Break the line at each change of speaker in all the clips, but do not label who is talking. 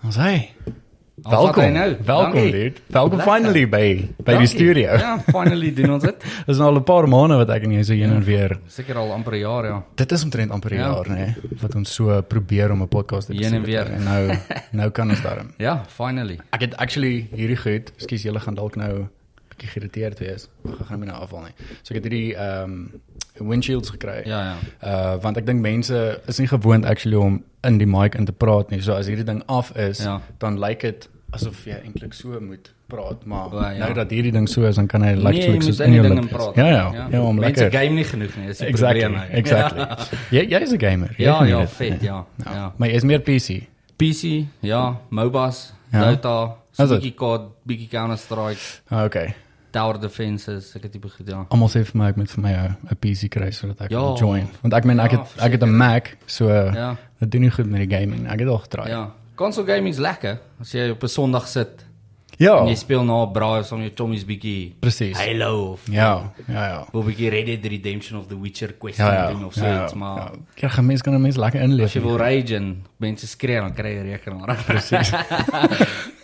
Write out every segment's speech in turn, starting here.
Als hij.
Welkom.
hij nou?
Welkom,
Dankie.
dude. Welkom
Lekker.
finally by, by die
Dankie.
studio.
Ja, finally doen ons dit.
Dat is nou al een paar maanden wat ik in hier zo heen en weer...
Seker al amper 'n jaar ja.
Dit is omtrent amper 'n
Ja.
jaar, nê, wat ons so probeer om 'n podcast te
Heen en
bestuur.
weer.
En nou nou kan ons daarom.
Ja, finally.
Ek het actually hierdie goed, ekskuus, julle gaan dalk nou 'n bietjie geïrriteerd wees. Ek gaan hom nie nou afval nie. So ek het hierdie ehm windshields gekry.
Ja, ja.
Uh want ek dink mense is nie gewoond actually om in die mic in te praat nie. So as hierdie ding af is,
Ja.
dan lyk dit asof jy eintlik so moet praat, maar
Ja, ja.
nou dat hierdie ding so is, dan kan hy
Nee, jy
letterlik
moet
soos
in
in
die
jou
ding
lip
in
wees.
praat.
Ja, ja, ja, ja om
Mense
lekker.
game nie genoeg nie, dis 'n
Exactly.
probleem. nou.
Exactly. Jy jy's 'n gamer. Jy
Ja,
geniet
ja,
dit.
vet, ja.
Ja.
Ja.
Maar jy's meer PC.
PC, ja, MOBAs,
Ja.
Dota, so
Is dit?
bietjie COD, bietjie Counter-Strike,
Ah, okay.
Tower Defenses, ek het dit begin ja.
Almal sê vir my ek moet vir my 'n 'n PC kry sodat ek
Ja.
kan join. Want ek meen ek
Ja,
het ek het 'n Mac, so
Ja.
dit doen nie goed met die gaming. nie. Ek het al getry.
Ja. Console gaming is lekker as jy op 'n Sondag sit en
ja
jy speel na 'n braai of saam met jou chommies bietjie
presies.
Halo of
Ja, ja, ja.
of 'n bietjie Red Dead Redemption of The Witcher quest
Ja, ja.
ding of so
ja,
iets, maar
ja. ja, gaan mense kan mense lekker inleef.
As jy wil rage en mense skree dan kry jy rekenaar.
Presies.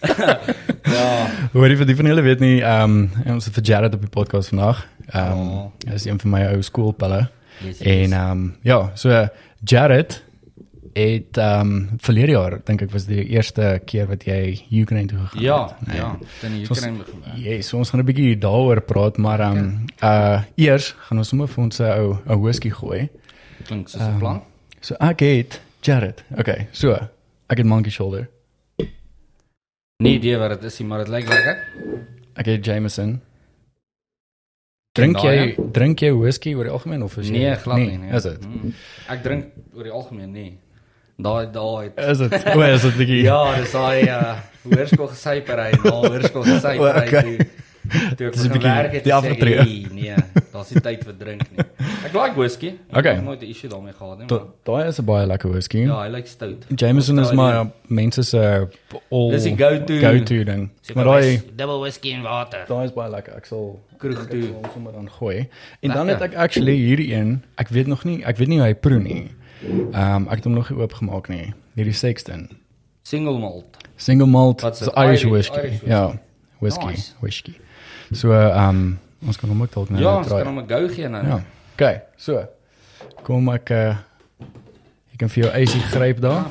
Ja,
Hoor jy vir die van julle weet nie, ehm um, ons het vir Jared op die podcast vandag. Ehm um,
Oh.
hy is een van my ou skoolpelle.
Yes, yes.
En ehm um, ja, so eh, Jared het ehm um, verlede jaar dink ek was die eerste keer wat jy Ukraine toe gegaan
ja,
het.
ja, dan jy
Nee. Soos-
kry hom.
Ja, so ons gaan 'n bietjie daaroor praat, maar ehm um, uh eers gaan ons sommer vir ons 'n ou 'n whisky gooi.
Klink soos
Ehm,
'n plan.
So ek het Jared. Okay, so ek het Monkey Shoulder.
Nee idee wat dit is nie, maar dit lyk lekker.
Ek het Jameson. Drink
daai,
jy drink jy whisky oor die algemeen of is jy
Nee, glad nie. nee.
Is dit?
Mm. Ek drink oor die algemeen nie. Daai daai het-
Is dit? O, is dit bietjie?
Ja, dis daai uh hoërskool gesypery, daai hoërskool
O,
gesypery.
okay.
toe- Toe ek
Dis 'n
begin
bietjie
werk het,
die
toe sê ek,
afgetree.
Nee, nee, daar's nie tyd vir drink nie. Ek like whisky. Ek
Okay.
het nooit 'n issue daarmee gehad nie.
Da-
maar-
Daai is 'n baie lekker whisky.
Ja, I like stout. ja.
Jameson is maar mense se all
Dis die go-to.
go-to ding.
Sê
Maar
vir my,
daai
double whisky en water.
daai is baie lekker. Ek sal
Kroeg
ek
toe.
sal hom sommer dan gooi. En dan het
Lekker.
ek actually hierdie een, ek weet nog nie, ek weet nie hoe hy proe nie. Ehm um, ek het hom nog nie oopgemaak nie. Hierdie Sexton.
Single malt.
Single malt
Wat is
so
dit?
Irish,
Irish-
whiskey.
Irish whiskey.
Ja, whiskey,
Nice.
whiskey. So ehm um, ons kan hom ook dalk nou
Ja, ons
try.
kan hom 'n go gee nou.
Ja. Okay, so. Kom ek uh, ek kan vir jou icy gryp
Ja,
daar.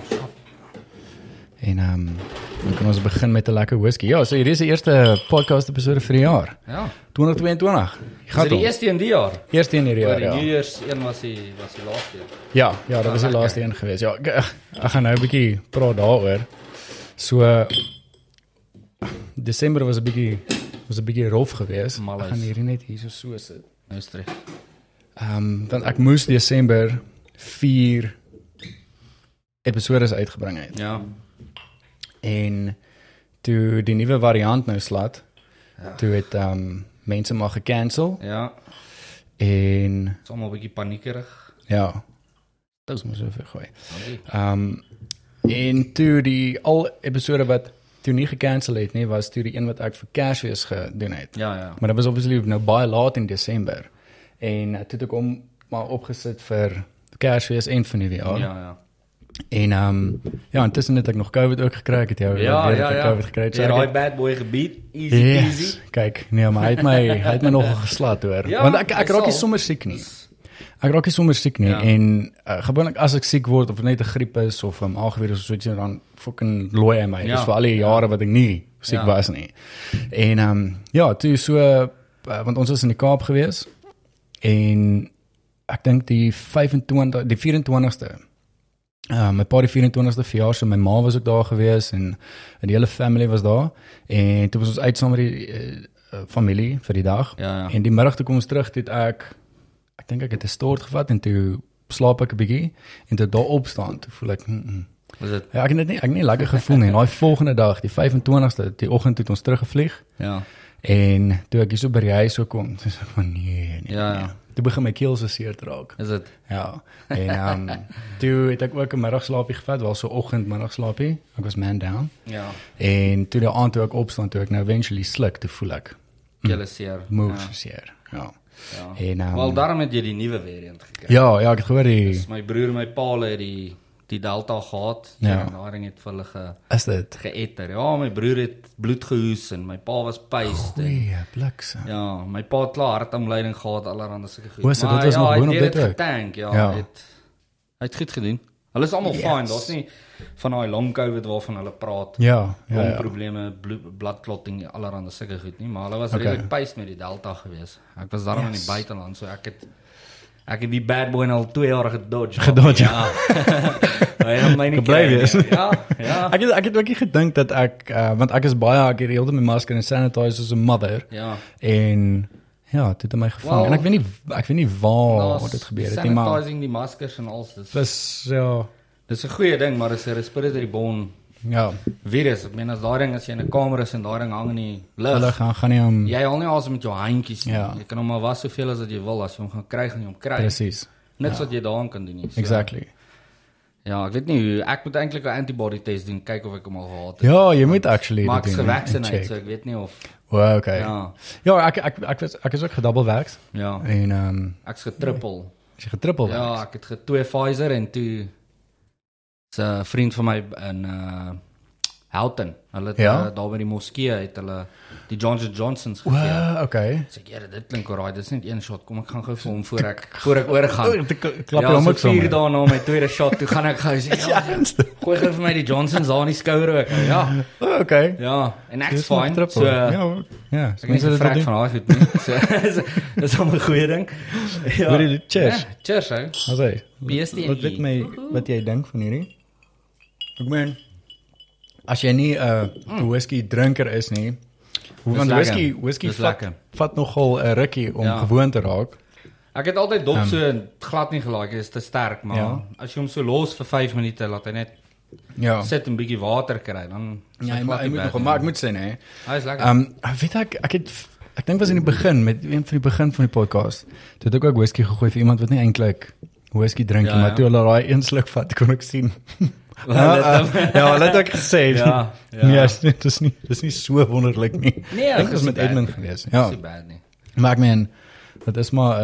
En ehm um, dan kan ons begin met 'n lekker whisky. Ja, so hierdie is die eerste podcast episode vir die jaar.
Ja.
2022. Jy
Dis
gaan
die
die
eerste een die jaar.
eerste een hierdie
Ja,
jaar.
die New
Ja.
Year's een was die was die laaste. een.
ja, ja, dit was die
lekker.
laaste een gewees. Ja, ek, ek gaan nou 'n bietjie praat daaroor. So eh, Desember was 'n bietjie was 'n bietjie rof geweest. Ek
Malus.
gaan hierdie net hierso so sit.
Nou strek.
Ehm dan ek moes Desember 4 episodes uitgebring het.
Ja.
En toe die nuwe variant nou slat, toe het ehm mense maar gekansel
Ja.
en
Dit's almal 'n bietjie paniekerig.
ja. Dit is mos so veel gooi.
Dankie.
Ehm en toe die al episode wat toe nie gekansel het nie, was toe die een wat ek vir Kersfees gedoen het.
Ja, ja.
Maar dit was obviously nou baie laat in Desember. En eh, toe het ek hom maar opgesit vir Kersfees en vir
Ja,
Nuwejaar.
ja.
En ehm ja, intussen het ek nog COVID ook gekry. Ek het jou
Ja,
weer
ja,
ek
ja.
COVID gekry.
Ja,
ek
daai
het-
bad boy gebied. Easy
Yes.
peasy.
Kyk, nee, maar hy het my hy het my nog geslat hoor.
Ja,
Ja, Want ek ek
hy
raak nie
sal.
sommer siek nie. Ek raak nie sommer siek nie
Ja.
ja. en uh, gewoonlik as ek siek word of net 'n griep is of 'n um, algevirus of so iets dan fucking looi hy my.
Ja.
Ja. Dis vir al die jare wat ek nie siek ja.
Ja.
was nie. En ehm um, ja, toe so uh, want ons was in die Kaap gewees en ek dink die 25 die 24ste Ehm my pa die 24ste verjaarsdag, so my ma was ook daar gewees en en die hele family was daar en toe was ons uit saam met die uh, familie vir die dag.
Ja, ja.
En die middag toe kom ons terug, toe het ek ek dink ek het 'n stort gevat en toe slaap ek 'n bietjie en toe daar opstaan, toe voel ek mm -mm.
Was dit?
ja, ek het dit nie ek het nie lekker gevoel nie. En daai volgende dag, die 25ste, die oggend toe het ons teruggevlieg
Ja.
en toe ek hierso by die huis so kom, toe sê ek van nee, nee.
Ja,
nee.
ja.
Toe begin my keel so seer te raak.
Is dit?
Ja. En ehm toe het ek ook 'n middagslaapie gevat, wel so oggend middagslaapie. Ek was man down.
Ja.
En toe die aand toe ek opstaan, toe ek nou eventually sluk, toe voel ek
Julle seer.
moeg ja. seer. Ja.
Ja.
En ehm
Wel daarom het jy die nuwe variant gekry.
Ja, ja, ek het gehoor die
Dis my broer en my pa hulle het die die Delta gehad
Ja.
en daar het vir hulle ge
Is dit?
geëtter. Ja, my broer het bloed gehoes en my pa was pyst. en-
Goeie bliksem.
Ja, my pa het klaar hartaanleiding gehad allerhande sulke goed.
O, so dit
Maar ja,
was nog
hy
boonop
het
dit
dit
ook?
getank, ja,
Ja.
ja. Het, hy het goed gedoen. Hulle is almal yes. fine, daar's nie van daai long covid waarvan hulle praat.
Ja, ja,
Ja,
ja.
probleme, bloedklotting, allerhande sulke goed nie, maar hulle was
Okay.
okay. redelik pyst met die delta gewees. Ek was daarom yes. in die buiteland, so ek het ek het die bad boy al 2 jaar gedodge.
Gedodge,
Ja. Hy het my nie
Gebly
kry nie.
wees.
Ja, ja.
Ek het ek het ook nie gedink dat ek uh, want ek is baie ek het heeltyd my masker en sanitizer soos 'n mother
Ja.
en ja, dit het my gevang
Wel,
en ek weet nie ek weet nie waar
Daar's
dit gebeur het nie maar
sanitizing die maskers en alles. Dis
dis ja
Dis 'n goeie ding, maar dis 'n respiratory bone
ja,
virus. Ek meen as daai ding as jy in 'n kamer is en daai ding hang in die
hulle
lug,
gaan gaan nie om
jy haal nie asem met jou handjies nie.
Ja.
Jy kan hom maar was soveel as wat jy wil as jy hom gaan kry en jy hom kry.
presies.
Niks wat jy daaraan kan doen nie. So,
Exactly.
Ja, ek weet nie hoe ek moet eintlik 'n antibody test doen, kyk of ek hom al gehad het.
Ja, jy moet actually
maar ek
dit
is
doen, hè, en
gevaksinate,
check.
so ek weet nie of
O, okay. Ja,
ja,
ja ek, ek ek was ek is ook gedubbelwerks
ja,
en ehm um,
ek's getrippel.
as jy getrippel werk.
Ja, ek het ge- twee Pfizer en toe 'n vriend van my in uh Houten. Hulle het
Ja?
ja? uh, daar by die moskee het hulle die Johnson Johnsons gegee.
Wow, okay.
Sê ek, "Here, dit klink alraai. Dit is net een shot. Kom ek gaan gou vir hom voor ek voor ek
Oh,
oorgaan." Ja,
Klap jy hom ook
so vier
sommer.
dae na my tweede shot, toe gaan ek gou sê, "Ja, gooi gou vir my die Johnsons daar in die skouer ook." Ja.
O, Oh, Okay.
Ja, Dus, eh, en ek's
Dis nog
fine.
trippel.
So
ja, ja,
Ek is
mense
nie
dit
vrek
doen.
van haar goed nie. So dis 'n goeie ding. Ja.
Hoor jy, cheers.
Ja, cheers. Ou.
As hy.
BSD.
Wat weet my wat jy dink van hierdie? Ek meen as jy nie 'n eh,
Mm.
whisky drinker is nie, hoe
Dis
want
lekker.
whisky whisky
Dis
vat,
lekker.
vat nogal 'n rukkie om
Ja.
gewoon te raak.
Ek het altyd dop so glad nie gelaai, dit is te sterk, maar
Ja.
as jy hom so los vir 5 minute laat hy net
Ja.
sit en 'n bietjie water kry, dan is
Ja,
hy
jy moet,
glad nie
jy moet
bad
nog
nie.
maar ek moet sê nee.
Hy is lekker.
Ehm um, weet ek ek het ek dink was in die begin met een van die begin van die podcast, toe het ek ook whisky gegooi vir iemand wat nie eintlik whisky drink nie,
Ja,
maar
ja.
toe hulle daai een sluk vat, kon ek sien.
Hulle het
Ah, ah, ja, hulle het ook gesê.
Ja, ja.
Nee, is nie- dis nie dis nie so wonderlik nie.
Nee,
ek dink
dit
dit is
is
met
nie bad
Edmund
nie.
gewees.
ja.
Ja.
Dis nie bad nie.
Maar ek meen, dit is maar 'n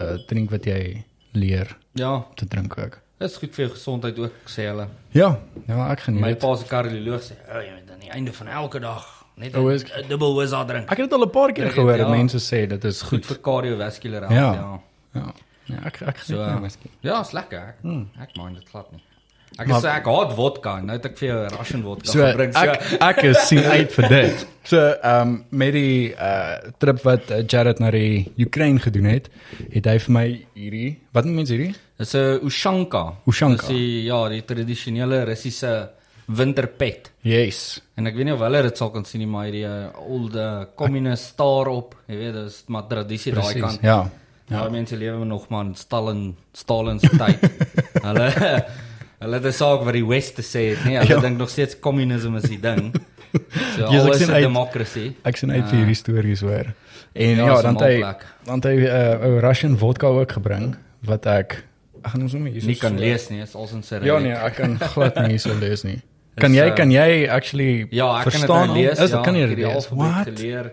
uh, uh, drink wat jy leer
Ja,
te drink ook.
dit is goed vir jou gesondheid ook, sê hulle.
Ja, ja, ek geniet
My
dit.
pa se kardioloog sê, "O, jy moet aan die einde van elke dag net
Een whisky.
'n dubbel whisky drink."
Ek het dit al 'n paar keer
Drink
gehoor
het,
dat
ja.
mense sê dit is
Goed
goed.
vir kardiovaskulêre health,
Ja.
ja. ja.
Ja. Ja, ek ek geniet
So,
nou whisky.
Ja, is lekker. Ek, ek mind dit glad nie. Ek
Hmm. Maar-
is ek haat vodka. Nou het ek vir jou Russian vodka
So
gebring. So,
ek ek is sien uit vir dit. So ehm um, met die uh, trip wat uh, Jared na die Oekraïne gedoen het, het hy vir my hierdie wat noem mense hierdie?
Dis 'n Ushanka.
Ushanka.
Dis die, ja, die tradisionele Russiese winterpet.
Yes.
En ek weet nie of hulle dit sal kan sien nie, maar hierdie uh, oude kommunist staar op, jy weet, dis maar tradisie daai
Presies.
kant.
Ja.
Ja, ja mense lewe nog maar in Stalin Stalin se tyd. hulle hulle het 'n saak wat die weste sê het, nee, hulle
Ja.
ja. dink nog steeds kommunisme is die ding. So
Yes, ek
alles is
sien uit.
'n demokrasie.
Ek sien uit vir hierdie stories hoor. En ja,
Ah. Ja, is 'n
dan het hy
maalplek.
dan het hy 'n uh, Russian vodka ook gebring wat ek ek gaan hom sommer hier so
Nie kan
so-
lees nie, is als in sy
Ja nee, ek kan glad nie hier so lees nie. Kan
Is,
jy
uh,
kan jy actually
Ja, ek
verstaan
kan dit nou lees.
al- Is
ja,
dit kan jy
ek het
dit
die
lees?
alfabet
Wat?
Geleer.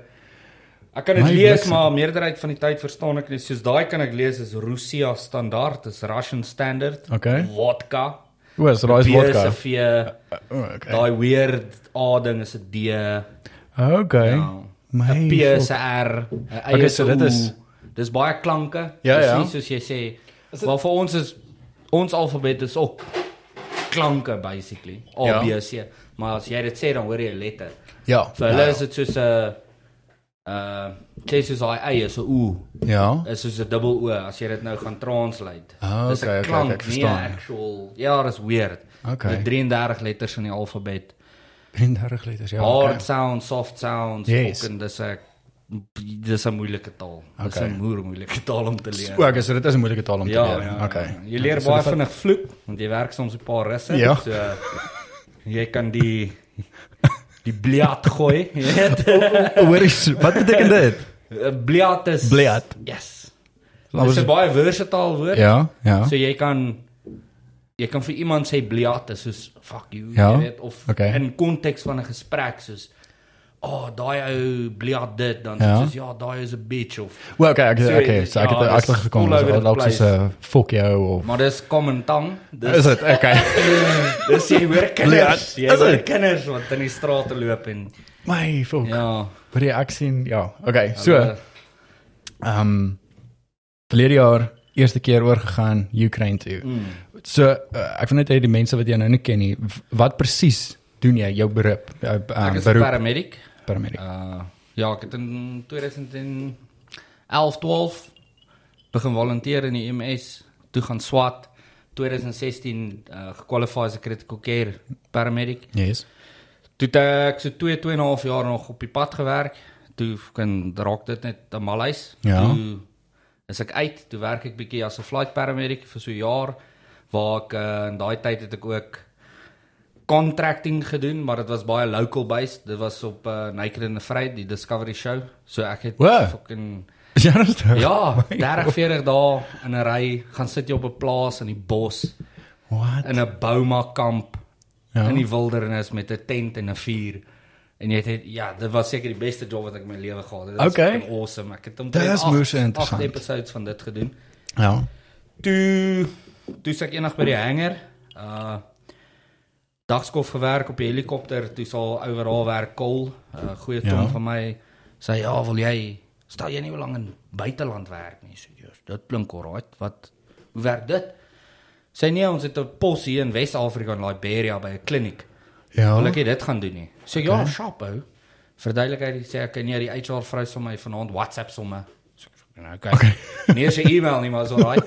Ek kan dit
My
lees,
bliksem.
maar meerderheid van die tyd verstaan ek nie. Soos daai kan ek lees is Russia standaard, is Russian standard.
Okay.
Vodka.
O, so daai is
Beer is
vodka.
'n V.
O, Okay.
Daai weird A ding is 'n D.
Okay.
Ja.
My
'n P is 'n R. 'n Y
Okay,
is
so
'n
dit
U.
is-
Dis baie klanke.
Ja, ja.
Presies soos jy sê. Maar vir ons is ons alfabet is ook klanke basically. A
Ja.
B C. Maar as jy dit sê dan hoor jy 'n letter.
Ja.
Vir hulle is dit soos 'n uh jy soos daai y is 'n o,
Ja.
is soos 'n dubbel o as jy dit nou gaan translate.
Ah,
Dis 'n
okay, okay, okay,
klank,
ek
nie 'n
verstaan.
actual. Ja, dis weird.
Okay.
Met 33 letters in die alfabet.
33 liters. Ja.
Hard
okay.
sounds, soft sounds,
Yes.
ook en dis 'n dis 'n moeilike taal. Dis
Okay.
'n moer moeilike taal om te leer.
O, okay, so dit is 'n moeilike taal om te
Ja,
leer.
ja,
Okay.
ja. Jy leer
So
baie
dit-
vinnig vloek want jy werk soms 'n paar russe.
Ja.
So jy kan die die bliat gooi, jy weet.
Hoor jy wat beteken dit?
Uh, Bliat is
Bliat.
Yes.
Laat
Dit is
ons-
'n baie versatile woord.
Ja, ja.
So jy kan jy kan vir iemand sê bliat is soos fuck you,
Ja,
jy weet of
okay.
in konteks van 'n gesprek soos oh, daai ou bliat dit dan
Ja.
ja. soos ja, daai is 'n bitch of
Wel okay, ek
So,
okay, so ek
ja,
het
dis
ek het gekom
all over
so
the
dalk
place.
soos 'n fuck jou of
maar dis common tongue. Dis
uh, Is dit okay?
dis jy hoor kinders,
Bliat,
jy
is
hoor
dit?
kinders wat in die strate loop en
My fuck. Ja.
ja,
ek sien ja. Okay, so
hulle-
ehm um, verlede jaar eerste keer oorgegaan Ukraine toe.
mm,
So uh, ek wil net hê die mense wat jy nou nie ken nie, w- wat presies doen jy jou beroep? Jou uh,
ek is 'n
beroep
paramedic.
paramedic.
Uh ja, ek het in 2011 12 begin volunteer in die MS, toe gaan swat 2016 uh gekwalifiseer as 'n critical care paramedic.
Yes.
Toe het ek so 2 2 en 'n half jaar nog op die pad gewerk. Toe kan raak dit net 'n malhuis.
Ja.
Toe is ek uit, toe werk ek bietjie as 'n flight paramedic vir so 'n jaar waar ek uh, in daai tyd het ek ook contracting gedoen, maar dit was baie local based. Dit was op uh, Naked and Afraid, die Discovery show. So ek het
Wow.
fucking
Is jy nou terug?
ja, 30 40 dae in 'n ry gaan sit jy op 'n plaas in die bos
What?
in 'n Bouma kamp
Ja.
in die wildernis met 'n tent en 'n vuur. En jy het ja, dit was seker die beste job wat ek in my lewe gehad het. Dit
Okay.
was fucking awesome. Ek het
Dis moes
omtrent 8
interessant.
agt episodes van dit gedoen.
Ja.
Toe toe sê ek eendag by die hanger, uh dagskof gewerk op die helikopter, toe sal overal werk kol, 'n uh, goeie
Ja.
ton van my sê ja, wil jy stel jy nie wil lang in buiteland werk nie. So "Jesus, dit klink alright. Wat hoe werk dit? Sê nee, ons het 'n pos hier in Wes-Afrika in Liberia by 'n kliniek.
Ja.
Wil ek nie dit gaan doen nie. So ja, okay. sharp ou. Verduidelikheid sê ek kan nie die HR vrou sommer vanaand WhatsApp sommer. So ek sê, nou okay. okay. nie eens 'n e-mail nie, maar so right.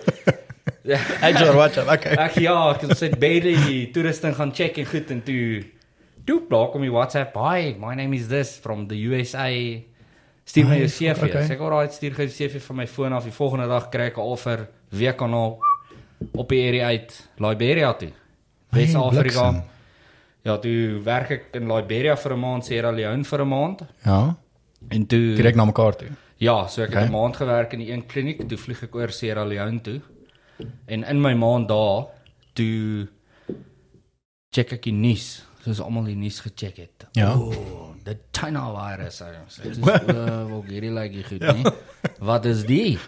Agile WhatsApp. Okay.
ek ja, ek het sit beide die toeriste gaan check en goed en toe toe blok om die WhatsApp. Hi, my name is this from the USA. Stuur my jou
Nice,
CV.
okay.
Okay. Sê ek alright, stuur gou die CV van my foon af. Die volgende dag kry ek 'n offer weer kanaal op die area uit Liberia toe.
Hey,
Wes-Afrika.
bliksem.
Ja, toe werk ek in Liberia vir 'n maand, Sierra Leone vir 'n maand
Ja.
en toe
Direk na mekaar toe.
ja, so ek okay.
Okay.
het 'n maand gewerk in die een kliniek, toe vlieg ek oor Sierra Leone toe. En in my maand daar, toe check ek die nuus, soos almal die nuus gecheck het.
Ja.
Oh, die China virus. ou. So, Dit is uh, wel hierdie lykie goed, ja. nie? Wat is die?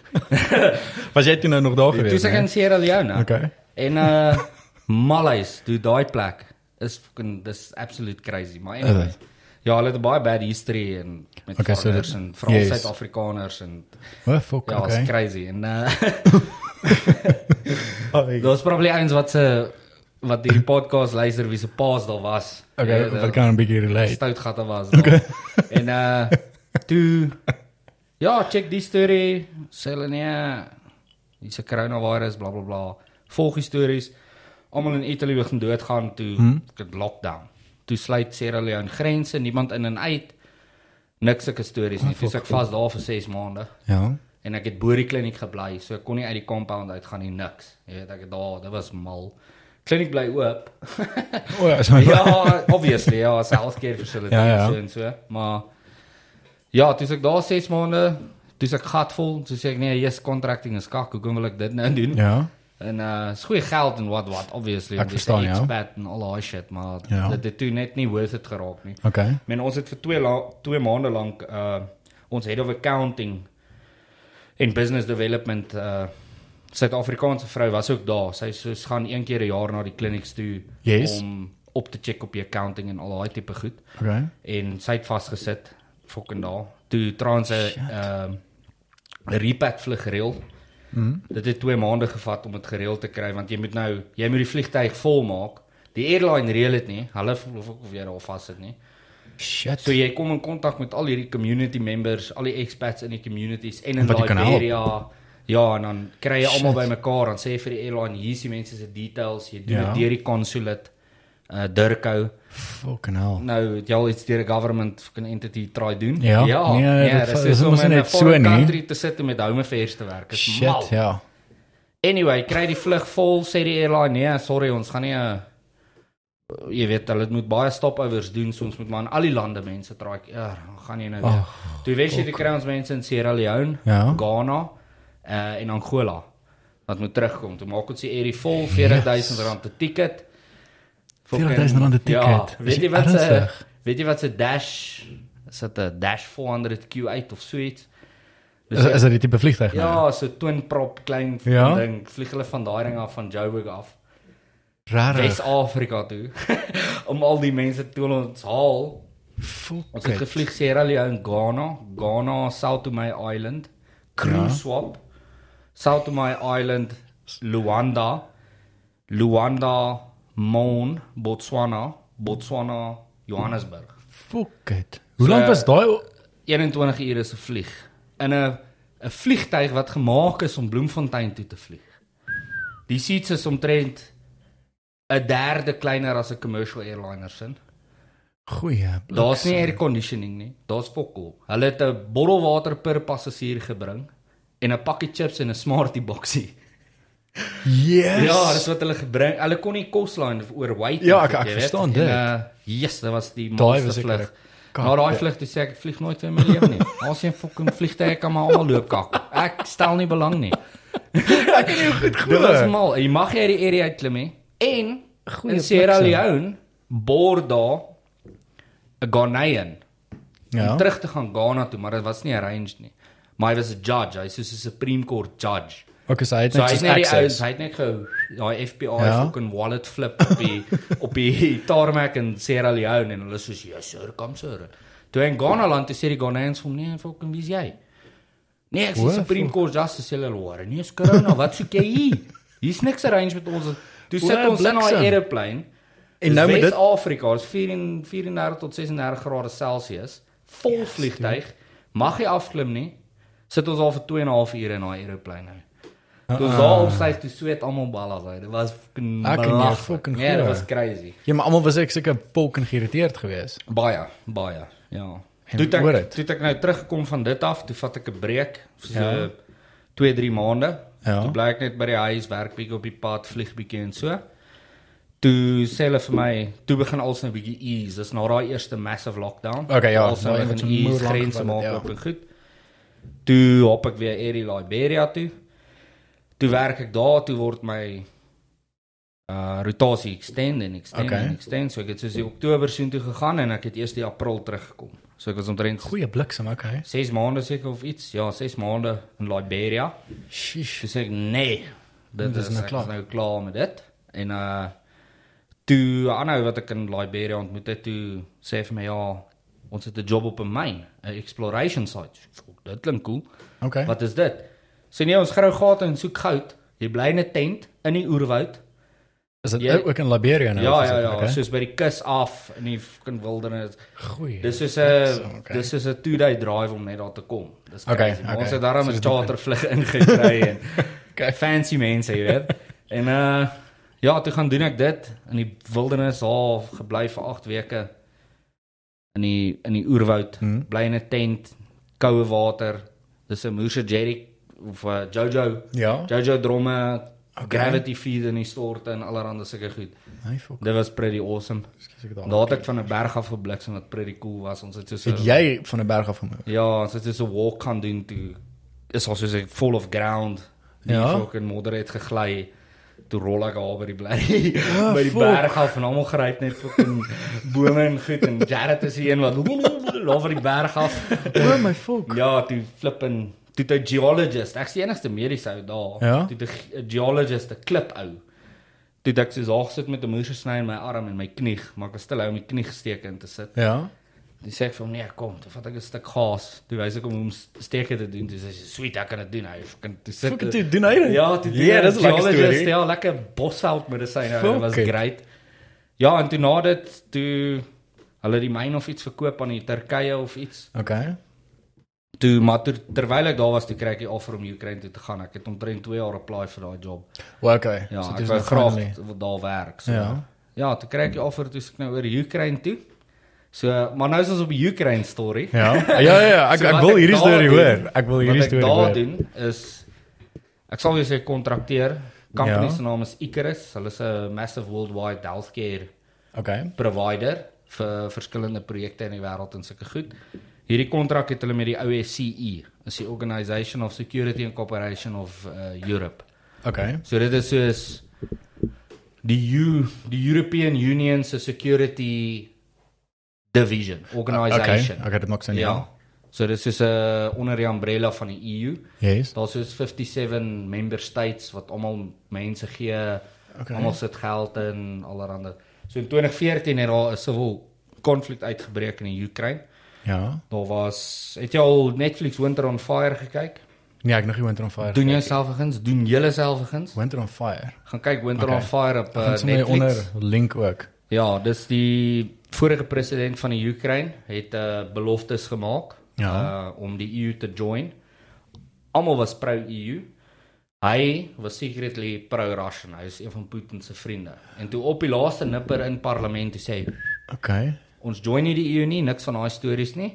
Was jy toe nou nog daar
Toe
gewees?
is ek in Sierra Leone.
Okay.
En uh Malays, toe daai plek is fucking dis absolute crazy, maar anyway.
Is
Ja, hulle het 'n baie bad history en met
Okay,
okay,
so
foreigners
dit-
so en veral
yes.
yes. Suid-Afrikaners en
O, fuck.
ja, okay.
Okay.
is crazy en uh
Ai.
daar's probably eens wat se wat die podcast luister wie se paas daar was.
Okay,
Ja,
wat kan 'n bietjie relate.
stout gatte was daar. Okay. en uh toe ja, check die storie, sê hulle nee, dis 'n coronavirus blablabla. Bla, bla. Volg die stories. Almal in Italië begin doodgaan toe hmm. dit lockdown. Toe sluit Sierra Leone grense, niemand in en uit. Niks sulke stories nie. Dis ek vas daar vir 6 maande
Ja.
en ek het bo die kliniek gebly, so ek kon nie uit die compound uit gaan nie niks. Jy weet ek het daar, dit was mal. Kliniek bly oop.
O, Oh ja, so.
ja, obviously, ja, as 'n healthcare facility
Ja, ja.
ja, ja. so en so, maar ja, toe is ek daar 6 maande, toe is ek gatvol, toe sê ek nee, yes, contracting is kak, hoekom wil ek dit nou doen? Ja.
Ja.
En uh is goeie geld en wat wat,
Ek
obviously, want jy's 'n
verstaan jou.
expat en al daai shit, maar
Ja.
ja. dit het toe net nie worth it geraak nie.
Okay.
Men ons het vir 2 la 2 maande lank uh ons head of accounting en business development uh Suid-Afrikaanse vrou was ook daar. Sy soos gaan een keer 'n jaar na die klinieks toe
Yes.
om op te check op die accounting en al daai tipe goed.
Okay.
En sy het vasgesit fucking daar. Toe trans 'n ehm repack vlug reël. Mm. Dit het 2 maande gevat om dit gereël te kry want jy moet nou jy moet die vliegtyg vol maak. Die airline reël dit nie. Hulle voel of of jy daar vas sit nie.
Shit.
So jy kom in kontak met al hierdie community members, al die expats in die communities en
En
in
wat jy kan help.
Liberia. Ja, en dan kry jy almal bymekaar, dan sê jy vir die airline, hier is die mense se details, jy doen
Ja.
dit deur die consulate uh Durkou.
Fucking hell.
Nou, het jy al iets deur 'n government fucking entity try doen?
Ja.
ja,
Nee,
nee,
dit-
dis
dit
is
is
om
mos
in 'n
net so
foreign
nie.
country te sit en met home affairs te werk. Dis mal.
Shit, ja.
Anyway, kry die vlug vol, sê die airline, nee, sorry, ons gaan nie 'n jy weet, hulle moet baie stopovers doen, soms moet maar in al die lande mense traai. Ja, gaan jy nou weer.
Ag,
Toe wys jy die kry ons mense in Sierra Leone,
Ja.
Ghana uh, en Angola wat moet terugkom. Toe maak ons die air vol R40000 rand per ticket. Fucking-
R40.000 'n ticket.
Ja,
Is
weet
jy
jy wat se
ernstig?
weet jy wat se dash is dit 'n Dash 400 Q8 of so iets. Dus
Is,
ja,
is dit die tipe vliegtuig? nou?
ja, so twin prop klein
Ja?
ding. Vlieg hulle van daai ding af van Joburg af.
Rarig.
Wes-Afrika toe. om al die mense toe ons haal. Ons het
Fuck. it.
gevlieg Sierra Leone, Ghana, Ghana, Sao Tome Island, Crew Swap, Sao Tome Island, Luanda, Luanda, Mon, Botswana, Botswana, Johannesburg.
Fuck it. Hoe
So,
lank was daai
21 ure se vlieg in 'n 'n vliegtyg wat gemaak is om Bloemfontein toe te vlieg. Die seats is omtrent 'n derde kleiner as 'n commercial airliner se.
goeie?
Daar's nie air conditioning nie. Daar's fokol. Hulle het 'n bottel water per passasier gebring en 'n pakkie chips en 'n smartie boksie.
Yes.
Ja, dis wat hulle gebring. Hulle kon nie koslyn oor white.
Ja,
en
ek-
goed,
ek
jy weet.
verstaan
En,
dit.
Uh, yes, dit was die
was
mooiste
ek
vlug.
kan-
Na daai vlug toe sê ek ek vlieg nooit weer in my lewe nie. As jy fucking vliegtye kan maar almal loop kak. Ek stel nie belang nie.
ek kan jou goed
Dit was
glo.
mal. Jy mag hier die area uitklim hè. En
Goeie
Goeie in Sierra
plek, ja.
Leone bord daar 'n Ghanaian om
Ja.
terug te gaan Ghana toe, maar dit was nie arranged nie. Maar hy was 'n judge, hy is soos 'n Supreme Court judge.
Okay, so hy het
So hy
net
het
soos
net die ouens,
access.
hy het net gehou daai FBI
Ja.
fucking wallet flip op die op die tarmac in Sierra Leone en hulle soos ja, sir, kom sir. Toe hy in Ghana land te sê die Ghanaians vir hom nee, fucking wie's jy? Nee, ek
Hoor,
is Supreme Court Justice hulle hoor. Nee, is corona, wat soek jy hier? Hier's niks arrange met ons. Toe sit
Hoor,
ons in daai
bliksem.
aeroplane.
En nou met dit-
Afrika is 14 34 tot 36 grade Celsius,
Ja,
vol vliegtyg. Mag jy afklim nie. Sit ons al vir 2 en 'n half ure in daai aeroplane nou.
Ah.
Toe ons daar opstyg, toe sweet almal ballas uit. Dit was fucking
Ek en jou
belaglik.
Ah, fucking
Ja, dit
glo.
was crazy.
Ja, maar almal was ek seker fucking geïrriteerd geweest.
Baie, baie. Ja.
En
Toe het ek
hoor het.
toe het ek nou teruggekom van dit af, toe vat ek 'n breek vir so 2-3 maande.
Ja.
Toe bly ek net by die huis, werk bietjie op die pad, vlieg bietjie en so. Toe sê hulle vir my, toe begin alles nou bietjie ease. Dis na daai eerste massive lockdown.
Okay, ja,
alles nou
daai
begin
wat so
ease,
moeilijk gevat
grense
het,
maak
ja.
op en goed. Toe hop ek weer Air Liberia toe. Toe werk ek daar, toe word my uh rotasie extend en extend
Okay.
okay. en extend. So ek het soos die Oktober soontoe gegaan en ek het eers die April teruggekom. So ek was omtrent
Goeie bliksem, okay.
6 maande seker of iets. Ja, 6 maande in Liberia.
Sheesh.
Toe sê ek nee. Dit
Dit is
is,
nou
ek
klaar.
is nou klaar met dit. En uh toe 'n ander ou wat ek in Liberia ontmoet het, toe sê hy vir my ja, ons het 'n job op 'n myn, 'n exploration site. Dit klink cool.
Okay.
Wat is dit? Sê nee, ons grou gate en soek goud. Jy bly in 'n tent in die oerwoud.
Is dit
Jy-
ook in Liberia nou?
Ja
of is
ja
dit-
ja,
okay.
soos by die kus af in die fucking wildernis.
Goeie.
Dis soos
Ja, so,
'n
okay.
dis soos 'n 2-day drive om net daar te kom. Dis
Okay,
crazy. Okay,
okay.
okay. Ons het daarom
So
'n
dis
chartervlug ingekry en okay. fancy mense, jy weet. en uh ja, toe gaan doen ek dit in die wildernis half gebly vir 8 weke in die in die oerwoud,
Hmm.
hmm. bly in 'n tent, koue water. Dis 'n Moose Jerry of uh, Jojo
Ja.
Jojo dromme,
Okay.
gravity feed in die stort en allerhande sulke goed.
Nee, fuck.
Dit was pretty awesome.
Ekskuus ek
Daar
daar.
het ek van 'n berg af gebliksem wat pretty cool was. Ons het so so
Het jy van 'n berg af gemoeg?
Ja, ons het so 'n walk kan doen toe is al soos 'n full of ground. Die
Ja.
ja. fucking modder het gegly. Toe rol ek daar by die bly by die
Ja, fuck.
berg af en almal gryp net fucking bome en goed en Jared is die een wat loop van die berg af.
O my fuck.
Ja, toe flip en toe het 'n geologist, ek's die enigste mediese ou daar.
Ja?
Toe het 'n ge- 'n geologist 'n klip ou. Toe het ek soos daar gesit met 'n moer gesny in my arm en my knie, maar ek was stil hou my knie gesteek in te sit.
Ja.
Toe sê ek vir hom nee, kom, toe vat ek 'n stuk gaas. Toe wys ek hom hoe om s- steke te doen. Toe sê hy, "Sweet, ek kan dit doen." Hy kan toe sit.
Fuck it, toe doen hy dit.
Ja, toe doen
Ja,
hy
dis 'n lekker
geologist,
storie.
Ja, lekker bosveld medisyne.
Fuck
Dit was
it.
great. Ja, en toe na dit, toe hulle die myn of iets verkoop aan die Turkye of iets.
Okay.
Toe maar toe, terwyl ek daar was, toe kry ek die offer om Ukraine toe te gaan. Ek het omtrent 2 jaar apply vir daai job.
Well, okay.
Ja,
So
so
dis
ek wou
nou
graag
finally.
t- daar werk. So.
Ja.
Ja. ja, toe kry ek die offer toe is ek nou oor Ukraine toe. So, maar nou is ons op die Ukraine storie.
Ja. Ja ja, ja, ek
So
ek
wat
wil hierdie
daar
storie
doen-
hoor. Ek wil hierdie storie
Wat ek daar
hoor.
doen is ek sal jou sê kontrakteer. Company
Ja.
se naam is Icarus. Hulle is 'n massive worldwide healthcare
Okay.
provider vir verskillende projekte in die wêreld en sulke goed. Hierdie kontrak het hulle met die OSCE, E, is die Organisation of Security and Cooperation of uh, Europe.
Okay.
So dit is soos die EU, die European Union se security division, organisation.
Ah, Okay, okay, dit maak sin.
Ja.
Ja.
So dit is soos 'n onder die umbrella van die EU.
Yes.
Daar's soos 57 member states wat almal mense gee.
Okay.
Almal sit geld in allerhande. So in 2014 het daar 'n civil konflik uitgebreek in die Oekraïne.
Ja.
Daar was het jy al Netflix Winter on Fire gekyk?
Nee, ek nog nie Winter on Fire.
Doen jouself eens, doen julleself eens.
Winter on Fire.
Gaan kyk Winter
Okay.
on Fire op uh,
Gaan sommer
Netflix.
hier onder link ook.
Ja, dis die vorige president van die Oekraïne het uh, beloftes gemaak
Ja.
uh om die EU te join. Almal was pro EU. Hy was secretly pro Russian. Hy is een van Putin se vriende. En toe op die laaste nipper in parlement toe sê hy,
Okay.
ons join nie die EU nie, niks van daai stories nie.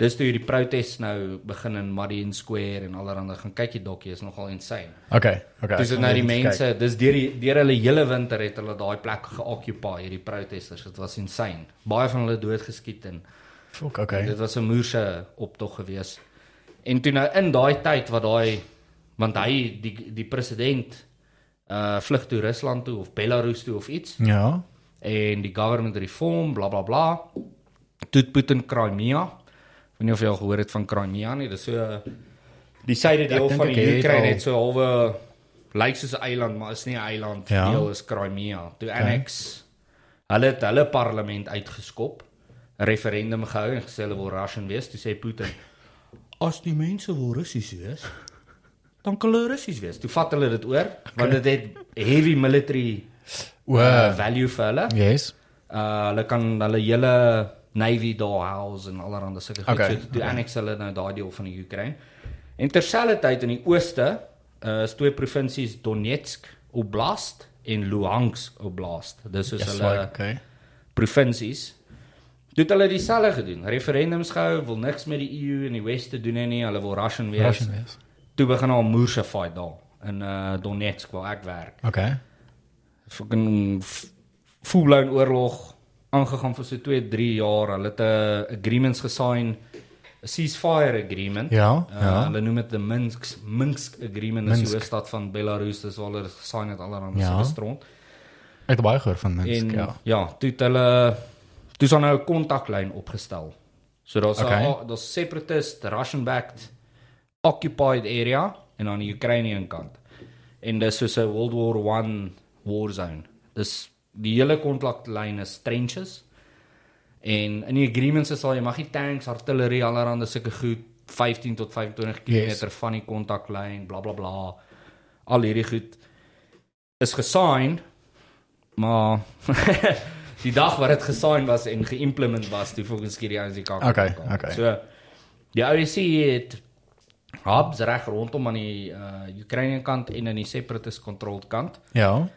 Dis toe hierdie protes nou begin in Marion Square en allerhande gaan kyk die dokkie is nogal insane.
Okay. Okay.
Dis nou die mense, dis deur die deur hulle hele winter het hulle daai plek geoccupy hierdie protesters. Dit was insane. Baie van hulle doodgeskiet en
Fuck, okay.
dit was 'n moerse optog geweest. En toe nou in daai tyd wat daai want hy die die president uh vlug toe Rusland toe of Belarus toe of iets
Ja.
en die government reform bla bla bla. Toe het Putin Crimea. Ek weet nie of jy al gehoor het van Crimea nie. Dis so uh, die syde
Ja, ek
deel
dink
van
ek
die
het al.
Oekraïne het so halwe lyk soos 'n eiland, maar is nie 'n eiland.
Ja.
Ja. Deel is Crimea. Toe annex hulle het hulle parlement uitgeskop, 'n referendum gehou en gesê hulle wil Russian wees. Toe sê Putin: "As die mense wil Russies wees, dan kan hulle Russies wees." Toe vat hulle dit oor, want dit het heavy military uh,
Wow.
value vir hulle.
Yes.
Uh hulle kan hulle hele navy daar house en allerlei sulke goed.
Okay,
Okay, so toe okay. annex hulle nou daai deel van die Oekraïne. En terselfdertyd in die ooste uh is twee provinsies Donetsk Oblast en Luhansk Oblast. Dis soos dus, eh, yes,
Yes,
hulle
like, okay.
provinsies. Dit het hulle dieselfde gedoen. Referendums gehou, wil niks met die EU en die Wes te doen hê nie. Hulle wil Russian wees.
Russian wees.
Toe begin al moerse fight daar in uh Donetsk waar ek werk
Okay.
fucking f- full-blown oorlog aangegaan vir so 2, 3 jaar. Hulle het 'n agreements gesign, 'n ceasefire agreement.
Ja,
Uh,
ja.
Hulle noem dit die Minsk Minsk agreement in die
Minsk.
hoofstad van Belarus, dis waar hulle gesign het allerhande
Ja.
ja. se stront.
Ek het baie gehoor van mense.
En ja,
Ja.
ja toe het hulle toe is daar nou 'n kontaklyn opgestel. So daar's
Okay.
'n okay. daar's separatist Russian backed occupied area en aan die Oekraïne kant. En dis soos 'n World War 1 war zone. Dis die hele kontaklyn is trenches. En in die agreements is al jy mag nie tanks, artillerie, allerhande sulke goed 15 tot 25 km
Yes.
yes. van die kontaklyn, bla bla bla. Al hierdie goed is gesign, maar die dag wat dit gesign was en geïmplement was, toe volgens hierdie ouens die kak.
Okay,
gekom.
okay.
So die OEC het hubs reg rondom aan die uh Oekraïne kant en aan die separatist controlled kant.
Ja.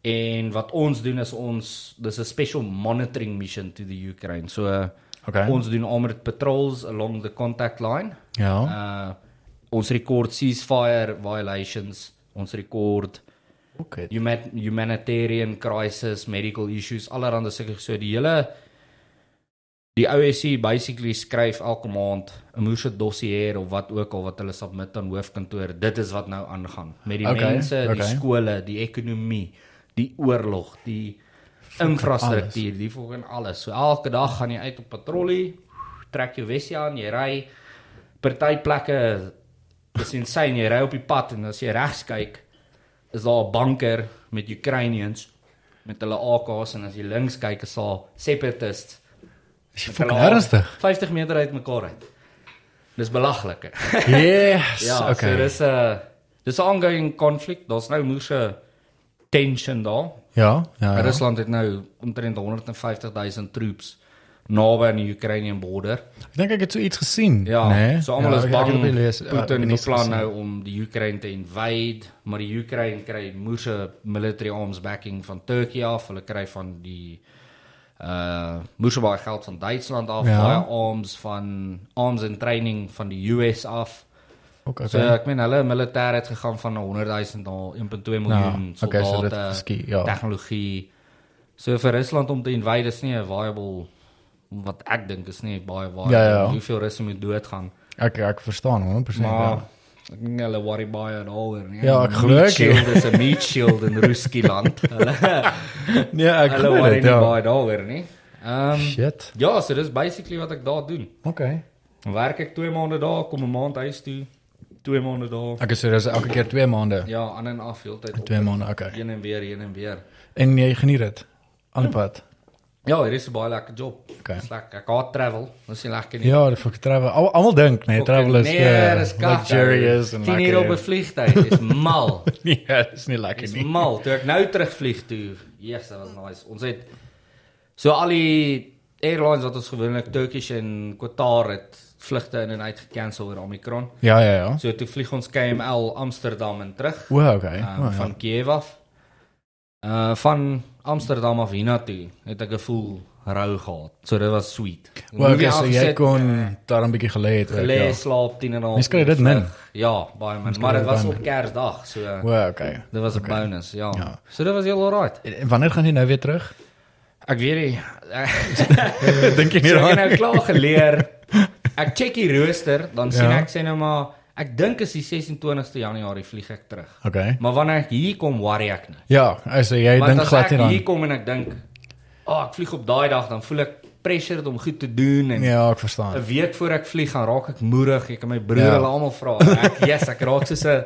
En wat ons doen is ons dis 'n special monitoring mission to the Ukraine. So uh,
Okay.
ons doen armored patrols along the contact line.
Ja.
Uh ons rekord ceasefire violations, ons rekord
Okay.
human, humanitarian crisis, medical issues, allerhande sulke so die hele die OSC basically skryf elke maand 'n moerse dossier of wat ook al wat hulle submit aan hoofkantoor. Dit is wat nou aangaan met die
Okay,
mense, die
okay.
skole, die ekonomie, die oorlog, die infrastruktuur, die volgens alles. So elke dag gaan jy uit op patrollie, trek jou wesie aan, jy ry party plekke is insane, jy ry op die pad en as jy regs kyk, is daar 'n banker met Ukrainians met hulle AK's en as jy links kyk is daar separatists.
Is jy
met
fucking
hulle
ernstig?
50 meter uit mekaar uit. Dis belaglik. hè?
Yes.
ja, okay. so
okay.
dis 'n dis 'n ongoing konflik. Daar's nou moerse tension daar.
Ja, ja.
Ja.
ja.
Rusland het nou omtrent 150 000 troops naby aan die Ukrainian border.
Ek dink ek het so iets gesien.
Ja,
nee?
so almal
Ja,
is dus
ek-
bang
ek het dit gelees. Ja, ek het
Putin
dit
beplan
gesien.
nou om die Oekraïne te invade, maar die Oekraïne kry moerse military arms backing van Turkey af, hulle kry van die uh moerse baie geld van Duitsland af,
Ja.
ja. baie arms van arms en training van die US af.
Fuck,
So
okay.
ek meen hulle militêr het gegaan van 100 000 na 1.2 miljoen
Ja, okay,
soldate,
so dit skie- ja.
tegnologie. So vir Rusland om te invade is nie 'n viable wat ek dink is nie baie waar
Ja, ja.
hoeveel Russe moet doodgaan.
Ek ek verstaan 100%.
eh, Maar
Maar,
ek dink hulle worry baie daaroor nie.
Ja, ek
Meat
glo ek, ja.
Shield is 'n meat shield in Ruskiland. Hulle
ja. Nee, ek
hulle
glo
worry
dit.
nie
Ja.
baie daaroor nie. Ehm
Shit.
ja, so dis basically wat ek daar doen.
Okay.
Werk ek 2 maande daar, kom 'n maand huis toe, 2 maande daar.
Ek is so dis elke keer 2 maande.
Ja, aan en af heeltyd. op.
2 maande, okay.
Heen en weer, heen en weer.
En jy geniet dit. Aanpad.
Ja, hier is 'n baie lekker job.
Okay.
Dis lekker. Ek haat travel. Dis nie lekker nie.
Ja, vir travel. Al- Almal dink, nee, travel is
nee, dis
uh,
kak.
luxurious en
Tien uur op 'n
lekker.
vliegtuig is mal.
Nee, dit is nie lekker
Dis
nie.
mal. Toe ek nou terugvlieg toe. Yes, dit was nice. Ons het so al die airlines wat ons gewoonlik Turkish en Qatar het vlugte in en uit gekansel oor Omicron.
Ja, ja, ja.
So toe vlieg ons KML Amsterdam en terug
Wow, okay.
uh,
Oh, ja.
van Kiev af. Uh van Amsterdam af hiernatoe het ek 'n full rou gehad. So dit was sweet.
Wel, okay,
Movie
so jy
afgesit,
kon
Ja.
daar 'n bietjie gelê het. ook,
Gelê
ja.
slaap 10 en 'n half.
Mens kry dit
uur
min.
vlug. Ja, baie min,
kry
maar dit
dit
was
baie
op Kersdag, so
Wow, okay.
dit was 'n bonus, ja.
Ja.
So dit was heel alright.
En en wanneer gaan jy nou weer terug?
Ek weet nie.
Dink jy
Eh, Ek het nou
nie
klaar geleer. Ek check die rooster, dan sien
Ja.
ek sê nou maar ek dink is die 26ste Januarie vlieg ek terug.
Okay.
Maar wanneer ek hier kom, worry ek nie.
Ja, also jy
Want
dink
as
glad
ek
nie
hier
dan.
kom en ek dink, "Ag, oh, ek vlieg op daai dag," dan voel ek pressured om goed te doen en 'n
Ja, ek verstaan.
week voor ek vlieg gaan raak ek moerig. Ek kan my broer
Ja.
hulle almal vra. En Ek, yes, ek raak soos 'n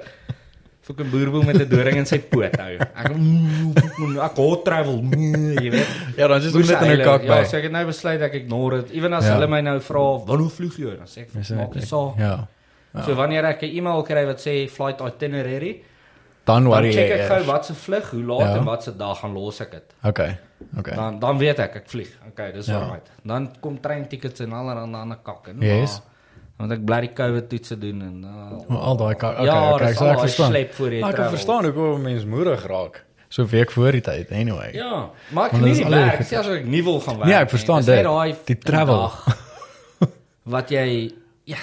fucking boerboel met 'n doring in sy poot hou. Ek mm, ek hot travel, mm, jy weet.
Ja, dan is dit net in 'n kak
Ja,
by.
so ek het nou besluit ek ignoreer dit. Ewen as
Ja.
hulle my nou vra, "Wanneer vlieg jy?" dan sê ek,
Dis
"Maak nie
net-
saak."
Ja. ja.
So wanneer ek 'n e-mail kry wat sê flight itinerary,
Dan
dan
worry
kyk
jy.
ek gou
eers.
wat se vlug, hoe laat
Ja.
en wat se dag gaan los ek dit.
Okay. Okay.
Dan dan weet ek ek vlieg. Okay, dis
Ja.
ja. alright. Dan kom treintickets en allerlei ander kak en
Yes.
maar, want ek bly die COVID toetse doen en uh,
Maar al daai kak. Okay,
Ja,
okay,
dis
so
al
ek
daai
verstaan.
slep voor jy
Maar Ek kan
travel.
verstaan ook hoe mense moedig raak. So 'n week voor die tyd anyway.
ja, maar ek
Want
nie
dis
die
al die-
werk, sê as ek nie wil gaan werk.
Nee, ek verstaan
nie. Dis net
dit.
daai
Die travel.
dag wat jy ja,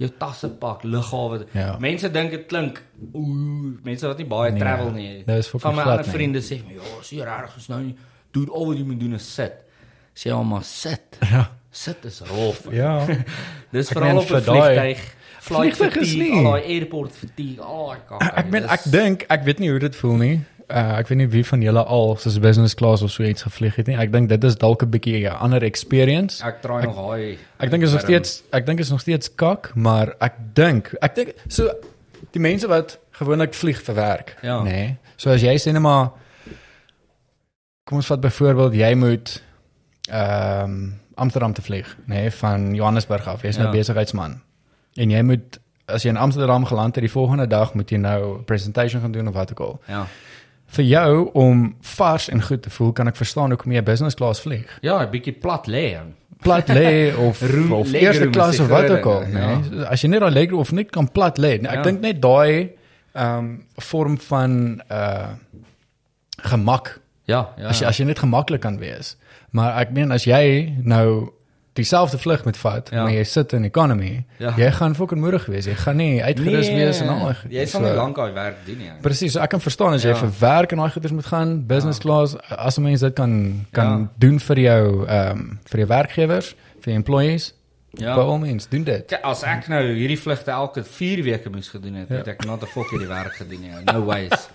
jou tasse pak, lughawe.
Ja.
Mense dink dit klink ooh, mense wat nie baie
Nee,
travel nie.
dit is fucking
van my
glad
ander
nie.
vriende sê my, "Ja, is jy reg is nou nie. Doen al wat jy moet doen is sit." Sê hom maar sit.
Ja.
Sit is rof.
Ja.
Dis
Ek
veral
meen
op 'n
vir daai-
vliegtyg.
Vliegtuig is nie.
Al daai airport fatigue, Ah, al daai kak.
Ek meen
Dis-
ek dink ek weet nie hoe dit voel nie. Uh, ek weet nie wie van julle al soos business class of so iets gevlieg het nie. Ek dink dit is dalk 'n bietjie 'n ander experience.
ek draai nog daai.
Ek dink is nog steeds ek dink is nog steeds kak, maar ek dink ek dink so die mense wat gewoonlik vlieg vir werk,
Ja.
nê. Nee, so as jy sê net maar kom ons vat byvoorbeeld jy moet ehm Amsterdam te vlieg, nê, nee, van Johannesburg af. Jy's nou
Ja.
besigheidsman. En jy moet as jy in Amsterdam geland het die volgende dag moet jy nou 'n presentation gaan doen of wat ook al.
Ja.
Vir jou om vars en goed te voel, kan ek verstaan hoekom jy business class vlieg
Ja, 'n bietjie plat lê. en-
plat lê of
Room-
of
legroom
eerste
is
klas
die
of wat ook
groot
al,
ding,
nê.
ja.
Nee? As jy net daai lekker of net kan plat lê. Nee, ek
Ja.
dink net daai ehm vorm van uh gemak.
Ja, ja.
As jy, as jy net gemaklik kan wees. Maar ek meen as jy nou dieselfde vlug moet vat,
Ja.
maar jy sit in economy,
Ja. Nee.
jy gaan fucking moedig wees. Jy gaan nie uitgerus wees en al. daai goed
Jy
nie.
sal nie
So-
lank daai werk doen nie.
Presies, so ek kan verstaan as jy
Ja.
vir werk en daai goeders moet gaan, business class, as 'n mens dit kan kan
Ja.
doen vir jou ehm vir jou werkgewers, vir jou employees, ja. by
Ja.
all means, doen dit.
Kijk, As ek nou hierdie vlugte elke 4 weke moes gedoen het, het ek not the fuck hierdie werk gedoen nie. No ways.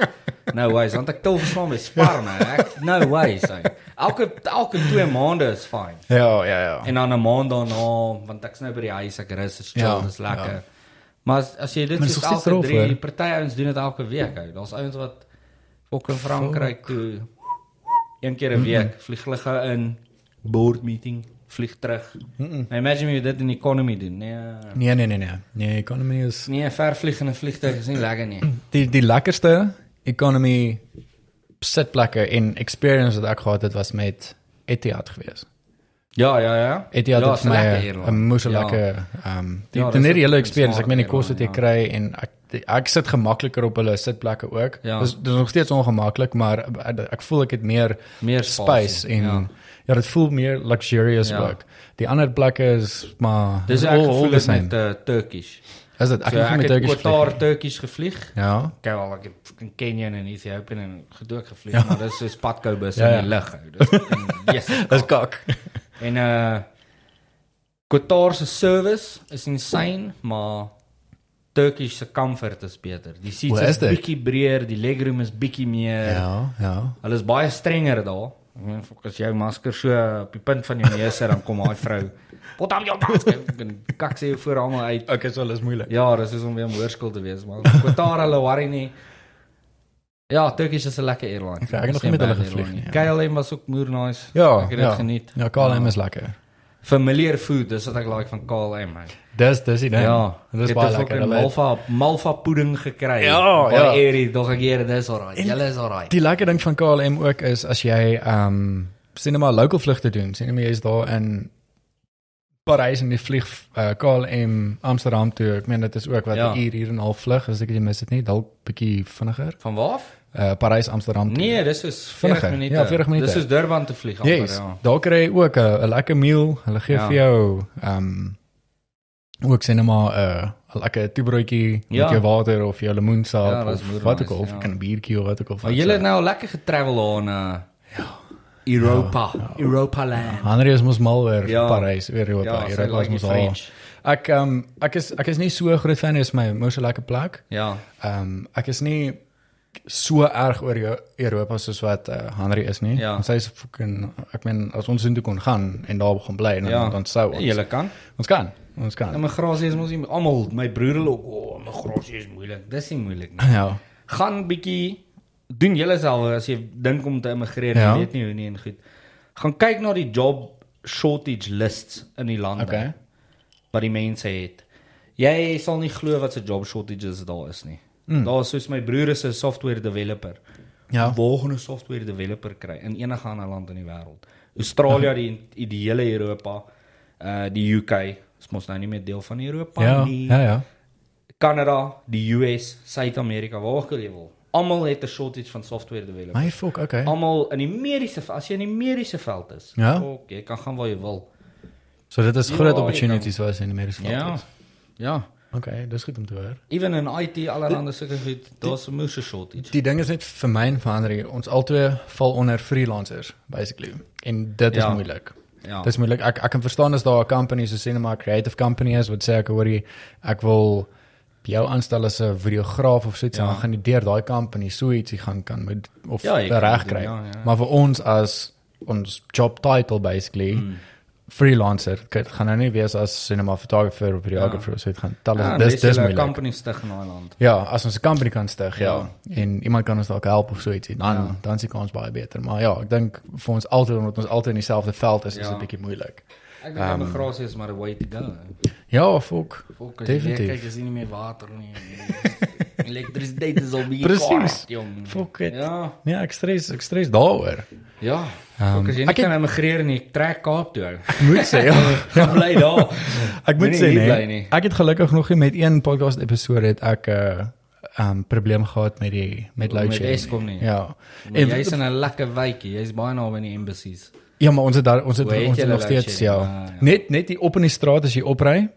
No ways. Want ek tel verslaan by Spar nou. Ek no ways. ou. Elke elke 2 maande is fyn.
Ja, ja, ja.
En dan 'n maand daarna, want ek's nou by die huis, ek rus, is chill,
Ja,
ja, dis lekker. Ja. Maar as, as jy dit
Maar dis
soos
nog steeds
elke
rof, hoor.
drie party ouens doen dit elke week, ou. Daar's ouens wat ook in Frankryk toe een keer 'n week vlieg hulle gou in board meeting, vlieg terug. Mm -mm. Nou imagine jy dit in economy doen. Nee.
Nee, nee, nee, nee. Nee, economy is
Nee, ver vlieg in 'n vliegtuig is nie lekker nie.
die die lekkerste economy sitplekke en experience wat ek gehad het was met Etihad geweest.
Ja, ja, ja.
Etihad
ja,
het
is
vir my eh,
airline.
'n
Ja.
moeilike ehm die
Ja,
die
dis
net die hele
een
experience. Ek meen die kos wat jy
smart
kry en ek die- ek sit gemakliker op hulle sitplekke ook.
Ja.
Dis dis nog steeds ongemaklik, maar ek, ek voel ek het meer
Meer
space en ja, dit voel meer luxurious
Ja.
ook. Die ander plekke is maar
Dis
is
ek
all- all
gevoel
the
het
same.
met uh, Turkish.
Is dit
Ek
ek
so,
het nie
ek
met
het
Turkish vlieg
Qatar
nie.
Turkish gevlieg.
Ja.
Okay, wel ek het in Kenia en in Ethiopië en gedoek gevlieg, maar dis soos padkoubusse
Ja, ja.
in die lug. ou. Dis yes.
Dis kak.
En uh Qatar se service is insane, maar Turkish se comfort is beter. Die seats
Hoe is
is
dit?
bietjie breër, die legroom is bietjie meer.
Ja, ja.
Hulle is baie strenger daar. Ek meen, fok, As jou masker so op die punt van jou neus sit, dan kom daai vrou. Wat dan jou masker? En kak sê jou voor almal uit.
Okay, so alles moeilik.
Ja, dis is om weer om hoërskool te wees, maar Qatar hulle worry nie. nee. Ja, Turkish is 'n lekker airline.
Ja, ek het nog
Dis
nie met
een
hulle
bad
gevlieg
airline
nie,
KLM was ook moer nice.
Ja,
ek het dit
ja.
geniet.
Ja, KLM is lekker.
Familiar food, dis wat ek like van KLM. Man.
Dis dis die ding.
Ja,
dis baie lekker. Hulle het-
Malva malva pudding gekry.
Ja,
Baie
ja.
eerie, nog 'n keer, dis alraai.
En-
Julle is alraai.
Die lekker ding van KLM ook is as jy ehm um, sien net maar local vlugte doen. Sien net maar jy's daar in Parys en jy vlieg uh, KLM Amsterdam toe. Ek meen dit is ook wat 'n
Ja.
uur, uur en 'n half vlug, as ek dit mis dit nie, dalk bietjie vinniger.
Van waar? af?
Uh, Parys Amsterdam toe.
Nee, dis is 40
Vinniger.
minute.
Ja, 40 minute.
Dis soos Durban te vlieg amper,
Yes,
ja.
daar kry jy ook 'n 'n lekker meal. Hulle gee
Ja.
vir jou ehm ook sien net maar 'n 'n lekker toebroodjie
Ja.
met jou water of jou lemoensap
Ja, dis
of
moeder
wat ook
nice,
al, of
ja.
ja. 'n biertjie of wat eh, ook al.
Maar julle het nou lekker getravel aan uh,
Ja.
Europa, Europa land.
Henry is mos mal oor
Ja.
Parys, oor Ja, Europa,
sy
Europa is
like die
mos al.
French.
Ek ehm ek is ek is nie so groot fan is my mos 'n lekker plek.
Ja.
Ehm ek is nie so erg oor Jo- Europa soos wat uh, Henry is nie.
Ja.
Want Sy is fucking ek meen as ons intoe kon gaan en daar begin bly dan
Ja,
dan sou ons.
Julle kan.
Ons kan. Ons kan.
Immigrasie Ja, is mos nie almal, my broer hulle ook, oh, immigrasie is moeilik. Dis nie moeilik nie.
Ja.
gaan bietjie doen jouself as jy dink om te immigreer, ja.
Ja.
jy weet nie hoe nie en goed. Gaan kyk na die job shortage lists in die lande.
Okay.
Wat die mense het. Jy sal nie glo wat se job shortages daar is nie. Mm. Daar is soos my broer is 'n software developer.
Hmm. Ja.
Waar gaan 'n software developer kry in enige ander land in die wêreld?
Ja.
Australië, die, die hele Europa, uh die UK, is mos nou nie meer deel van Europa
Ja.
nie.
Ja ja.
Kanada, die US, Suid-Amerika, waar ook al jy wil. Almal het 'n shortage van software developers.
My fuck, okay.
Almal in die mediese as jy in die mediese veld is,
Ja.
ok, jy kan gaan waar jy wil.
So dit is
Ja,
groot
jy
opportunities was in die mediese veld.
Ja.
is.
Ja.
Okay, dis goed om te hoor.
Even in IT allerhande sulke goed, daar's 'n moeë shortage.
Die ding is net vir my en vir Henry, ons albei val onder freelancers basically. En dit is
Ja.
ja. moeilik.
Ja.
Dis moeilik. Ek ek kan verstaan as daar 'n company so sien maar creative company is wat sê ek hoor jy ek wil jou aanstel as 'n videograaf of so iets
Ja.
ja. en dan gaan jy deur daai company so ietsie gaan kan met of
Ja,
ja,
jy kan
reg
dit doen,
kry.
ja,
Ja,
ja.
ja. Maar vir ons as ons job title basically
Hmm.
mm. freelancer dit gaan nou nie wees as cinema photographer of videographer ja. so dit gaan tel
Ja,
ja, dis dis
jy 'n
moeilik.
company stig in daai land.
Ja, as ons 'n company kan stig, ja,
Ja.
en iemand kan ons dalk help of so ietsie, dan ja. dan se kans baie beter. Maar ja, ek dink vir ons altyd omdat ons altyd in dieselfde veld is, ja. is
Ja.
dit 'n bietjie moeilik.
Ek dink
Ehm,
um, immigrasie is maar 'n way to go.
Ja, fok.
Volk, as jy weer kyk
Definitief.
is nie meer water nie. Elektrisiteit is al baie
Presies.
kwaad, jong.
Fok dit. Ja.
Ja.
Nee, ek stres, ek stres daaroor.
Ja.
Ehm,
Um, ek jy nie
ek het-
kan immigreer nie, trek Kaap toe. ou.
Moet sê ja.
Gaan bly daar.
Ek moet
Moenie
sê
hier bly nie.
nee. Ek het gelukkig nog nie met een podcast episode het ek 'n uh, um probleem gehad met die met load
Met
shedding.
Eskom nie.
Ja.
En
En
jy's in 'n lekker wykie, jy's baie naby aan die embassies.
Ja, maar ons het daar ons het,
Hoe heet
ons het
julle
nog
load
steeds ja.
shedding?
ja.
Ah, ja.
Net net die op in die straat as jy opry.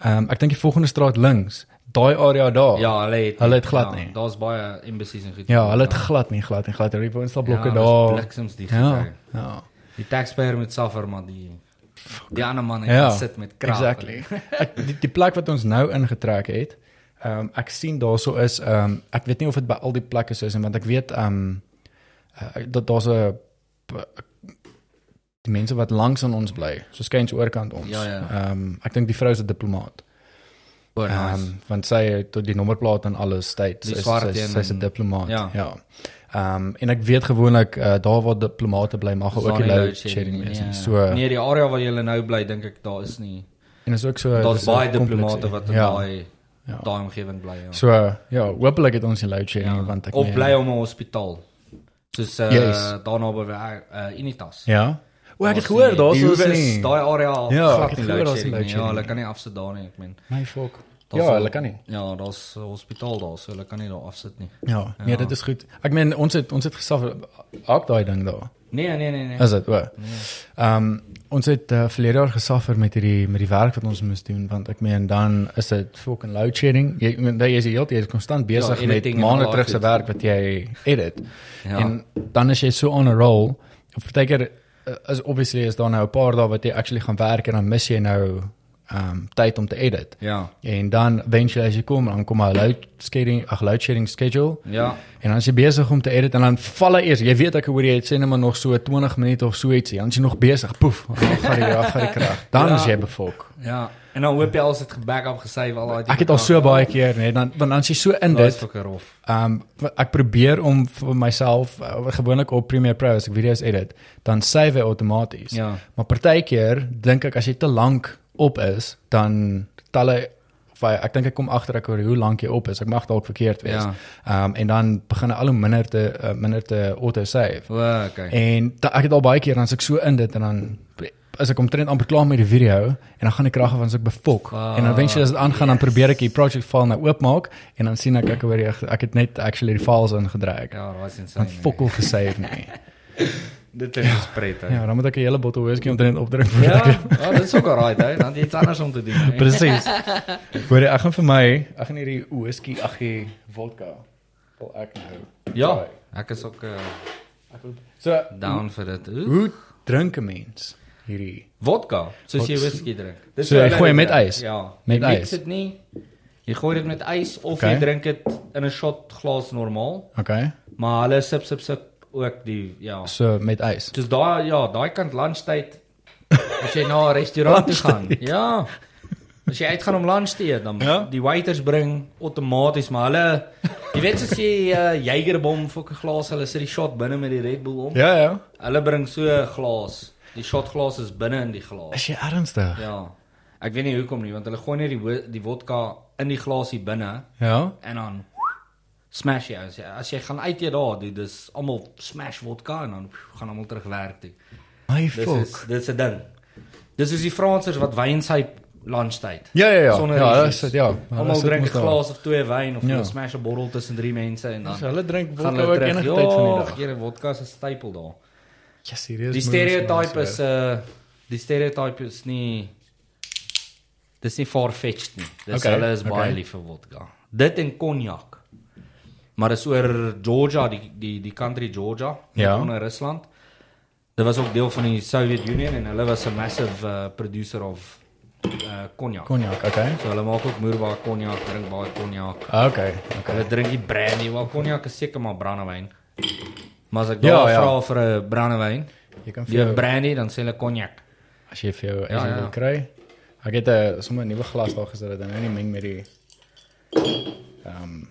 Ehm um, ek dink die volgende straat links, daai area daar.
Ja, hulle het
Hulle het glad
ja,
nie.
Daar's baie embassies en goed.
Ja, hulle het glad nie glad nie glad nie. Die woonstelblokke ja,
Ja, daar's
daar.
bliksems die
Ja.
gekry.
Ja.
Die taxpayer moet suffer maar die die ander man
Ja,
ja, sit met krag.
Exactly. Ek, die, die plek wat ons nou ingetrek het, ehm um, ek sien daarso is ehm um, ek weet nie of dit by al die plekke so is nie, want ek weet ehm um, uh, dat daar's 'n die mense wat langs aan ons bly, so skuins oorkant ons.
Ja, ja.
um, ek dink die vrou is 'n diplomaat.
Oh,
Ehm
nice.
want sy het tot die nommerplaat en alles tyd.
Die
Sy
swart
sy
een
sy's 'n
en-
diplomaat.
ja.
Ja. Ehm en ek weet gewoonlik uh, daar waar diplomate bly mag
Daar
ook nie
nie
load shedding wees nie. So
nee, die area waar jy nou bly, dink ek daar is nie.
en is ook so
Daar's
Ja, dis 'n
baie
complexe-
diplomate wat in
ja.
daai
Ja.
daai omgewing bly. Ja.
So uh, ja, hopelik het ons nie load shedding
Ja,
ja. want ek
of
meen-
bly om 'n hospitaal. Soos uh,
Yes.
yes. daarna by uh, Unitas.
Ja. O, ek het
Daar's
gehoor
nie-
daar's
die
ons
hoewe is
nie.
Daai area al
Ja, ek
glad
het
nie
gehoor
load
daar's nie load
shedding. nie. Ja,
shedding
hulle
nie.
kan nie afsit daar nie, ek meen.
My fok.
Daar's
Ja,
al-
hulle kan nie.
Ja, daar's 'n hospitaal daar, so hulle kan nie daar afsit nie.
Ja, nee, dit is goed. Ek meen ons het ons het gesaf ook daai ding daar.
Nee, nee, nee, nee.
Is dit? O. Ehm ons het uh, verlede jaar gesuffer met hierdie met die werk wat ons moes doen want ek meen dan is dit fucking load shedding. Jy jy- jy is heeltyd jy is konstant besig
Ja,
ja, met
editing en al
maande
daai
terug se
goed.
werk wat jy edit.
Ja.
Ja. En dan is jy so on a roll. eh, Partykeer uh, is obviously is daar nou 'n paar dae wat jy actually gaan werk en dan mis jy nou um tyd om te edit.
Ja.
En dan eventually as jy kom, dan kom 'n load scheduling, 'n load sharing schedule.
Ja.
En dan is jy besig om te edit en dan val hy eers. Jy weet ek hoor jy het sê net maar nog so 20 minute of so ietsie. Dan is jy nog besig. Poef, dan gaan jy af gaan krag. Dan
Ja.
is jy befok.
Ja. En dan hoop jy alles het gebackup gesave al daai
Ek het al so baie keer net dan want dan is jy so in
dit
dit
fucking rof.
Ehm um, ek probeer om vir myself uh, gewoonlik op Premiere Pro as ek video's edit, dan save hy outomaties.
Ja.
Maar partykeer dink ek as jy te lank op is, dan tel hy of hy, ek dink ek kom agter ek oor hoe lank jy op is. Ek mag dalk verkeerd wees.
Ja.
Ehm um, en dan begin hy al hoe minder te uh, minder te autosave.
O, okay.
En da, ek het al baie keer dan as ek so in dit en dan as ek omtrent amper klaar met die video en dan gaan ek krag af en as ek befok
Fuck,
en dan wens jy as dit aangaan dan probeer ek die project file nou oopmaak en dan sien ek ek hoor jy ek het net actually die files ingedryf.
Ja, daai is insane.
Dan fokol gesave nie.
Dit is prettig.
Ja, dan moet ek 'n hele bottel whisky omtrent opdrink vir
Ja,
ja.
ja, dit is ook al right, hè. Dan het jy iets anders om te doen. hè.
Presies. Hoor jy, ek gaan vir my, ek gaan hierdie whisky, ag hier vodka wil ek nou.
Ja, ek is ook eh,
So
down vir dit. Oeh,
hoe drink 'n mens hierdie?
Vodka, soos jy whisky drink. Dis
So
hoe
jy
hulle
gooi
dit
met
drink.
ys?
Ja,
Met
jy mix
ys?
dit nie. Jy gooi dit met ys of
Okay.
jy drink dit in 'n shot glas normaal,
Okay.
maar hulle sip sip sip ook die ja.
So met ys.
Dis daai ja, daai kant lunchtyd as jy na 'n restaurant toe gaan. Ja. As jy uitgaan om lunch te eet, dan ja? die waiters bring outomaties maar hulle jy weet as jy uh, Jagerbom vir 'n glas, hulle sit die shot binne met die Red Bull om.
Ja ja.
Hulle bring so 'n glas. Die shotglas is binne in die
Is
glas.
jy ernstig?
Ja. Ek weet nie hoekom nie, want hulle gooi net die wo- die vodka in die glasie binne
Ja.
en dan smash jy as jy, as jy gaan uit eet daar, dit is almal smash vodka en dan gaan almal terug werk toe.
My
Dis
fuck.
is dis 'n ding. Dis soos die Fransers wat wyn sy lunchtyd.
Ja ja ja.
Sonder
ja, dis
risies.
dit ja. Ja,
Almal
dis dit
drink 'n
mos daar.
glas of twee wyn of
Ja.
ja. smash 'n bottel tussen drie mense en dan
So hulle drink
gaan
vodka
hulle
ook
terug.
enige tyd van die
Ja,
dag.
Here, vodka is 'n stapel daar.
Ja, serieus.
Die stereotype is uh die stereotype is nie dis nie farfetched nie. Dis
Okay,
okay, hulle is
okay.
baie lief vir vodka. Dit en cognac. Maar dis oor Georgia, die die die country Georgia
Ja.
onder Rusland. Dit was ook deel van die Soviet Union en hulle was 'n massive uh, producer of uh cognac.
cognac, okay.
So hulle maak ook moerbaar cognac, drink baie cognac.
Okay. Okay.
Hulle drink die brandy, wel cognac is seker maar brandewyn. Maar as ek
Ja,
daar
ja.
vra vir 'n brandewyn,
Jy kan vir
die
jou,
brandy dan sê hulle cognac.
as jy vir jou as
Ja,
jy
ja.
wil kry. Ek het 'n sommer 'n nuwe glas daar gesit dat hy nou nie meng met die ehm um,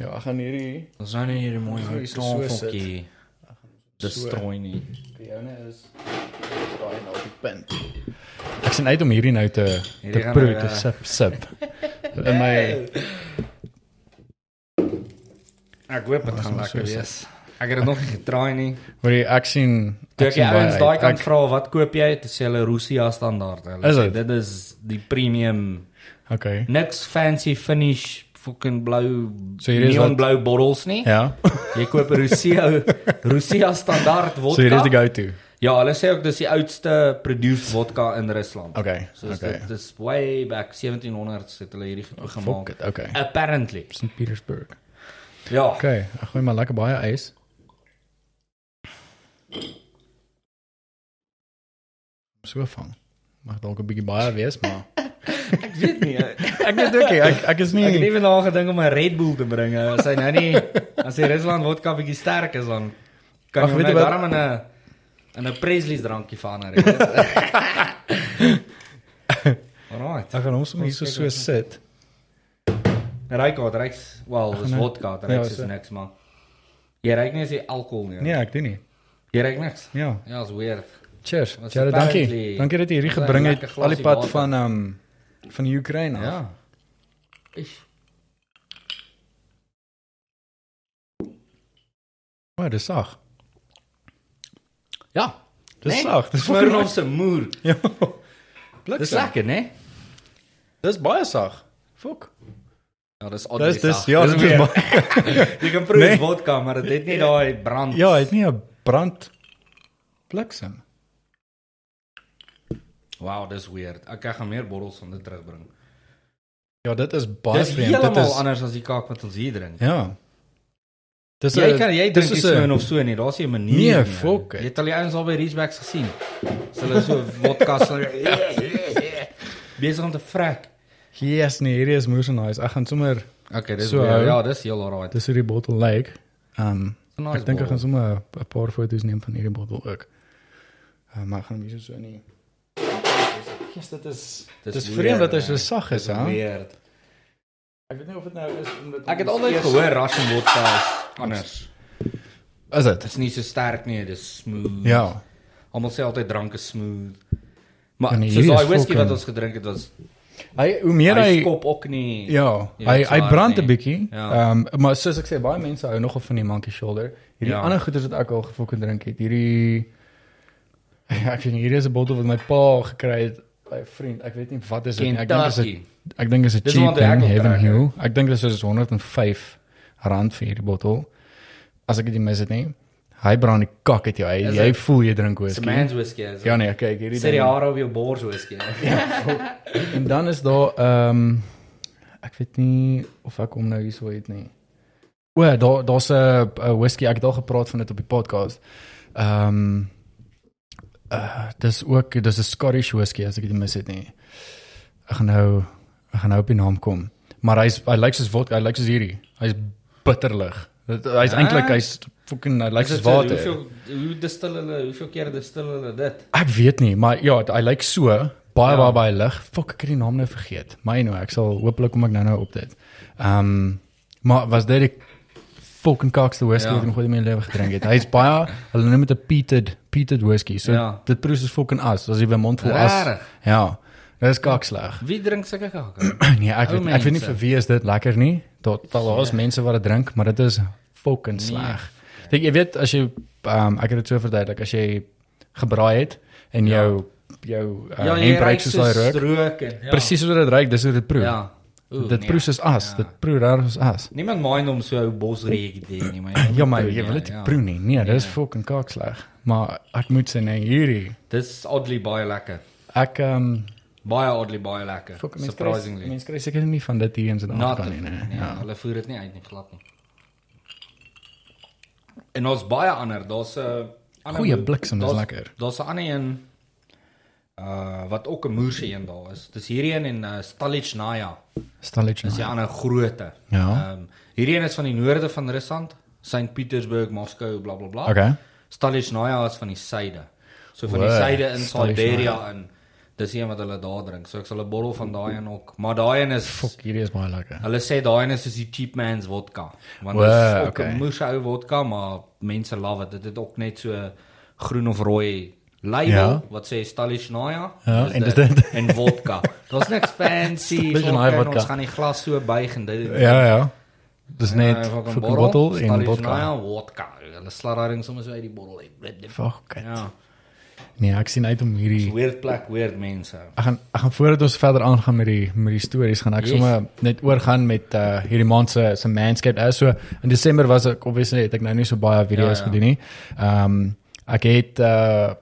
Ja, ek gaan hierdie
Ons nou nie hierdie mooi
Ons moet er hier so
houtfonkie destrooi nie.
die joune is daai nou die punt. Ek sien uit om hierdie nou te
Hierdie
te
gaan
proe
nou,
te
ja.
sip sip. In my
Ek Ja, hoop dit gaan
moet
lekker
so
wees. Ek het dit er nog nie getraai nie.
oor die ek sien
Toe ek die
sien baie
ouens daai
uit.
kant
Ek-
vra wat koop jy? Toe sê hulle Russia standaard. Hulle
Is
sê
dit?
dit is die premium.
Okay.
Niks fancy finish fucking blou
So
so
hier is
neon
wat-
blou bottles nie. Ja.
Ja.
Jy koop 'n Russia Russia standaard vodka.
So hier is die go-to.
Ja, hulle sê ook dis die oudste produced vodka in Rusland.
Okay,
So is
okay. Oh,
dit is way back 1700s het hulle hierdie goed
Fuck
gemaak.
it. Okay.
Apparently.
St. Petersburg.
Ja.
Okay, ek gooi maar lekker baie ys. So vang. Mag dalk 'n bietjie baie wees, maar
Ek weet nie. Ek
ek weet ook nie, ek ek is
het ewen daar gedink om 'n Red Bull te bring. eh, As hy nou nie as hy Rusland vodka bietjie sterk is dan kan
Ag,
jy
weet jy
net
wat-
daarom in 'n in 'n Presley's drankie verander. jy weet. Alright.
Ek gaan hom sommer hierso so sit.
Ryko, ryks, wel, dis
nou-
vodka, ryks
Ja,
is
so.
niks man. Jy ryk nie as jy alkohol nie.
Nee, ek doen nie.
Jy ryk niks.
Ja.
Ja, is weird.
Cheers.
Was
Jare,
apparently-
dankie. Dankie dat jy hierdie
was een
gebring
lekker
het al die
glasie
pad
water.
van ehm um, van die Oekraïne. af.
Ja. Ish.
O, dis sag.
Ja.
Dis sag, dis
vir ons se moer. Ja.
Ja.
Dis
Bliksem.
lekker, né?
Dis baie sag. Fok.
Ja, dis
Dis dis ja,
Dis
dis
weer-
baie-
Jy kan proe
Nee.
nee. vodka, maar dit het nie daai brand.
Ja, hy het nie 'n brand bliksem.
Wow, dis weird. Ek ek gaan meer bottels van dit terugbring.
Ja, dit is baie
Dis
vreemd. Dit
heeltemal
is
anders as die kak wat ons hier drink.
Ja. Dis
Jy
'n-
kan jy
dis
drink nie
is 'n-
Smirnoff so nie. Daar's nie 'n manier
Nee,
nie,
fuck it.
Jy het al die ouens al by Reachbacks gesien. As hulle so vodka sal besig om te vrek.
Yes, nee, hierdie is moes nice. Ek gaan sommer
Okay, dis
So,
so,
ou.
ja, dis heel alright.
dis hoe die bottel lyk. Um
Nice
ek dink ek
bottle.
gaan sommer 'n paar foto's neem van hierdie bottel ook. Uh, maar ek gaan hom hier so nie. Yes, dit is dit
Dis
is vreemd dat hy
weird,
so
hè?
sag is, hè?
Weird.
Ek weet nie of dit nou is omdat
Ek het altyd gehoor Russian vodka is anders.
Is dit?
Dit's nie so sterk nie, dis smooth.
Ja.
Almal sê altyd drank is smooth.
Ja,
Maar
nee,
soos
hierdie
daai
is
whisky wat
fucking-
ons gedrink het was
Hy hoe meer
hy
hy
skop ook nie.
Ja,
Jy
hy
weet, so
hy
hard
brand
nie.
'n bietjie. Ehm
Ja.
maar soos ek sê baie mense hou nogal van die monkey shoulder. Hierdie
Ja.
ander goeders wat ek al gefokken drink het. Hierdie ek weet nie, hier is 'n bottel wat my pa gekry het by 'n vriend. Ek weet nie wat is dit nie. Ek dink dit is 'n-
Kentucky.
ek dink dit is 'n
Dis
cheap
wat ek
ding,
ook
Heaven
trek,
Hill. Ek dink dit is soos 105 rand vir hierdie bottel. As ek dit nie mis het nie. Hy brand die kak uit jou. Hy,
Is
jy
dit-
voel jy drink
Dis 'n
whisky.
man's whisky. is dit?
Ja nee, kyk hierdie
Sit die hare op jou bors whisky.
En dan is daar ehm ek weet nie of ek hom nou hierso het nie. O, daar daar's 'n uh, whisky ek het al gepraat van dit op die podcast. Ehm uh, dis ook dis 'n Scottish whisky as ek dit nie mis het nie. Ek gaan nou ek gaan nou op die naam kom. Maar hy's hy lyk soos vodka, hy lyk soos hierdie. Hy's bitterlig. Dit- Hy's
Ah. eh,
eintlik hy's fucking hy lyk soos water.
Hoeveel hoe distil hulle hoeveel keer distil hulle dit?
Ek weet nie, maar ja, hy lyk so baie
Ja.
ja. baie baie lig. Fok, ek het die naam nou vergeet. Maar nou, ek sal hopelik kom ek nou nou op dit. Ehm um, maar was dit die fucking kakste whisky
Ja.
wat ek nog ooit in my lewe gedrink het. Hy's baie hulle noem dit 'n peated peated whisky. So
Ja.
ja. dit proes soos fucking as, as jy by mond vol as.
Rarig.
Ja. Dit is kaksleg.
Wie drink sulke kakke?
Nee, ek
Ou
weet, ek weet nie
mense.
vir wie is dit lekker nie. Daar daar is mense wat dit drink, maar dit is fucking
Nee.
sleg. Dink jy weet as jy um, ek het dit so verduidelik as jy gebraai het en
Ja.
jou jou uh, ja, hembreek soos daai rook.
rook en ja.
Presies soos dit ruik, dis hoe dit proe. Ja.
Ja. Oeh,
dit
nee.
proe soos as,
Ja.
ja. dit proe reg soos as.
Niemand mind om so 'n bosreek te doen nie, maar
Ja maar jy wil dit
ja.
ja. proe nie. Nee, dis
Nee.
ja. fucking kaaksleg. Maar ek moet sê nee, hierdie
Dis oddly baie lekker.
ek ehm um,
Baie oddly baie lekker.
fucking mense kry
Surprisingly.
mense kry seker nie van dit hier in
Not
Suid-Afrika
nee,
nie. Nee.
nee,
Ja.
hulle voer dit nie uit nie glad nie. En ons baie ander, daar's 'n ander
Goeie
moe-
bliksem is
daar's-
lekker.
Daar's 'n ander een uh wat ook 'n moerse een daar is. Dis hierdie een en uh, Stalichnaya.
Stalich.
Dis die ander grootte.
Ja.
Ehm hierdie een is van die noorde van Rusland, St Petersburg, Moskou, blablabla.
Okay.
Stalichnaya is van die suide. So van die
Wow,
suide in
Stalichnaya.
Siberia in. Dis een wat hulle daar drink. So ek sal 'n bottel van daai een ook, maar daai een is
Fuck, hierdie is baie lekker.
Hulle sê daai een is soos die cheap man's vodka. Want
Wow,
dit is ook 'n
okay.
okay. moerse ou vodka, maar mense love dit. Dit het ook net so groen of rooi label
Ja.
ja. wat sê Stalichnaya.
Ja,
Dis
en dis
dit.
dit.
en vodka. Daar's niks fancy.
Stalichnaya
vodka. en
vodka.
Ons gaan die glas so buig en dit.
Ja ja. Dis net
Eh,
vir
fucking
'n bottel en vodka.
Stalichnaya vodka. Hulle slat daai ding sommer so uit die bottel uit.
Fuck. it.
Ja.
Nee, ek sien uit om hierdie
Weird plek, weird mense.
ek gaan ek gaan voordat ons verder aangaan met die met die stories gaan ek
Yes.
yes. sommer net oorgaan met uh, hierdie maand se se manscape. Uh, so in Desember was ek obviously het ek nou nie so baie video's
Ja,
ja, ja.
ja.
gedoen nie. Ehm um, ek het uh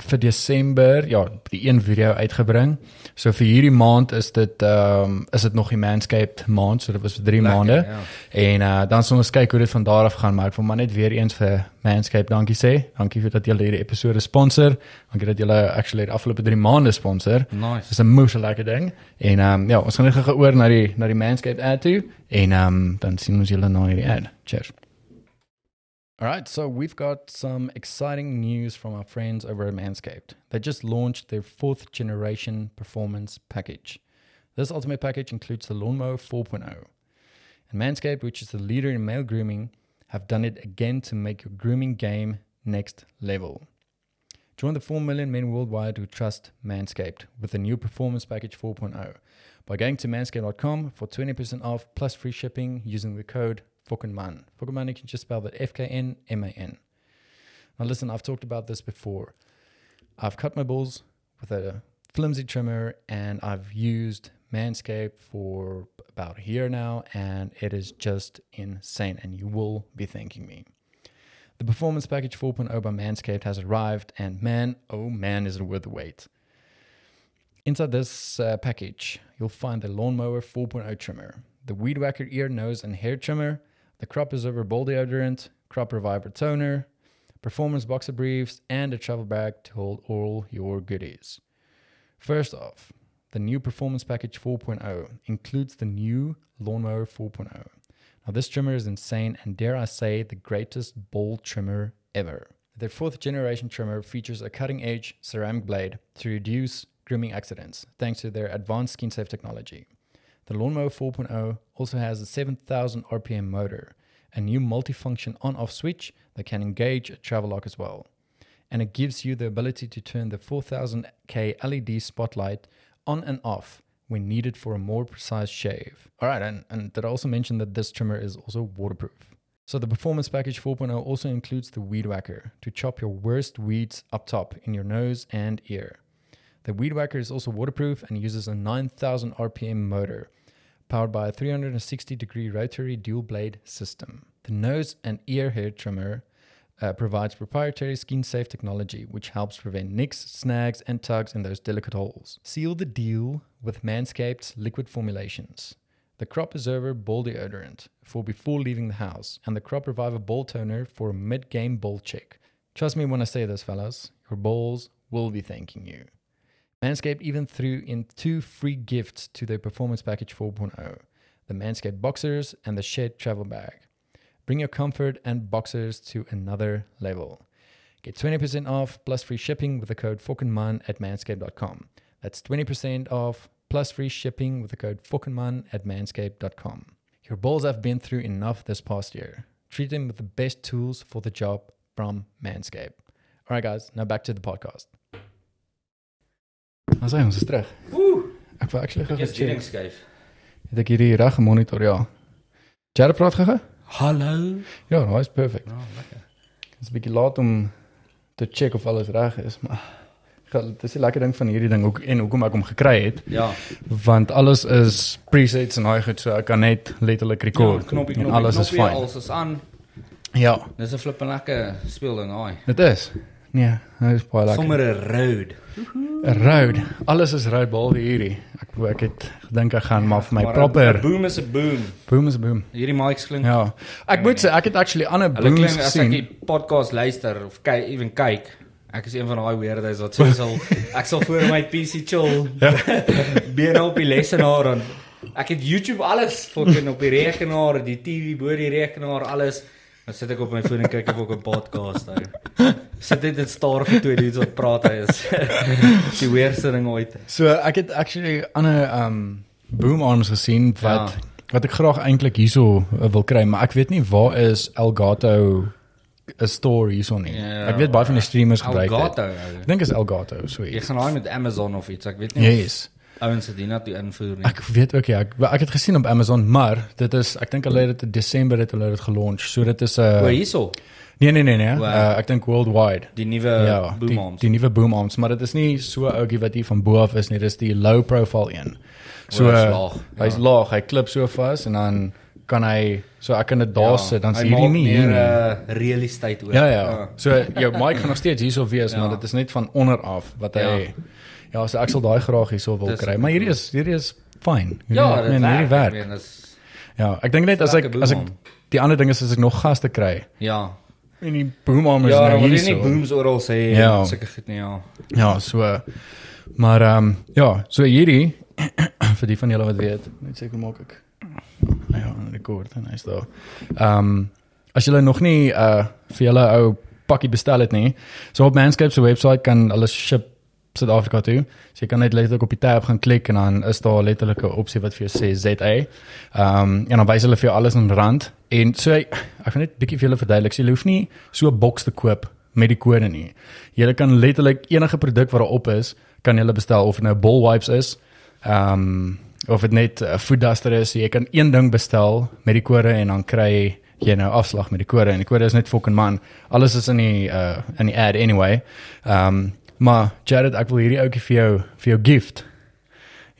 vir Desember ja, die een video uitgebring. So vir hierdie maand is dit ehm um, is dit nog die manscape maand, so dit was vir 3
Lekker,
maande.
ja.
En uh, dan sal ons kyk hoe dit van daar af gaan, maar ek wil maar net weer eens vir Manscape dankie sê. Dankie vir dat julle hierdie episode sponsor. Dankie dat julle actually die afgelope 3 maande sponsor.
Nice.
Dis 'n moeë lekker ding. En ehm um, ja, ons gaan net gou oor na die na die Manscape ad toe en ehm um, dan sien ons julle na hierdie ad. Cheers. All right, so we've got some exciting news from our friends over at Manscaped. They just launched their fourth generation performance package. This ultimate package includes the Lawnmower 4.0. And Manscaped, which is the leader in male grooming, have done it again to make your grooming game next level. Join the 4 million men worldwide who trust Manscaped with the new Performance Package 4.0 by going to manscaped.com for 20% off plus free shipping using the code FOKENMAN. FOKENMAN, you can just spell that F K N M A N. Now, listen, I've talked about this before. I've cut my balls with a flimsy trimmer and I've used Manscaped for about a year now, and it is just insane. And you will be thanking me. The Performance Package 4.0 by Manscaped has arrived, and man, oh man, is it worth the wait. Inside this uh, oh package, you'll find the Lawnmower 4.0 trimmer, the Weed Whacker ear, nose, and hair trimmer, the Crop Preserver Bowl Deodorant, Crop Reviver Toner, Performance Boxer Briefs, and a travel bag to hold all your goodies. First off, the new Performance Package 4.0 includes the new Lawnmower 4.0. Now, this trimmer is insane and, dare I say, the greatest bowl trimmer ever. Their fourth generation trimmer features a cutting edge ceramic blade to reduce grooming accidents thanks to their advanced skin safe technology. The Lawnmower 4.0 also has a 7000 RPM motor, a new multifunction on off switch that can engage a travel lock as well. And it gives you the ability to turn the 4000K LED E spotlight on and off when needed for a more precise shave. All right, and, and did I also mention that this trimmer is also waterproof? So the Performance Package 4.0 also includes the Weed Whacker to chop your worst weeds up top in your nose and ear. The Weed Whacker is also waterproof and uses a 9000 RPM motor powered by a 360 degree rotary dual blade system. The nose and ear hair trimmer uh, provides proprietary skin safe technology which helps prevent nicks, snags, and tugs in those delicate holes. Seal the deal with Manscaped's liquid formulations. The Crop Preserver Ball Deodorant for before leaving the house, and the Crop Reviver Ball Toner for a mid game ball check. Trust me when I say this, fellas, your balls will be thanking you. Manscaped even threw in two free gifts to their Performance Package 4.0 the Manscaped Boxers and the Shed Travel Bag. Bring your comfort and boxers to another level. Get 20% off plus free shipping with the code FOKENMAN at manscaped.com. That's 20% off plus free shipping with the code FOKENMAN at manscaped.com. Your balls have been through enough this past year. Treat them with the best tools for the job from Manscaped. All right, guys, now back to the podcast. Ons is ons is terug.
Ooh,
Ek wou actually
ek
gou
is die ding
check.
skuif.
Het ek hierdie reg gemonitor, ja. Jare praat gaga?
Hallo.
Ja, nou is perfek.
Ja, lekker.
Dit is 'n bietjie laat om te check of alles reg is, maar gel- dit is 'n lekker ding van hierdie ding ook en hoekom ek hom gekry het,
Ja.
want alles is presets en daai goed, so ek kan net letterlik record.
Ja, knoppie,
en
knoppie,
alles
knoppie,
is fyn.
Alles is aan.
Ja,
Dis 'n flippin lekker speelding, haai.
dit is. Nee, dit is baie lekker.
Sommer 'n road.
Roud. Alles is roud behalwe hierdie. Ek ek het gedink ek gaan maar vir my
Ja, Maar 'n-
proper
'n Boom is 'n boom.
boom is boom.
Hierdie mics klink.
Ja. Ek moet sê ek het actually ander
Hulle
booms
klink as ek
gesien.
die podcast luister of kyk, even kyk. Ek is een van daai weirdos wat so sal ek sal voor my PC chill. Ja. Bene op die lesenaar en ek het YouTube alles fucking op die rekenaar, die TV bo die rekenaar, alles. Dan sit ek op my foon en kyk of ek 'n podcast hou. Sit dit en staar vir twee dudes wat praat hy is. die weirdste ding ooit.
So ek het actually ander um boom arms gesien wat
Ja.
wat ek graag eintlik hierso uh, wil kry, maar ek weet nie waar is Elgato 'n store hierso nie.
Ja,
ek weet baie van die streamers gebruik dit.
Elgato.
Ek dink is Elgato so
Jy
iets.
gaan daai met Amazon of iets, ek weet nie. of
Yes.
Ouens het dit net toe invoer nie.
Ek weet ook ja, ek, wel, ek het gesien op Amazon, maar dit is ek dink hulle het dit in Desember het hulle dit gelaunch. So dit is 'n
Oor
uh,
hierso,
Nee nee nee nee.
Wow.
Uh, ek dink worldwide.
die nuwe
ja,
ja,
die,
boomams.
die nuwe boom arms, maar dit is nie so ouetjie wat hier van bo af is nie, dis die low profile een. So
Oor,
hy's
hy's
laag.
laag,
Hy's
ja.
laag, hy klip so vas en dan kan hy so ek kan dit daar sit, dan is hierdie nie hier
Ja, meer
nie.
uh, real estate oor. Ah.
Ja ja. So jou mic gaan nog steeds hierso wees, maar dit is net van onder af wat hy
Ja.
Ja, so ek sal daai graag hierso wil
Dis-
kry, maar hierdie is hierdie is fyn. Hierdie-
Ja,
ek
dit
meen,
werk.
nee, hierdie
Werk.
werk.
Meen, is,
Ja, ek dink net as ek
Lekker
as ek
boom
die ander ding is as ek nog gaste kry
ja.
en die boom arms
Ja,
nou
dan wil jy nie
hierso.
booms oral sê
Ja.
ja. sulke goed nie, ja.
Ja, so eh, maar ehm ja, so hierdie vir die van julle wat weet, net seker maak ek. Ja, 'n rekord en hy's daar. Ehm as julle nog nie uh vir julle ou pakkie bestel het nie, so op Manscaped se webwerf kan hulle ship Suid-Afrika toe. So jy kan net letterlik op die tab gaan klik en dan is daar letterlik 'n opsie wat vir jou sê ZA. Ehm en dan wys hulle vir jou alles in rand en so ek gaan net bietjie vir julle verduidelik. So, jy hoef nie so 'n boks te koop met die kode nie. Jy kan letterlik enige produk wat daarop is, kan jy bestel of dit nou bol wipes is, ehm um, of dit net 'n food duster is. So jy kan een ding bestel met die kode en dan kry jy nou afslag met die kode en die kode is net fucking man. Alles is in die uh in die ad anyway. Ehm um, maar Jared, ek wil hierdie ouetjie vir jou vir jou gift.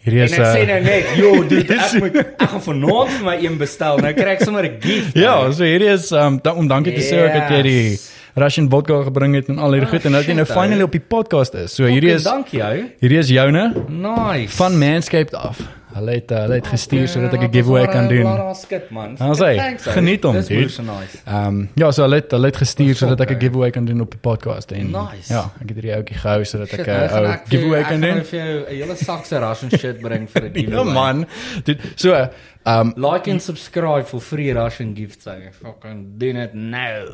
Hierdie
En
is
ek sê
uh,
nou net, jo, dit ek moet ek gaan vanaand vir my een bestel. Nou kry ek sommer 'n gift.
Ja, so hierdie is um da, om dankie te sê ook dat jy die
Yes.
Russian vodka gebring het en al hierdie
Ah,
goed en dat jy nou
shit, ou.
finally op die podcast is. So hierdie
hierdie
is
dankie ou.
hierdie is joune
Nice.
van Manscaped af. Hulle het uh, hulle het gestuur sodat ek 'n giveaway kan doen.
Laat ons skit man.
Dan sê,
Thanks, ou.
geniet hom,
Dis
dude.
moeëse nice.
Ehm ja, so hulle het, hulle het gestuur
Wat
sodat ek
fuck,
'n giveaway kan doen op die podcast en
Nice.
ja, ek het hierdie ouetjie gehou sodat ek
Shit,
'n
nou gaan
ou
ek vir
uh,
jou-
oh, giveaway
ek
kan
gaan
doen.
nou vir jou 'n hele sak se ras en shit bring vir 'n
Ja
giveaway.
man. Dude, so ehm
Like and subscribe for free Russian gifts. I fucking nou. do it now.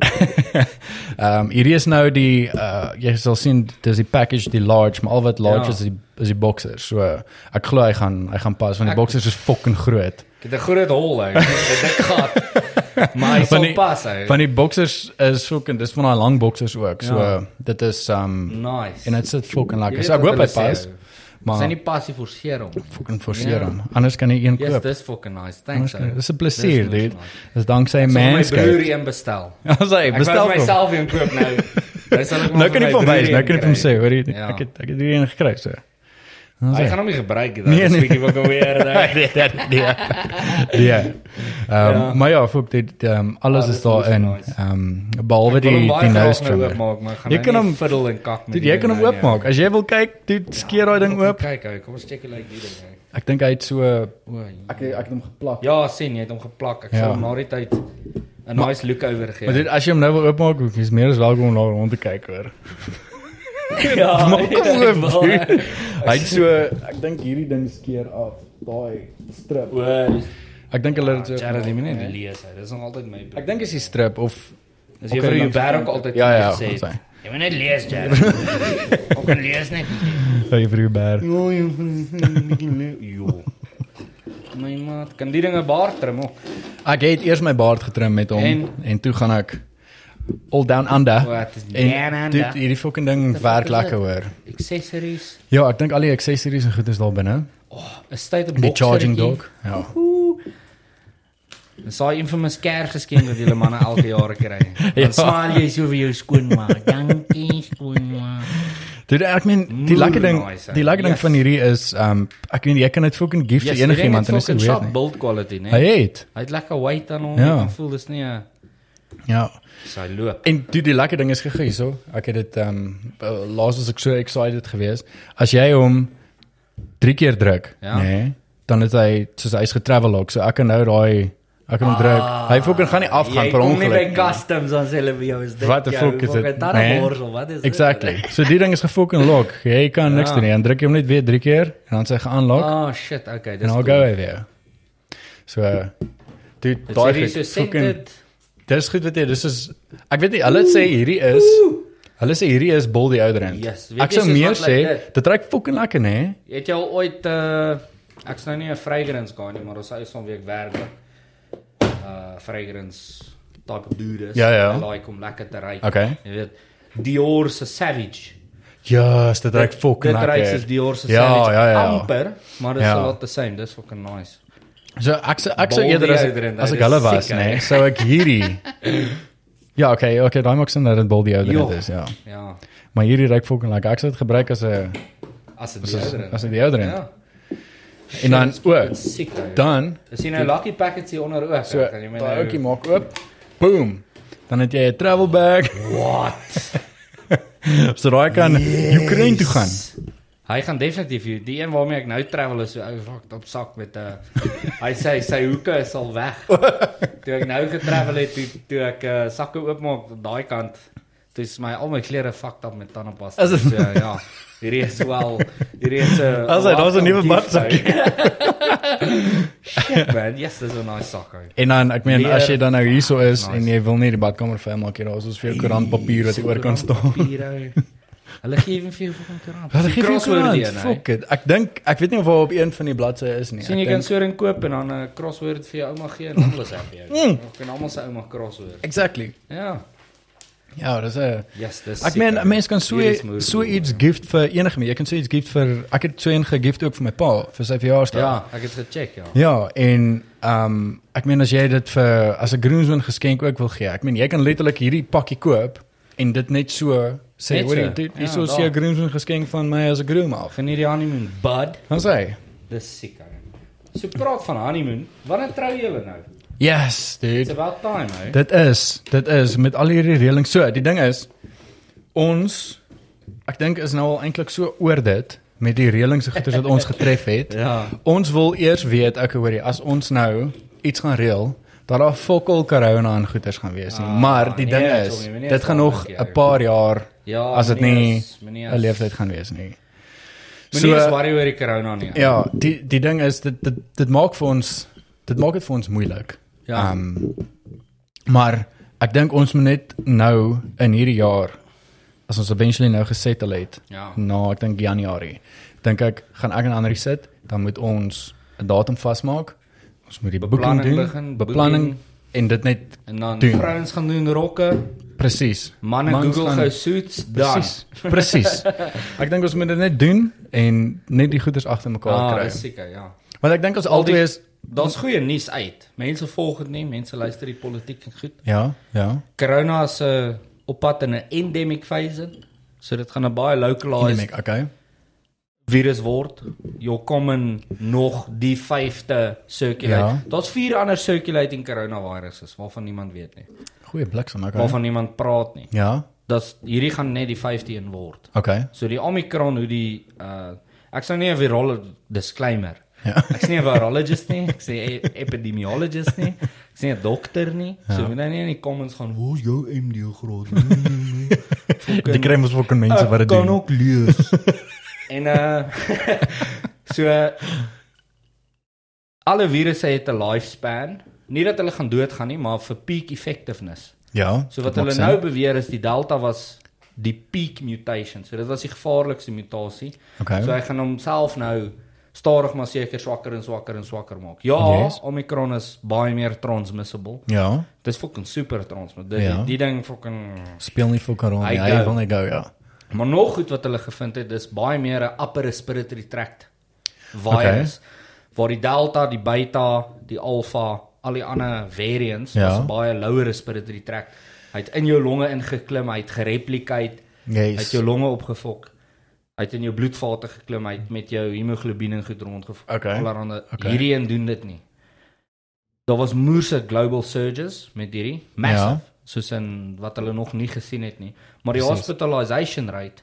Ehm um, hierdie is nou die uh jy sal sien dis die package die large, maar al wat large
Ja.
ja. is die is die boxers. So ek glo hy gaan hy gaan pas want die
Ek-
boxers is fucking groot.
Ek het 'n groot hol hou. Dit ek gat. Maar hy
Van
sal
die-
pas hou.
Van die boxers is fucking dis van daai lang boxers ook. So
Ja.
ja. dit is um
Nice.
en dit sit fucking lekker. So ek hoop hy pas,
Maar sy
maar
nie pas hier forceer hom.
fucking forceer hom. Anders kan hy een
Yes,
koop.
dis fucking nice.
Anders
Thanks.
kan- Dis 'n plesier,
Dis nice,
dude.
man.
Dis danksy
Ek sal my broer
Manscape.
een bestel.
Ons sê
Ek
bestel
bestel vir
hom.
myself een koop nou. Nou sal ek maar
Nou kan
vir
ek
my
hom
broer
wys, nou
een
kan ek hom
kry.
sê, hoor jy,
Ja.
ek het ek het hierdie een gekry so. Dan sê-
Hy gaan hom nie gebruik dit.
Nee,
Dis
nee.
bietjie wat weer daar.
nee, nee, nee. Ja.
Ja.
Ehm maar ja, fuck dit ehm alles
Ah,
is
dis moeite
daarin.
nice.
Ehm behalwe
Ek wil hom
die die
baie
nose
graag nou
trimmer.
oopmaak, maar ek gaan
Jy
nou
kan
nie
hom-
fiddel en kak met
Dude,
die
jy kan hom
ding nou nie.
oopmaak. As jy wil kyk, dude, skeer daai ding oop.
Kyk, ou, kom ons check hoe lyk die ding. ou.
Ek dink hy het so ek
O,
ek het hom geplak.
Ja, sien jy het hom geplak. Ek
Ja.
sal hom na die tyd 'n nice look over gee.
Maar dit as jy hom nou wil oopmaak, is meer as welkom om daar rond te kyk hoor.
ja,
Maak hom
ek wil,
oop.
hè.
dude. Hy het so ek dink hierdie ding skeer af, daai strip.
O, dis-
Ek dink hulle het so
Jared het my net lees. hy. Dis nog altyd my.
Ek dink is die strip of
as jy
Oké,
vir jou
dan-
werk altyd
Ja, ja,
gesê het,
ons sê.
Jy moet net lees, Jared. Ook kan lees net.
hy vir jou bær.
Jo, jy moet net jo. My maat, kan die dinge baar trim ook.
Ek het eers my baard getrim met hom en,
En?
en toe gaan ek all down under.
Wat is down
En
under?
dit hierdie fucking ding
fuck
werk
is
lekker
dit?
hoor.
Accessories.
Ja, ek dink al die accessories en goed is daar binne.
Oh, 'n state of
Die
box.
charging dock. Ja.
Dis daai infamous kerfgeskenk wat julle manne elke jaar kry.
Ja.
Dan smaal jy so vir jou skoonmaak. Dankie skoonmaak.
Dit ek meen die
Moer
lekker ding,
nice, hè?
die lekker ding
Yes.
van hierdie is um ek weet jy kan dit fucking gift vir enigiemand en
en
dit is nie weird
shop
nie.
build quality, né?
Hy het.
Hy het lekker white aan hom.
Ja.
Ja. Ek voel dis nie 'n
Ja.
sy loop.
En die, die lekker ding is gegee hierso. Ek het dit um uh, laas was ek so excited geweest. As jy hom 3 keer druk, ja.
Ja.
nê, nee, dan het hy soos hy's getravel log, so ek kan nou daai ek kan hom ah, druk. Hy fucking gaan nie afgaan per
Ah, Jy kom nie by
ongeluk. nie.
customs dan sê hulle vir jou is dit.
What the fuck is dit?
Nee. Borsel, wat is dit?
Exactly. So die ding is gefucking log. Jy kan niks
Ja.
doen nie. Dan druk jy hom net weer 3 keer en dan sê hy geunlock
Ah oh, shit, okay, dis.
en dan
Nou
go hy weer. So dude,
Daai
daai
is
goed,
so
fucking
scented.
dis goed wat jy dis is ek weet nie hulle sê hierdie is hulle sê hierdie is bol die ouderend.
Yes, weet
ek
jy,
sou
soos
meer
wat lyk
sê
dit?
dit trek fucking lekker nê.
Het jy al ooit uh ek's nou nie 'n fragrance guy nie, maar ons is van week werklik. Uh fragrance type dudes.
Ja, ja.
Hy like om lekker te ry.
Okay.
Jy weet Dior se Savage.
Ja, yes, dit trek fucking
Dit
lekker.
reis is Dior se
Ja,
Savage
ja, ja.
amper, maar dit is
Ja.
a lot the same. Dis fucking nice.
So ek sou ek sou
Bol
eerder
die
as
ouderend,
ek, as
hy
ek
is
hulle was
siek,
nê,
hy.
sou ek hierdie Ja, okay, okay, daai maak sin dat dit bol die
Jo.
ouderend is, ja.
Ja.
Maar hierdie reik fucking lekker. Ek sou dit gebruik as 'n
As 'n
as 'n
deodorant.
as 'n deodorant.
Ja.
En dan o,
Siek. ou.
dan
Dis sien nou lucky packets hier onder ook.
so
nou-
daai ouetjie maak oop. Boom. Dan het jy 'n travel bag.
What?
So daai kan Oekraïne toe gaan.
Hy gaan definitief hier. Die een waarmee ek nou travel is so ou fucked op sak met 'n hy sê sy hoeke is al weg. toe ek nou getravel het toe, toe ek uh, sakke oopmaak aan daai kant. Toe is my al my klere fucked up met tandepasta.
Is dit-
So ja. Hierdie is wel hierdie is 'n
As hy, daar's 'n nuwe badsak.
eh. Shit man, yes, dis 'n nice sak. ou.
En dan ek meen
Leer.
as jy dan nou hierso is
Nice.
en jy wil nie die badkamer vuil maak hier, daar's ons veel koerantpapier wat jy oor kan staan.
Papier, ou. Hulle gee vir jou van koerant.
Hulle gee vir
Crossword
koerant.
een, hè.
Fuck it. Ek dink ek weet nie of hy op een van die bladsye is nie.
Sien jy
Nee, Ek
kan
dink-
so 'n koop en dan 'n crossword vir jou ouma gee en almal is happy.
Mm.
Ons kan almal se ouma crossword.
Exactly.
Ja.
Ja, dis 'n
Yes, dis.
Ek meen 'n mens kan so
Hierdie is moeilik.
so iets gift vir enige mens. Jy kan so iets gift vir ek het so een gegift ook vir my pa vir sy verjaarsdag.
Ja, ek het gecheck ja.
Ja, en ehm um, ek meen as jy dit vir as 'n groensman geskenk ook wil gee. Ek meen jy kan letterlik hierdie pakkie koop en dit net so sê
Net
hoor
so,
jy dit
ja,
is so
daar.
'n groensman geskenk van my as 'n groom af.
Geniet die honeymoon, bud.
Dan sê hy,
Dis siek. ou. So praat van honeymoon. Wanneer trou julle nou?
"Yes,
It's
dude.
about time, hè.
Dit is, dit is met al hierdie reëlings so. Die ding is ons ek dink is nou al eintlik so oor dit met die reëlings en goeders wat ons getref het.
Ja.
Ons wil eers weet, ek hoor jy, as ons nou iets gaan reël, dat daar fokol corona en goeders gaan wees nie.
Ah,
maar die
nee,
ding
Tommy,
is,
meneer
dit
is
gaan
al
nog
een keer.
'n paar jaar
Ja,
as dit
meneer
nie
is- meneer
'n
is-
leeftyd gaan wees nie.
Moenie
So,
eens worry oor die corona nie.
Ja, die die ding is dit dit, dit maak vir ons dit maak dit vir ons moeilik.
Ja.
Ehm, maar ek dink ons moet net nou in hierdie jaar as ons eventually nou gesettle het.
Ja.
Na ek dink Januarie. Dink ek gaan ek en Andri sit, dan moet ons 'n datum vasmaak. Ons moet die
Beplanning
beplanning doen,
begin,
beplanning
boeking.
en dit net
En dan
Doen.
vrouens gaan doen rokke,
presies.
manne
Mans
Google
gaan-
gou suits, dan.
Presies. Presies. ek dink ons moet dit net doen en net die goeders agter mekaar
Ja,
kry.
dis seker, ja.
Want ek dink ons
Al die-
albei is
Daar's goeie nuus uit. Mense volg dit nie, mense luister die politiek en goed.
ja, ja.
Corona is 'n uh, op pad in 'n endemic fase in. So dit gaan 'n baie localized
Endemic, okay.
virus word. Jou kom in nog die 5de circulate. Ja.
Ja.
Daar's vier ander circulating coronaviruses waarvan niemand weet nie.
Goeie bliksem, okay.
Waarvan niemand praat nie.
Ja.
Dat's hierdie gaan net die 5de een word.
Okay.
So die Omicron hoe die uh ek sou nie 'n viroloog disclaimer.
Ja.
Ek's nie 'n virologist nie, ek's nie 'n epidemiologist nie, ek's nie 'n dokter nie. Ja. So moet nou nie in die comments gaan, "Hoe is jou MD graad?" Nee, nee, nee. Fucking-
Die kry mos ook aan mense wat dit
Ek kan
doen.
ook lees. en uh so uh, alle virusse het 'n lifespan. Nie dat hulle gaan doodgaan nie, maar vir peak effectiveness.
Ja.
So wat
dit
hulle
maak
nou
sin.
beweer is die Delta was die peak mutation. So dit was die gevaarlikste mutasie.
Okay.
So hy gaan homself nou stadig maar seker swakker en swakker en swakker maak. Ja, yes.
Yes.
Omicron is baie meer transmissible.
Ja.
Dit is fucking super transmissible. Die, ja.
Ja.
die ding fucking
Speel nie vir Karon
Hy
nie. Hy
go.
wil net go, ja.
Maar nog goed wat hulle gevind het, dis baie meer 'n upper respiratory tract virus waar die delta, die beta, die alfa, al die ander variants
Ja.
was baie lower respiratory tract. Hy het in jou longe ingeklim, hy het gereplicate, hy het
Yes.
jou longe opgevok. Hy het in jou bloedvate geklim, hy het met jou hemoglobien en goed rondgevok.
Okay.
Allerhande.
Okay.
Hierdie een doen dit nie. Daar was moerse global surges met hierdie massive ja. soos in wat hulle nog nie gesien het nie. Maar die
Presies.
hospitalization rate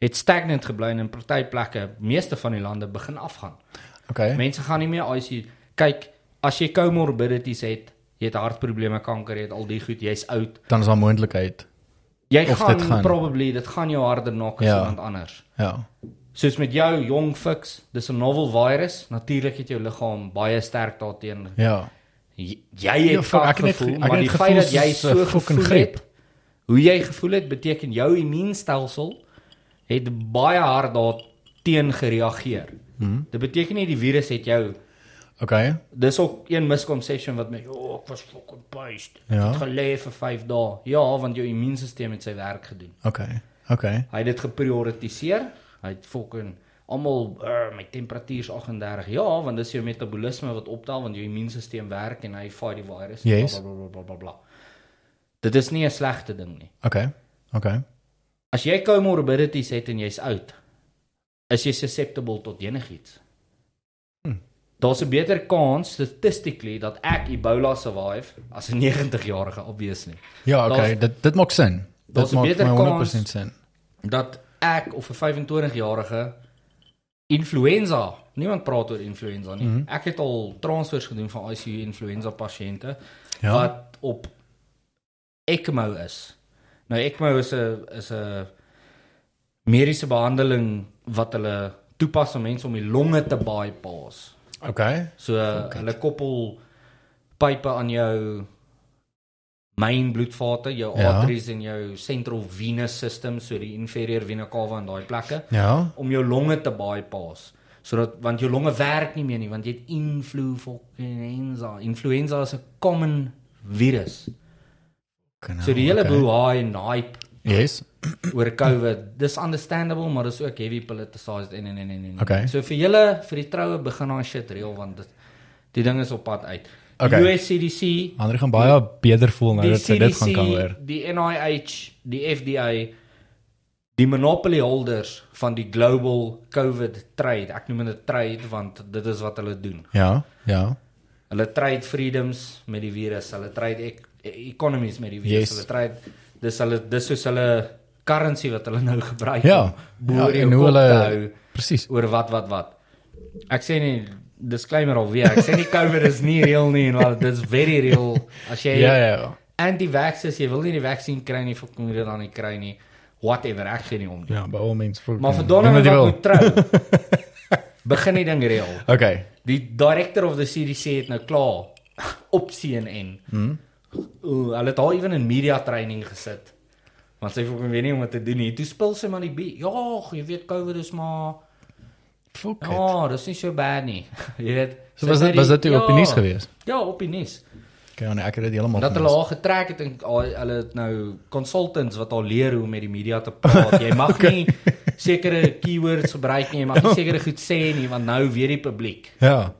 het stagnant gebly en in party plekke, meeste van die lande begin afgaan.
Okay.
Mense gaan nie meer ICU kyk as jy comorbidities het, jy het hartprobleme, kanker, jy het al die goed, jy's oud.
Dan is daar moontlikheid.
Jy
Of
gaan,
dit gaan.
probably dit gaan jou harder nok as
Ja.
iemand anders.
Ja.
Soos met jou jong fiks, dis 'n novel virus. Natuurlik het jou liggaam baie sterk daarteenoor.
Ja.
J- jy
Ja,
het
fuck,
ja,
ek het net
gevoel,
ge- ek
maar
het
die
net
feit dat
gevoel
jy
soos,
so
eh, fucking
gevoel
griep.
het, hoe jy gevoel het beteken jou immuunstelsel het baie hard daar teen gereageer. Hmm. Dit beteken nie die virus het jou
Okay.
dis ook een misconception wat my oh, ek was fucking puist. Ek
Ja.
het gelê vir 5 dae. Ja, want jou immuunstelsel het sy werk gedoen.
Okay. Okay.
Hy het dit geprioritiseer. Hy het fucking almal uh, my temperatuur is 38. Ja, want dis jou metabolisme wat optel want jou immuunstelsel werk en hy fight die virus. en
Yes.
Blablabla. Dit is nie 'n slegte ding nie.
Okay. Okay.
As jy comorbidities het en jy's oud, is jy susceptible tot enigiets. Hm. Daar's 'n beter kans statistically dat ek Ebola survive as 'n 90-jarige obviously.
Ja, okay.
Daar's-
Dit dit maak sin.
daar's
Dit
een
maak
beter
vir my
kans.
100% sin.
dat ek of 'n 25-jarige influenza, niemand praat oor influenza nie. Mm -hmm. Ek het al transfers gedoen van ICU influenza pasiënte ja.
Ja.
wat op ECMO is. Nou ECMO is 'n is 'n mediese behandeling wat hulle toepas aan mense om die longe te bypass.
Okay.
So hulle koppel pype aan jou myn bloedvate, jou ja.
Ja.
arteries en jou central venous system, so die inferior vena cava en daai plekke
Ja.
om jou longe te bypass. Sodat want jou longe werk nie meer nie want jy het influenza. Influenza is 'n common virus.
Genau,
So die hele okay.
Oh, okay.
boei en hype
Yes.
oor COVID. Dis understandable, maar dis ook heavy politicized en en en en. en.
Okay.
So vir julle vir die troue begin daai shit reël want dit die ding is op pad uit. Die
Okay.
US CDC,
Ander gaan baie beter voel nou
die
dat sy dit
CDC,
gaan kan hoor.
die NIH, die FDA, die monopoly holders van die global COVID trade. Ek noem dit 'n trade want dit is wat hulle doen.
Ja. Ja.
Hulle trade freedoms met die virus, hulle trade ek, e- economies met die
Yes.
virus, hulle trade dis hulle dis soos hulle currency wat hulle nou gebruik
Ja.
om
Ja,
boere
en
jou
hoe
kop te
hulle-
hou
Presies.
oor wat wat wat. Ek sê nie disclaimer alweer. Ek sê nie COVID is nie real nie en wat dit's very real. As jy
Ja ja. ja.
anti-vaxxers, jy wil nie die vaksin kry nie, fucking moet jy dit dan nie kry nie. Whatever, ek gee nie om. nie.
Ja, by all means.
Maar vir
Doen
Donovan
wat jy
wat
wil.
moet trou. Begin die ding reël.
Okay.
Die director of the CDC het nou klaar op CNN.
Hmm.
Mm. Ooh, hulle het al ewen in media training gesit. Want sy fucking weet nie om wat te doen nie. Toe spil sy maar die bie- ja, jy weet COVID is maar
Fuck it.
ja, dis nie so bad nie. jy weet.
So
sy
was
het
dit
nou
was
die-
dit toe op die
ja,
nuus gewees?
Ja, op die nuus.
Okay, nee, ek het dit heeltemal.
Dat hulle
gemis.
al getrek het en al, hulle het nou consultants wat al leer hoe om met die media te praat. Jy mag nie sekere keywords gebruik nie, jy mag nie sekere goed sê nie want nou weet die publiek.
Ja.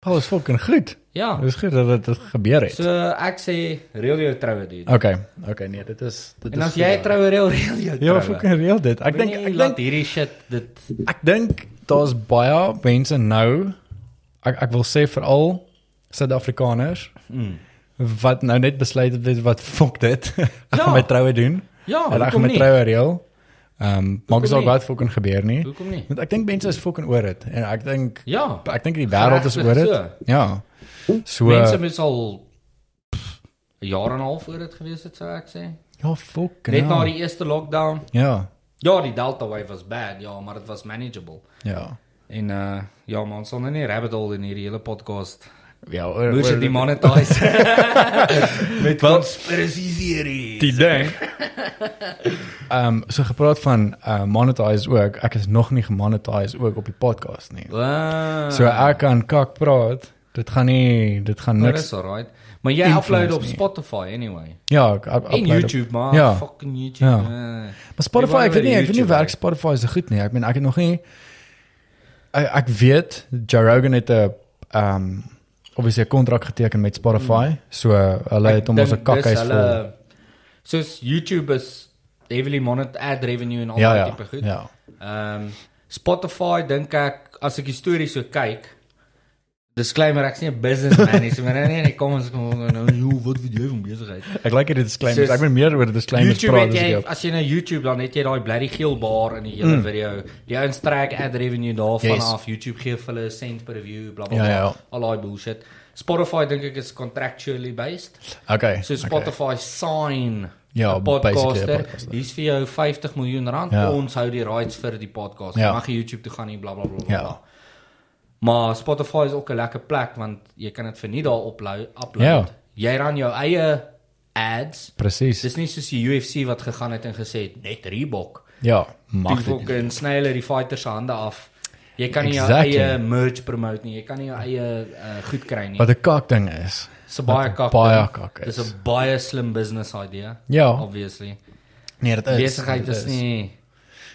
Paul is fucking goed.
Ja.
Dit is goed dat dit- dit gebeur het.
So ek sê reël jou troue doen.
Okay. Okay, nee, dit is dit
En
is
as
goed,
jy
ja.
troue reël reël jou
Ja,
troue.
fucking real dit. Ek
Ek
dink
dink
ek
laat
dink
hierdie shit dit
ek dink daar's baie mense nou ek ek wil sê veral Suid-Afrikaners
mm.
wat nou net besluit het weet wat fuck dit. Ek
Ja.
gaan my troue doen.
Ja,
en ek gaan
hoekom
my
nie?
troue reël. Ehm um, maak
Hoekom
asof
nie?
wat fucking gebeur nie.
Hoekom nie?
Want ek dink mense is fucking oor dit en ek dink
Ja.
ek dink die wêreld is oor dit.
Geregtig
Ja. So
Mense moes al pff, 'n jaar en 'n half oor dit gewees het, sou ek sê.
ja, fucking.
Net
hell.
na die eerste lockdown.
Ja.
Ja, die Delta wave was bad, ja, maar dit was manageable.
Ja.
En uh ja man, sonder nie rabbit hole in hierdie hele podcast.
Ja,
Moes
oor-
dit demonetize. Met conspiracy theory.
die ding. Ehm um, so gepraat van uh monetize ook. Ek is nog nie gemonetize ook op die podcast nie.
Wow.
So ek kan kak praat. Dit gaan nie dit gaan
niks. Dis
niks.
alright. Maar jy
Influence
upload op
nie.
Spotify anyway.
Ja, ek up-
En
upload op-
YouTube maar,
Ja.
fucking YouTube.
Ja.
Ja.
Maar Spotify,
Jy
ek weet nie, ek weet nie
YouTube
werk Spotify se goed nie. Ek meen ek het nog nie ek, ek weet Joe Rogan het 'n ehm um, obviously 'n kontrak geteken met Spotify. So hulle het hom
Mm. Ek
as 'n
dink dis
kakhuis vol.
hulle- Soos YouTube is heavily monetized ad revenue en al
Ja
daai
ja.
tipe goed.
Ja.
Ehm Spotify dink ek as ek histories so kyk disclaimer ek's nie 'n businessman nie, so maar nee nee, kom ons kom nou hoe wat wil jy van besigheid?
Ek like hierdie disclaimers.
Soos-
Ek ben meer oor die disclaimers
YouTube
praat
het
as ek
jy
jou-
as jy na YouTube dan het jy daai bloody geel bar in die hele mm. video. Die ouens trek ad revenue daarvan
Yes.
yes. af. YouTube gee vir hulle cent per view, bla bla
Ja,
bla.
ja.
Al daai bullshit. Spotify dink ek is contractually based.
Okay.
So
okay.
Spotify sign
Ja,
'n
basically 'n
podcaster.
podcaster.
Hier's vir jou 50 miljoen rand.
Ja.
Ja. Ons hou die rights vir die podcast.
Ja.
Ja. Mag jy YouTube toe gaan nie bla bla bla. bla.
Ja.
Ja. Maar Spotify is ook 'n lekker plek want jy kan dit vir nie daar upload
Ja.
upload. Ja. Jy ran jou eie ads.
Presies.
Dis nie soos die UFC wat gegaan het en gesê het net Reebok.
Ja,
Mag
mag dit.
jy fucking sny hulle die fighters se hande af. Jy kan nie
Exactly.
jou eie merch promote nie. Jy kan nie jou eie uh, goed kry nie.
Wat 'n kak ding is.
Dis 'n baie
wat
kak.
baie
ding.
kak is.
Dis 'n baie slim business idee.
Ja.
Obviously.
Nee, dit
Besigheid
dit
is nie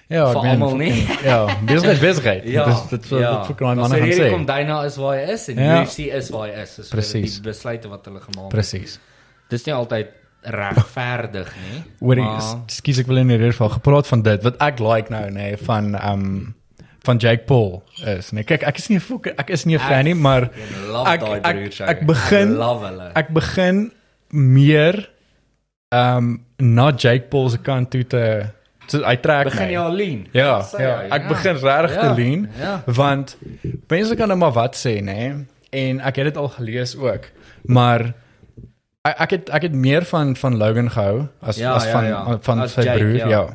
Ja,
vir almal nie.
Ja, besigheid is besigheid.
Ja.
Dis dit wat dit vir klein manne gaan
Hierdie kom
sê.
Dyna is waar hy is en
Ja.
ja. UFC is waar hy is. Is
Presies.
Presies. die besluite wat hulle gemaak het.
Presies.
Dis nie altyd regverdig nie.
Oor
maar-
ekskuus ek wil in hierdie geval gepraat van dit wat ek like nou nê nee, van ehm um, van Jake Paul is. Nee, kyk, ek is nie 'n fucking ek is nie 'n fan nie, maar
Ek love
ek
daai
ek,
broers, ou.
ek begin
Ek love hulle.
ek begin meer ehm um, na Jake Paul se kant toe te te- hy trek
begin
my.
jy al lean.
Ja,
Sê
ja,
hy,
ek begin regtig
Ja,
te lean
Ja.
want mense kan nou maar wat sê nê en ek het dit al gelees ook maar ek ek het ek het meer van van Logan gehou as
Ja,
as
ja,
van
ja.
van
As
sy
Jake,
broer ja.
ja.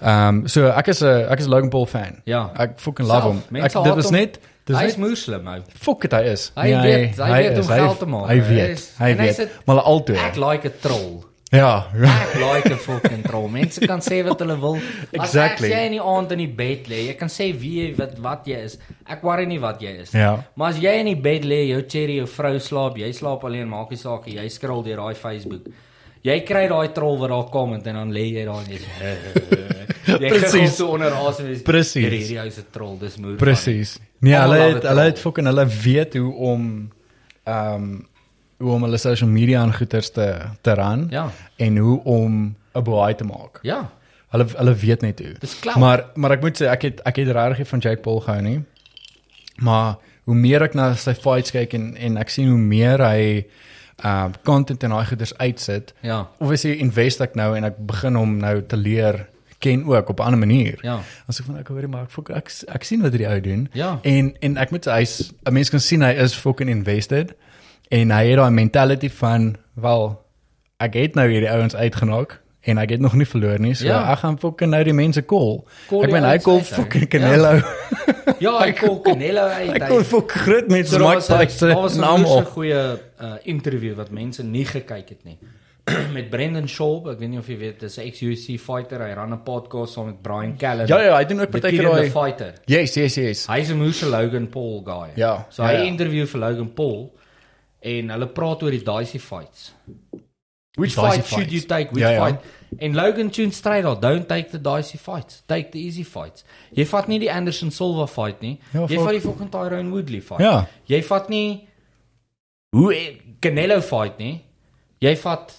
Ehm so ek is 'n ek is 'n Logan Paul fan.
Ja.
Ek fucking love
Self,
hom.
mense
Ek dit
haat
is
hom.
net dis
Hy is
net
moeslim ou.
fuck it hy is. Nee,
Hy weet- hy weet hoe om geld te maak,
Hy
hy
weet.
is-
Hy
en hy
weet.
sit-
Maar hulle altyd.
Ek like 'n troll.
Ja.
Ek like 'n fucking troll. Mense kan sê wat hulle wil.
Exactly.
As ek, jy in die aand in die bed lê, jy kan sê wie jy wat wat jy is. Ek worry nie wat jy is. nie.
Ja.
Maar as jy in die bed lê, jou cherry, jou vrou slaap, jy slaap alleen, maak nie saak nie. Jy scroll deur daai Facebook. Jy kry daai troll wat daar comment en dan lê jy daar en jy sê Jy
Presies.
kry so onder asem.
Presies.
Hierdie hierdie ou se troll, dis moeilik.
Presies. Nee,
Allemaal
hulle
love
het,
it
hulle
all.
het fucking hulle weet hoe om ehm um, hoe om hulle social media en goeters te te ran
Ja.
en hoe om 'n boei te maak.
Ja.
Hulle hulle weet net hoe.
Dis clout.
Maar maar ek moet sê ek het ek het regtig nie van Jake Paul gehou nie. Maar hoe meer ek na sy fights kyk en en ek sien hoe meer hy um content en daai goeders uitsit.
Ja.
Obviously invest ek nou en ek begin hom nou te leer ken ook op 'n ander manier.
Ja.
As ek van ek hoor maar ek fok, ek, ek sien wat hierdie ou doen.
Ja.
En en ek moet sê hy's 'n mens kan sien hy is fucking invested en hy het daai mentality van wel ek het nou hierdie ouens uitgenaak en ek het nog nie verloor nie. So
Ja.
ja. ek gaan fucking nou die mense call.
Call
ek
die
meen hy
ouens
call
uit, ou.
fucking Canelo. Ja.
Ja, hy kon Canelo uit.
Hy
hy-
kon fok groot mense
So, daar
Mike
was 'n- daar was
Tyson en
een
almal.
goeie uh, interview wat mense nie gekyk het nie. met Brendan Schaub, ek weet nie of jy weet, dis 'n ex-UFC fighter. Hy ran 'n podcast saam met Brian Callen.
Ja ja, hy doen ook
The
partykeer
Kid and
daai.
the fighter.
Yes, yes, yes.
Hy's 'n moeë Logan Paul guy.
Ja,
So
ja,
hy
ja.
interview vir Logan Paul en hulle praat oor die dicey fights. Which
Dicey
fight should
fights.
you take? Which
Ja, ja.
fight? En Logan tune straight out, don't take the dicey fights. Take the easy fights. Jy vat nie die Anderson Silva fight nie.
Ja,
jy
fuck.
vat die fucking Tyrone Woodley fight.
Ja.
Jy vat nie hoe eh, Canelo fight nie. Jy vat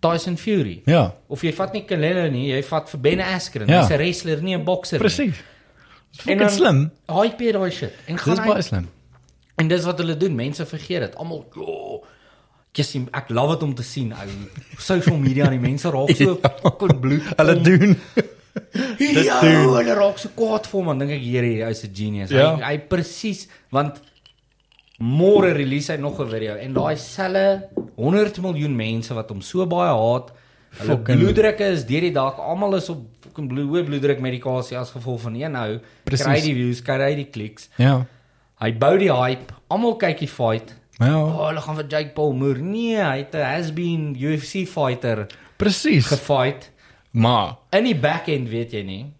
Tyson Fury.
Ja,
Of jy vat nie Canelo nie, jy vat vir Ben Askren.
Ja.
Hy's 'n wrestler, nie 'n bokser nie.
presies.
Ja. En
Fucking slim.
Hype hier daai shit. En
Dis
gaan hy
baie slim.
En dis wat hulle doen. Mense vergeet dit. Almal, "O, Jessie, ek love dit om te sien ou social media en die mense raak so kon bloed.
Hulle doen.
hierdie ou,
doen.
Ja, hulle raak so kwaad vir hom en dink ek hierdie ou is 'n genius.
Ja.
Hy hy presies want môre release hy nog 'n video en daai selle 100 miljoen mense wat hom so baie haat. Hulle
Fucking-
bloeddrukke is deur die dak. Almal is op fucking bloed hoë bloeddrukmedikasie as gevolg van een ou.
Presies.
Kry die views, kry die kliks.
Ja.
Hy bou die hype. Almal kyk die fight.
Ja,
Oh, hulle gaan vir Jake Paul moer. Nee, hy het 'n has-been UFC fighter
presies.
gefight.
Maar
In die back-end weet jy nie.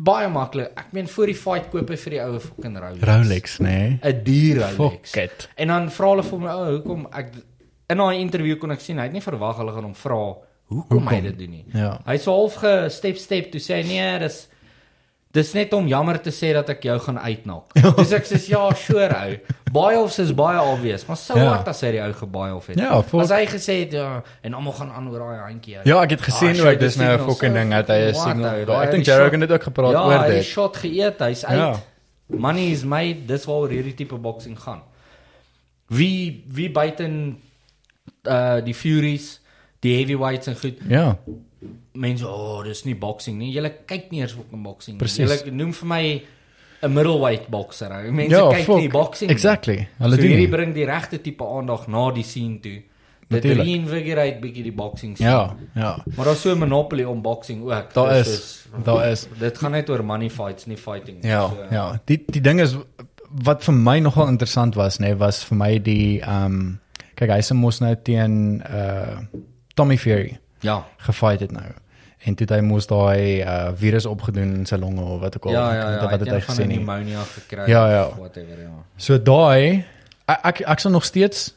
Baie maklik. Ek meen voor die fight koop hy vir die oue fucking Rolex.
Rolex, nee.
'n Duur Rolex.
Fuck it.
En dan vra hulle vir my, "O, oh, hoekom ek in daai interview kon ek sien hy het nie verwag hulle gaan hom vra hoekom, hoekom hy dit doen nie."
Ja.
Hy sou half gestep step toe sê hy, nee, dis dis net om jammer te sê dat ek jou gaan uitnak. Dis ek sê ja, sure ou. Baie of is baie obvious, maar sou
Ja.
wat as hy die ou gebaai of het.
Ja, fuck.
as hy gesê het ja, en almal gaan aan oor daai handjie. ou.
Ja, ek het gesien
Ah,
hoe
shit,
dis nou 'n
signal,
fucking
so
ding dat hy 'n
fucking
signal-
wild, ou.
Daai-
Hy
ek
het
dink
die
Jarrow
shot-
het ook gepraat
ja,
oor
hy het die
dit.
shot geëet, hy's uit.
Ja.
Money is made, dis waaroor hierdie tipe boksing gaan. Wie wie buiten uh die Furies, die heavyweights en goed.
ja,
Mense, o, oh, dis nie boksing nie. Julle kyk nie eers op 'n boksing nie.
Presies.
Julle noem vir my 'n middleweight bokser. ou. Mense
ja,
kyk nie boksing nie.
Exactly. Hulle
so
doen.
hierdie
nie.
bring die regte tipe aandag na die scene toe. Dit
Natuurlijk.
reinvigorate bietjie die boksing scene.
Ja, ja.
Maar daar's so 'n monopolie om boksing ook.
Daar
Dis
is daar is
soos- dit gaan net oor money fights, nie fighting nie.
Ja,
So,
ja. Die die ding is wat vir my nogal interessant was, nê, nee, was vir my die ehm um, kyk hy se mos nou teen uh Tommy Fury
ja.
gefight het nou. En toe het hy mos daai uh virus opgedoen in sy longe of wat ook al.
Ja,
Ek
ja,
weet
ja.
nie wat het hy
van 'n
gesien nie.
pneumonia gekry
Ja, ja.
of whatever. Ja.
So daai ek ek, ek sal nog steeds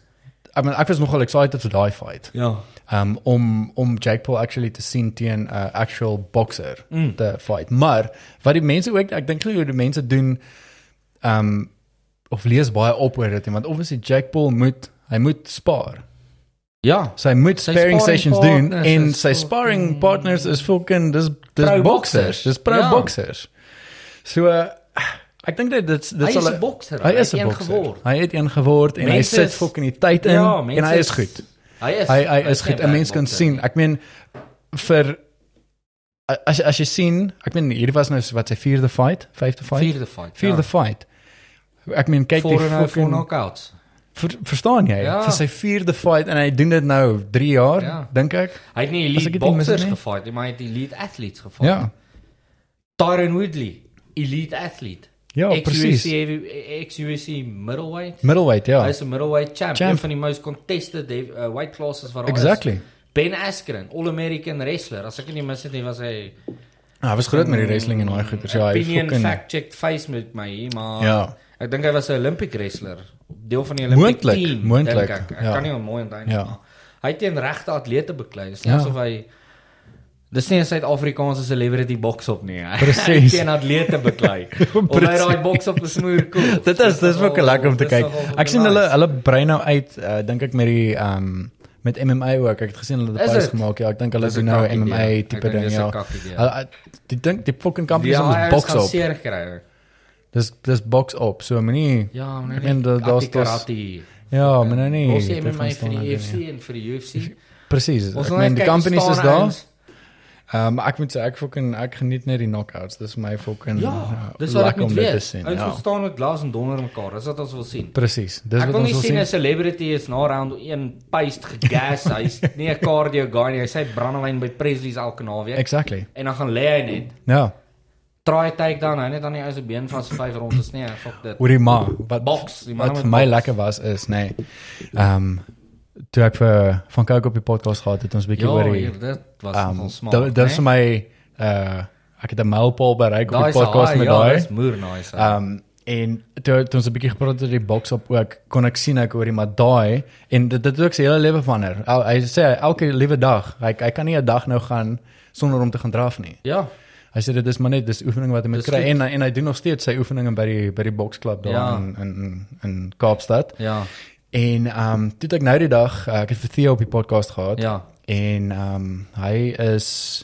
ek meen ek was nogal excited vir daai fight.
Ja.
Um om om Jake Paul actually te sien teen 'n uh, actual boxer mm. te fight. Maar wat die mense ook ek dink nie hoe die mense doen um of lees baie op oor dit nie, want obviously Jake Paul moet hy moet spaar.
Ja.
So hy moet
Sy
sparring
sparring
sessions doen
partners
en
is
sy
fucking-
sparring partners is fucking dis dis
Pro
boxers,
boxers.
dis pro
Ja.
boxers. So uh, ek dink dit dit dit
Hy is
sal
'n bokser.
Hy is 'n
een
bokser.
geword.
Hy het een geword en hy
Mense
sit
is-
fucking die tyd in ja, en hy is goed.
Hy is
Hy hy is
geen
goed. 'n Mens kan
bokser
sien.
nie.
Ek meen vir as as jy sien, ek meen hier was nou so wat sy vierde fight, vyfde fight,
Vierde fight. ja.
vierde Ja. fight. Ek meen kyk die
Voor en voor
fucking
knockouts.
ver, verstaan jy?
Ja.
Vir sy vierde fight en hy doen dit nou 3 jaar,
Ja.
dink ek.
Hy het nie
As ek
elite
dit nie mis het
boxers
nie.
gefight nie, maar hy het elite athletes gefight.
Ja.
Tyron Woodley, elite athlete.
Ja,
ex-UFC
presies.
heavy- ex-UFC middleweight.
Middleweight, ja.
Hy's 'n middleweight champ,
Champ.
een van die most contested hev- uh, weight classes wat daar
Exactly.
is. Ben Askren, All-American wrestler. As ek dit nie mis het nie, was hy
Ah, hy was groot met die wrestling en daai goeters. Ja, hy
opinion
fucking
fact-checked face met my, hier, maar
Ja.
ek dink hy was 'n Olympic wrestler, deel van die Olympic
Moontlik,
team. dink
moontlik,
Ek, ek
ja.
kan nie mooi onthou nie.
Ja.
maar Hy het teen regte atlete beklei. Dit is nie
Ja.
asof hy Dis nie 'n Suid-Afrikaanse celebrity boks op nie. Hy
Presies.
het teen atlete beklei. Of hy daai boks op gesmoer cool.
Dit is dis ook
nogal-
lekker om te
dis
kyk.
nogal
Ek sien
nice.
hulle hulle brei nou uit, uh, dink ek met die ehm um, met MMA ook. Ek het gesien hulle het
Is
'n post
dit?
gemaak. Ja, ek dink hulle
Dis
doen
een
nou
kak idee.
'n MMA
Ek
tipe
dink
ding
dis een
ja.
kak idee.
Hulle uh, die dink die fucking kampie is
Ja, hy
ons
is
boks
gaan
op.
seer gekry.
Dis dis boks op. So moenie
Ja,
ek meen da- daar's daar's
karate.
Ja, maar nou nie.
Ons sê
dit
met
gaan
my
staan
vir die
nou
UFC
doen nie.
en vir die UFC.
Presies.
Ons
Ek
wil
meen die
net kyk,
companies
staan
is daar.
ouens.
Ehm ek moet sê ek fucking ek geniet net die knockouts. Dis my fucking
Ja,
eh,
dis wat ek
lekker
moet
om dit te
weet.
sien,
Ons
ja.
moet staan met glas en donder mekaar. Dis wat ons wil sien.
Presies. Dis
ek
wat
wil
ons
nie
wil
sien
sien.
'n celebrity is na round 1 paste gegas. Hy's nie 'n cardio guy nie. Hy sê brandewyn by Presley's elke naweek
Exactly.
en dan gaan lê hy net.
Ja.
Try take down. Hy net aan die ou se been vas vyf rondes nee, fuck dit.
Oor die ma wat
Boks, die man
wat
met
vir my
boks.
lekker was is nê. Nee, ehm toe ek vir van Kyk op die podcast gehad het ons bietjie
Ja,
oor die
hier, dit was um,
ehm
nogal smaak.
dit dit is
né?
vir my uh ek het 'n mylpaal bereik op
Daai
die
is al-
podcast met
Ja,
daai.
dis moer nice. ou.
Ehm um, en toe het ons 'n bietjie gepraat oor die boks op ook kon ek sien ek oor die maar daai en dit dit het ook sy hele lewe verander. Al- Hy sê elke liewe dag, hy hy kan nie 'n dag nou gaan sonder om te gaan draf nie.
Ja,
Hy sê dit is maar net dis oefening wat hy moet
Dis
kry
goed.
en hy- en hy doen nog steeds sy oefeninge by die by die boksklub daar
Ja.
ja. in in in Kaapstad.
ja,
En ehm um, toe het ek nou die dag uh, ek het vir Theo op die podcast gehad
ja.
en ehm um, hy is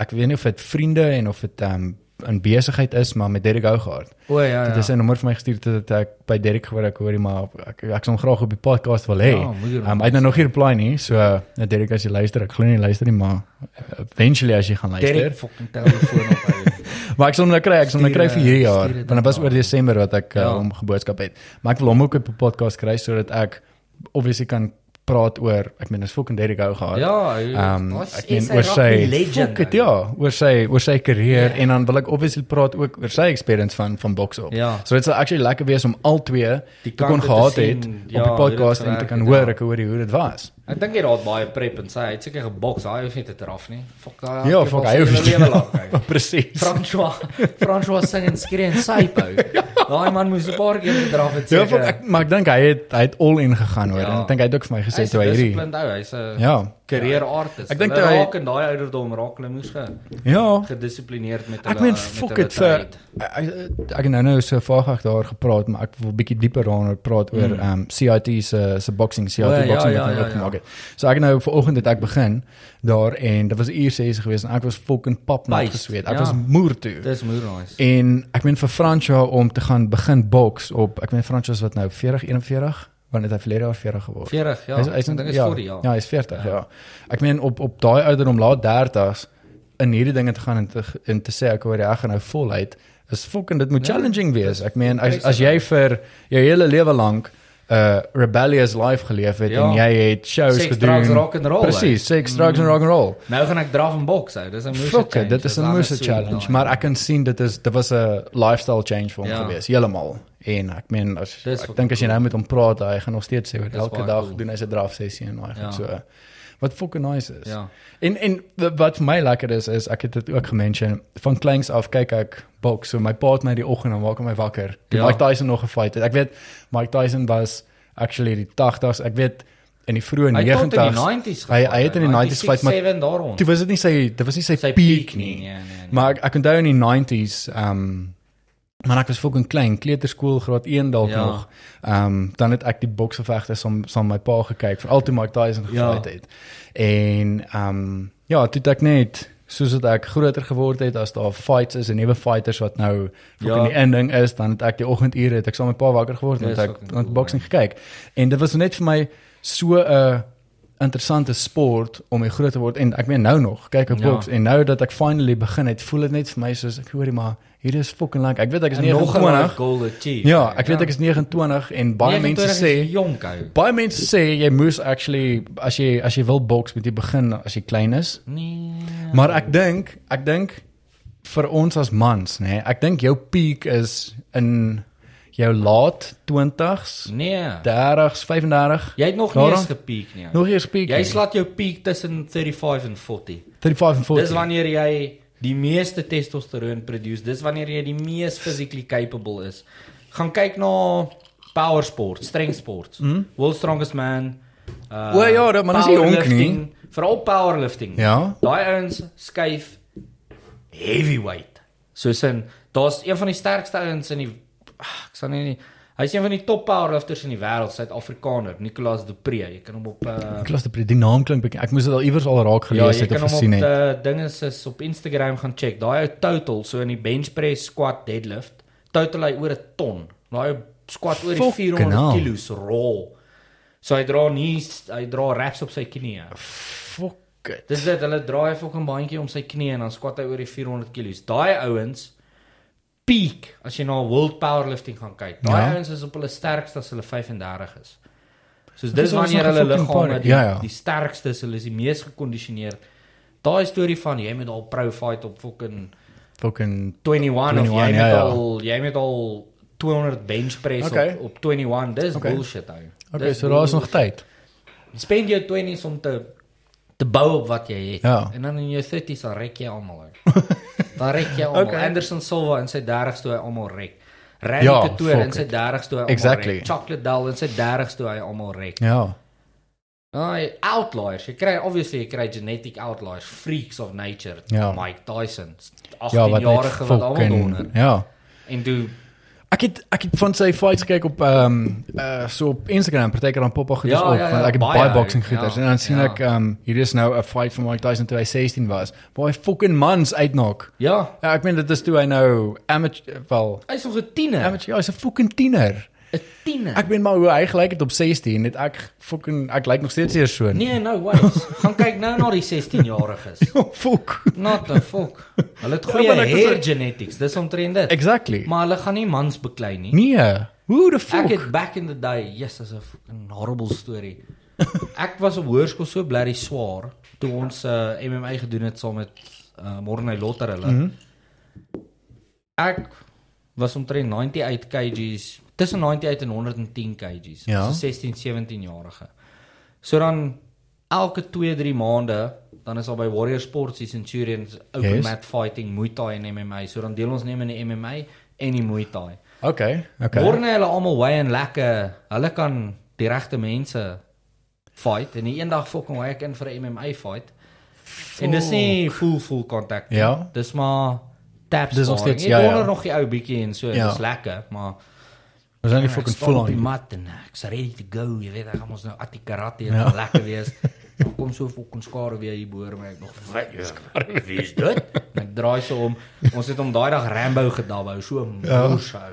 ek weet nie of dit vriende en of dit ehm um, 'n besigheid is maar met Derek Hougaard.
O ja, ja.
Dit is 'n nommer vir my gestuur dat ek by Derek gehoor ek hoor hom maar ek ek sal hom graag op die podcast wil hê.
Ja, moeder.
um, hy het nou nog nie reply nie, so uh, Derek as jy luister, ek glo nie jy luister nie, maar eh, eventually as jy gaan luister.
Derek fucking telefoon op hy.
Maar ek sal hom nou kry, ek sal hom nou
Stuur,
kry vir hierdie
eh,
jaar.
stuur dit
Want dit was
dan
oor
maar.
Desember wat ek ja.
Ja.
uh, hom geboodskap het. Maar ek wil hom ook op 'n podcast kry sodat ek obviously kan praat oor ek meen is fucking Derek Hou gehad.
Ja,
Ehm
daar's-
ek
hy
meen
is
oor
hy
sy
rugby legend, nou? Ja.
fuck it,
ou.
ja, oor sy oor sy karier en dan wil ek obviously praat ook oor sy experience van van boks op.
Ja.
So dit sal actually lekker wees om al twee die
Die
kon
kante te
gehad
sien,
het
ja,
op die
hoe dit
podcast en te
gewerk
kan
het,
hoor
ja.
ek hoor hoe dit was.
Ek dink hy raad baie prep en sê hy het seker geboks, hy hoef nie te draf nie. Fuck daai.
Ja, fuck hy hoef
nie lewe lank.
Ja,
hy.
Presies.
François, François sing en skree en sypou. Daai man moes 'n paar keer gedraf het
Ja,
seker.
fuck, ek maar ek dink hy het hy het all in gegaan hoor
Ja.
ja. en ek dink hy het ook vir my gesê
Hy's
toe hy hierdie
disciplined ou, hy's 'n
Ja.
career artist.
Ek dink
Hulle
hy-
raak in daai ouderdom raak hulle moes ge
Ja,
gedissiplineerd met hulle.
Ek meen
met
fuck
hulle
it vir
tyd.
ek ek het nou nou so vaag daar gepraat, maar ek wil bietjie dieper daaroor praat oor ehm um, CIT se se boxing, CIT
O, Hmm. ja,
boxing
ja,
wat
ja,
nou ook
ja.
gemaak het. So ek het nou vanoggend het ek begin daar en dit was 'n uur 6 geweest en ek was fucking papnat
Paced,
gesweet. Ek
ja.
was moer toe.
Dis moer nice.
En ek meen vir Fransja om te gaan begin boks op ek meen Fransja is wat nou 40 41 want het hy verlede jaar 40 geword.
40 ja.
Hy's hy's
ek dink is
ja,
40 jaar.
Ja, hy's 40 ja. Ek meen op op daai ouderdom laat 30s in hierdie dinge te gaan en te en te sê ek hoor ek gaan nou voluit is fucking dit moet
Ja,
challenging wees. Ek meen as
dis-
as jy vir jou hele lewe lank 'n uh, rebellious life geleef het
Ja.
en jy het shows
Sex,
gedoen.
drugs, rock and roll,
Presies, seks, drugs en rock and roll.
Nou gaan ek draf en boks ou. Dis 'n moer.
Fuck, it, dit is 'n moose challenge, maar ek kan sien dit is dit was 'n lifestyle change vir hom
Ja.
gewees, heeltemal. En ek meen as
Dis
ek
fucking
dink as jy nou met hom praat, hy gaan nog steeds sê wat
Dis
elke
baie
dag
cool.
doen hy se draf sessie en daai
Ja.
goed so. Wat fucking nice is.
Ja.
En en w- wat vir my lekker is is ek het dit ook gemention van kleins af kyk ek boks. So my pa het my die oggend en maak hom my wakker. Toe
Ja.
Mike Tyson nog gefight het. Ek weet Mike Tyson was actually die 80s. Ek weet in die vroeë
Hy
90s.
het tot in die 90s.
Hy hy het in die 90s fight maar
7 daaroor.
Toe was dit nie sy dit was nie sy,
Sy
peak
peak
nie.
nie, ja, nee, nee.
Maar ek, ek onthou in die 90s ehm um, man ek was fucking klein, kleuterskool graad 1 dalk
Ja.
nog. Ehm um, dan het ek die boksgevegte saam saam my pa gekyk, veral toe Mike Tyson
Ja.
gefight het. En ehm um, ja, toe het ek net soos dat ek groter geword het as daar fights is en nuwe fighters wat nou
Ja.
fucking die ending is, dan het ek die oggendure het ek saam met my pa wakker geword en
Dis
het ek
fucking
aan
cool, ja.
boksing gekyk. En dit was net vir my so 'n interessante sport om mee groot te word en ek meen nou nog kyk ek
Ja.
ja. boks en nou dat ek finally begin het voel dit net vir my soos ek hoorie maar hier is fucking lank ek weet ek is
En nog 'n
29
goal achieve.
ja ek weet ek is 29 en
Nee,
baie mense sê
jonk ou.
baie mense sê jy moes actually as jy as jy wil boks moet jy begin as jy klein is
Nee.
maar ek dink ek dink vir ons as mans nê nee, ek dink jou piek is in jou laat 20s
nee.
30s 35
Jy het nog nie
Daarom-
eens gepiek nie. ou.
nog eers piek
Jy
nie.
slaat jou piek tussen 35 en 40.
35 en 40
Dis wanneer jy die meeste testosteron produce. Dis wanneer jy die mees physically capable is. Gaan kyk na power sport, strength sports. Mm? World strongest man. Uh,
Hmm? O ja, dat man is nie jonk nie.
powerlifting, Veral powerlifting.
Ja.
Daai ouens skuif heavyweight. Soos in daar's een van die sterkste ouens in die ah, ek sal nie nie Hy's een van die top powerlifters in die wêreld, Suid-Afrikaner, Nicolas Dupré. Jy kan hom op uh,
Klas die die naam klink bekend. Ek moes dit al iewers al raak
ja,
gelees
jy
het
kan
of
hom op
gesien het.
uh, dinge is op Instagram gaan check. Daai ou total so in die bench press, squat, deadlift, total hy oor 'n ton. Daai ou squat oor die
Fucking
400
hell.
kilos rol. So hy dra nie hy dra wraps op sy knieë.
Fuck it.
Dis dit, hulle draai 'n fucking bandjie om sy knie en dan squat hy oor die 400 kg. Daai ouens peak as jy na world powerlifting gaan kyk. Daai
Ja.
ouens is op hulle sterkste as hulle 35 is.
Dis
Soos
ons
dis
nog
wanneer
een
hulle
fucking
liggame
party.
die,
Ja, ja.
die sterkste is, hulle is die mees gekondisioneer. Daai storie van jy moet al pro fight op fucking
Fucking
21, of
21,
jy
ja,
moet
ja.
al jy moet al 200 bench press
Okay.
op, op 21. Dis
Okay.
bullshit ou.
Okay,
Dis
so daar is nog
bullshit.
tyd.
Spend jou 20s om te te bou op wat jy het.
Ja.
En dan in jou 30s dan rek jy almal uit. dan rek jy almal.
Okay.
Okay. Anderson Silva in sy 30s toe hy almal rek. Randy
Ja,
ja, Couture in
fuck
sy 30s toe hy almal
Exactly.
rek. Chocolate Dal in sy 30s toe hy almal rek.
Ja.
Daai outliers, jy kry obviously jy kry genetic outliers, freaks of nature.
Ja.
Mike Tyson,
Ja, wat
18
net
jarige wat almal
fucking-
donder.
Ja.
En toe
Ek het ek het van sy fights gekyk op ehm eh, so op Instagram partykeer dan pop-up goeders
Ja,
op
ja, ja,
want ek het
baie,
baie boxing
ja,
goeders en dan sien
ja.
ek ehm hier is nou 'n fight van Mike Tyson toe hy 16 was waar hy fucking mans uitknok.
ja,
Ja, ek meen dit is toe hy nou amateur wel
hy's nog 'n tiener,
amateur ja, hy's 'n fucking tiener.
'n tiener.
Ek meen maar hoe hy gelyk het op 16 het ek fucking ek lyk nog steeds eers so.
Nee, no ways. Gaan kyk nou na die 16-jariges.
Oh, fuck.
Not the fuck. Hulle het goeie
maar
ja,
ek is
hair
ook-
genetics. Dis omtrent dit.
Exactly.
Maar hulle gaan nie mans beklei nie.
Nee. Hoe the fuck?
Ek het back in the day, yes, as 'n fucking horrible story. Ek was op hoërskool so blerry swaar toe ons uh, MMA gedoen het saam met uh, Morne Lotter hulle.
Mhm.
Mm -hmm. Ek was omtrent 98 kgs, tussen 98 en 110 kgs,
Ja.
so 16, 17 jarige. So dan elke 2-3 maande dan is al by Warrior Sports die Centurions open
Yes.
yes. mat fighting, Muay Thai en MMA. So dan deel ons neem in die MMA en die Muay Thai.
Okay, okay.
Okay. Morne hulle almal wy en lekker. Hulle kan die regte mense fight en die eendag fucking wy ek in vir 'n MMA fight. En dis nie full full contact nie.
Ja.
Dis maar taps.
Dis nog
sparring.
steeds,
Jy
ja, ja.
wonder nog die ou bietjie en so.
Ja.
Ja. Dis lekker, maar
Ons is
Ek
net fucking
staan
full
op die
on.
mat en ek's ready to go. Jy weet, ek gaan ons nou at die karate en
Ja.
ja. lekker wees. Dan kom so fucking skare weer hier boor my ek nog wat ja. skare wie is dit? En ek draai so om. Ons het om daai dag Rambo gedabou, so
Ja.
mors hou.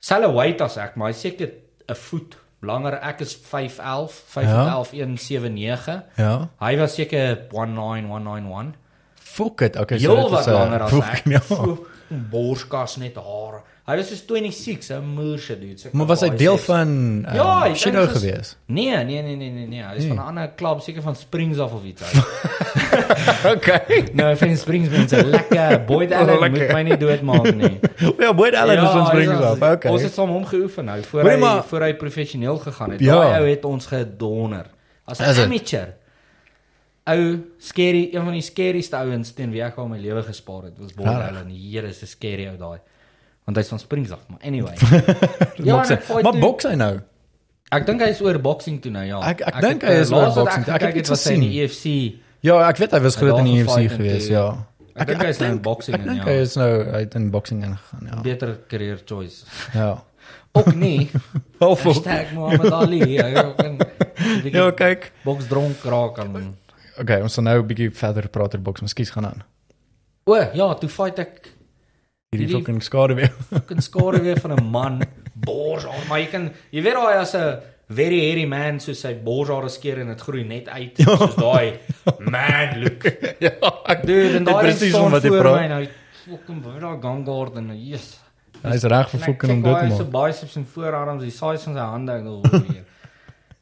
Selle weight as ek, maar hy seker 'n voet langer. Ek is 5'11, 5'11 179.
Ja.
Hy was seker 19 191.
Fuck it. Okay,
Heel
dit is,
wat
eh,
langer as ek.
fucking- ja.
So borskas net haar. Hy was soos 26, 'n moerse dude. So ek
Maar was hy
baie
deel
seks.
van uh,
Oh, Ja, hy dus- is
Shido
inges-
gewees?
Nee, nee, nee, nee, nee, nee. Hy is van 'n ander klub, seker van Springs af of iets. uit.
Okay.
nou, van Springs mense, lekker. Boyd Allen moet
Lekker.
my nie doodmaak nie.
ja, Boyd Allen ja, is ons
hy
bring af. Okay.
Ons het saam hom geoefen nou voor
Hoorie,
hy
maar-
voor hy professioneel gegaan het.
Ja.
Daai ou het ons gedonder as 'n
Is het?
amateur. Ou scary, een van die scarieste ouens teen wie ek al my lewe gespaar het, was Boyd
Rarig.
Allen. Here is 'n scary ou daai. Want hy's van Springs af, maar anyway.
ja,
en ek fight
maar
toe-
boks hy nou.
Ek dink hy is oor boxing toe nou ja.
Ek- ek dink hy
eh,
is oor
laas wat
boxing toe. Ek
gekyk
het iets
was hy in die E UFC.
Ja, ek weet hy was
Hy
groot in
daar
die UFC
gefight en
gewees,
toe-
ja.
Ek dink hy is nou in boxing
Ek
in,
dink
ja.
hy is nou uit in boksing ingegaan, ja.
Beter career choice.
Ja.
Ook nie.
Wel vol.
Hashtag Muhammad Ali. Hy ook in
Ja, kyk.
boks dronk raak aan.
Okay, ons gaan nou 'n bietjie verder praat oor boks. Miskien gaan aan.
O, ja, toe fight ek
Hierdie
Hierdie-
fucking skade weer.
fucking skare weer van 'n man bors aan, maar jy kan jy weet daai as 'n very hairy man so sy borshare skeer en dit groei net uit soos daai man look.
ja, ek
Dude, en
weet
daai
presies van
staan
wat
wat
jy
voor
praat.
my nou fucking by daai gangguard en yes.
Hy's reg
Nee,
vir fucking om dit te
Hy se
maak.
biceps en voorarms, die size van sy hande en al weer.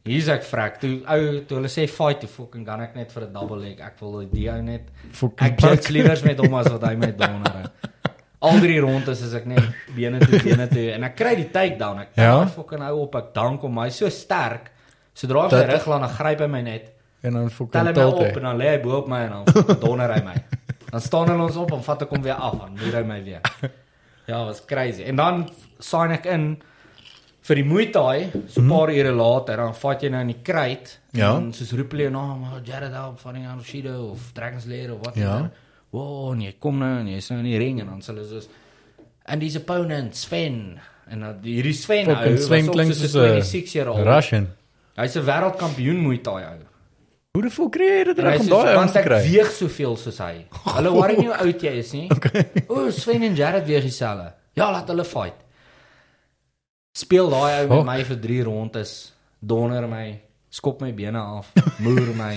Hier's ek vrek. Toe ou, toe hulle sê fight, toe fucking gaan ek net vir 'n double leg. Ek wil die ou net
Fucking
ek judge liewer met hom as wat hy met donder. Al drie rondes is ek net bene toe bene toe en ek kry die takedown. Ek
Ja?
ja? fucking hou op. Ek dank hom. Hy's so sterk. Sodra hy
Dat-
sy rug laat, dan gryp hy my net.
En dan
Tel hy
fucking
my
tot.
op en dan lê hy bo op e, my en dan donder hy my. Dan staan hulle ons op en vat ek hom weer af en muur hy my weer. Ja, was crazy. En dan sign ek in vir die Muay Thai so 'n paar ure later dan vat jy nou in die kruit
Ja.
en soos roep hulle jou naam, oh, Jared Alp van die Anoshido of Dragon's Lair of wat
Ja.
dan. Wow, en jy kom nou en jy's nou in die ring en dan sê hulle soos and his opponent Sven en dan hierdie Sven ou
Fucking
was
swing
ook
klink
soos 'n
soos
26 jaar
'n
oud.
eh, Russian.
Hy's 'n wêreldkampioen Muay Thai ou.
Hoe die fuck er kry jy dit
En hy
reg om
sê,
daai ouens
"Want
te
ek
kry?
Weeg soveel soos hy. Hulle worry nie hoe oud jy is nie. Okay. O, Sven en Jared weeg dieselfde. Ja, laat hulle fight. Speel daai ou
Fuck.
met my vir 3 rondes, donder my, skop my bene af, moer my.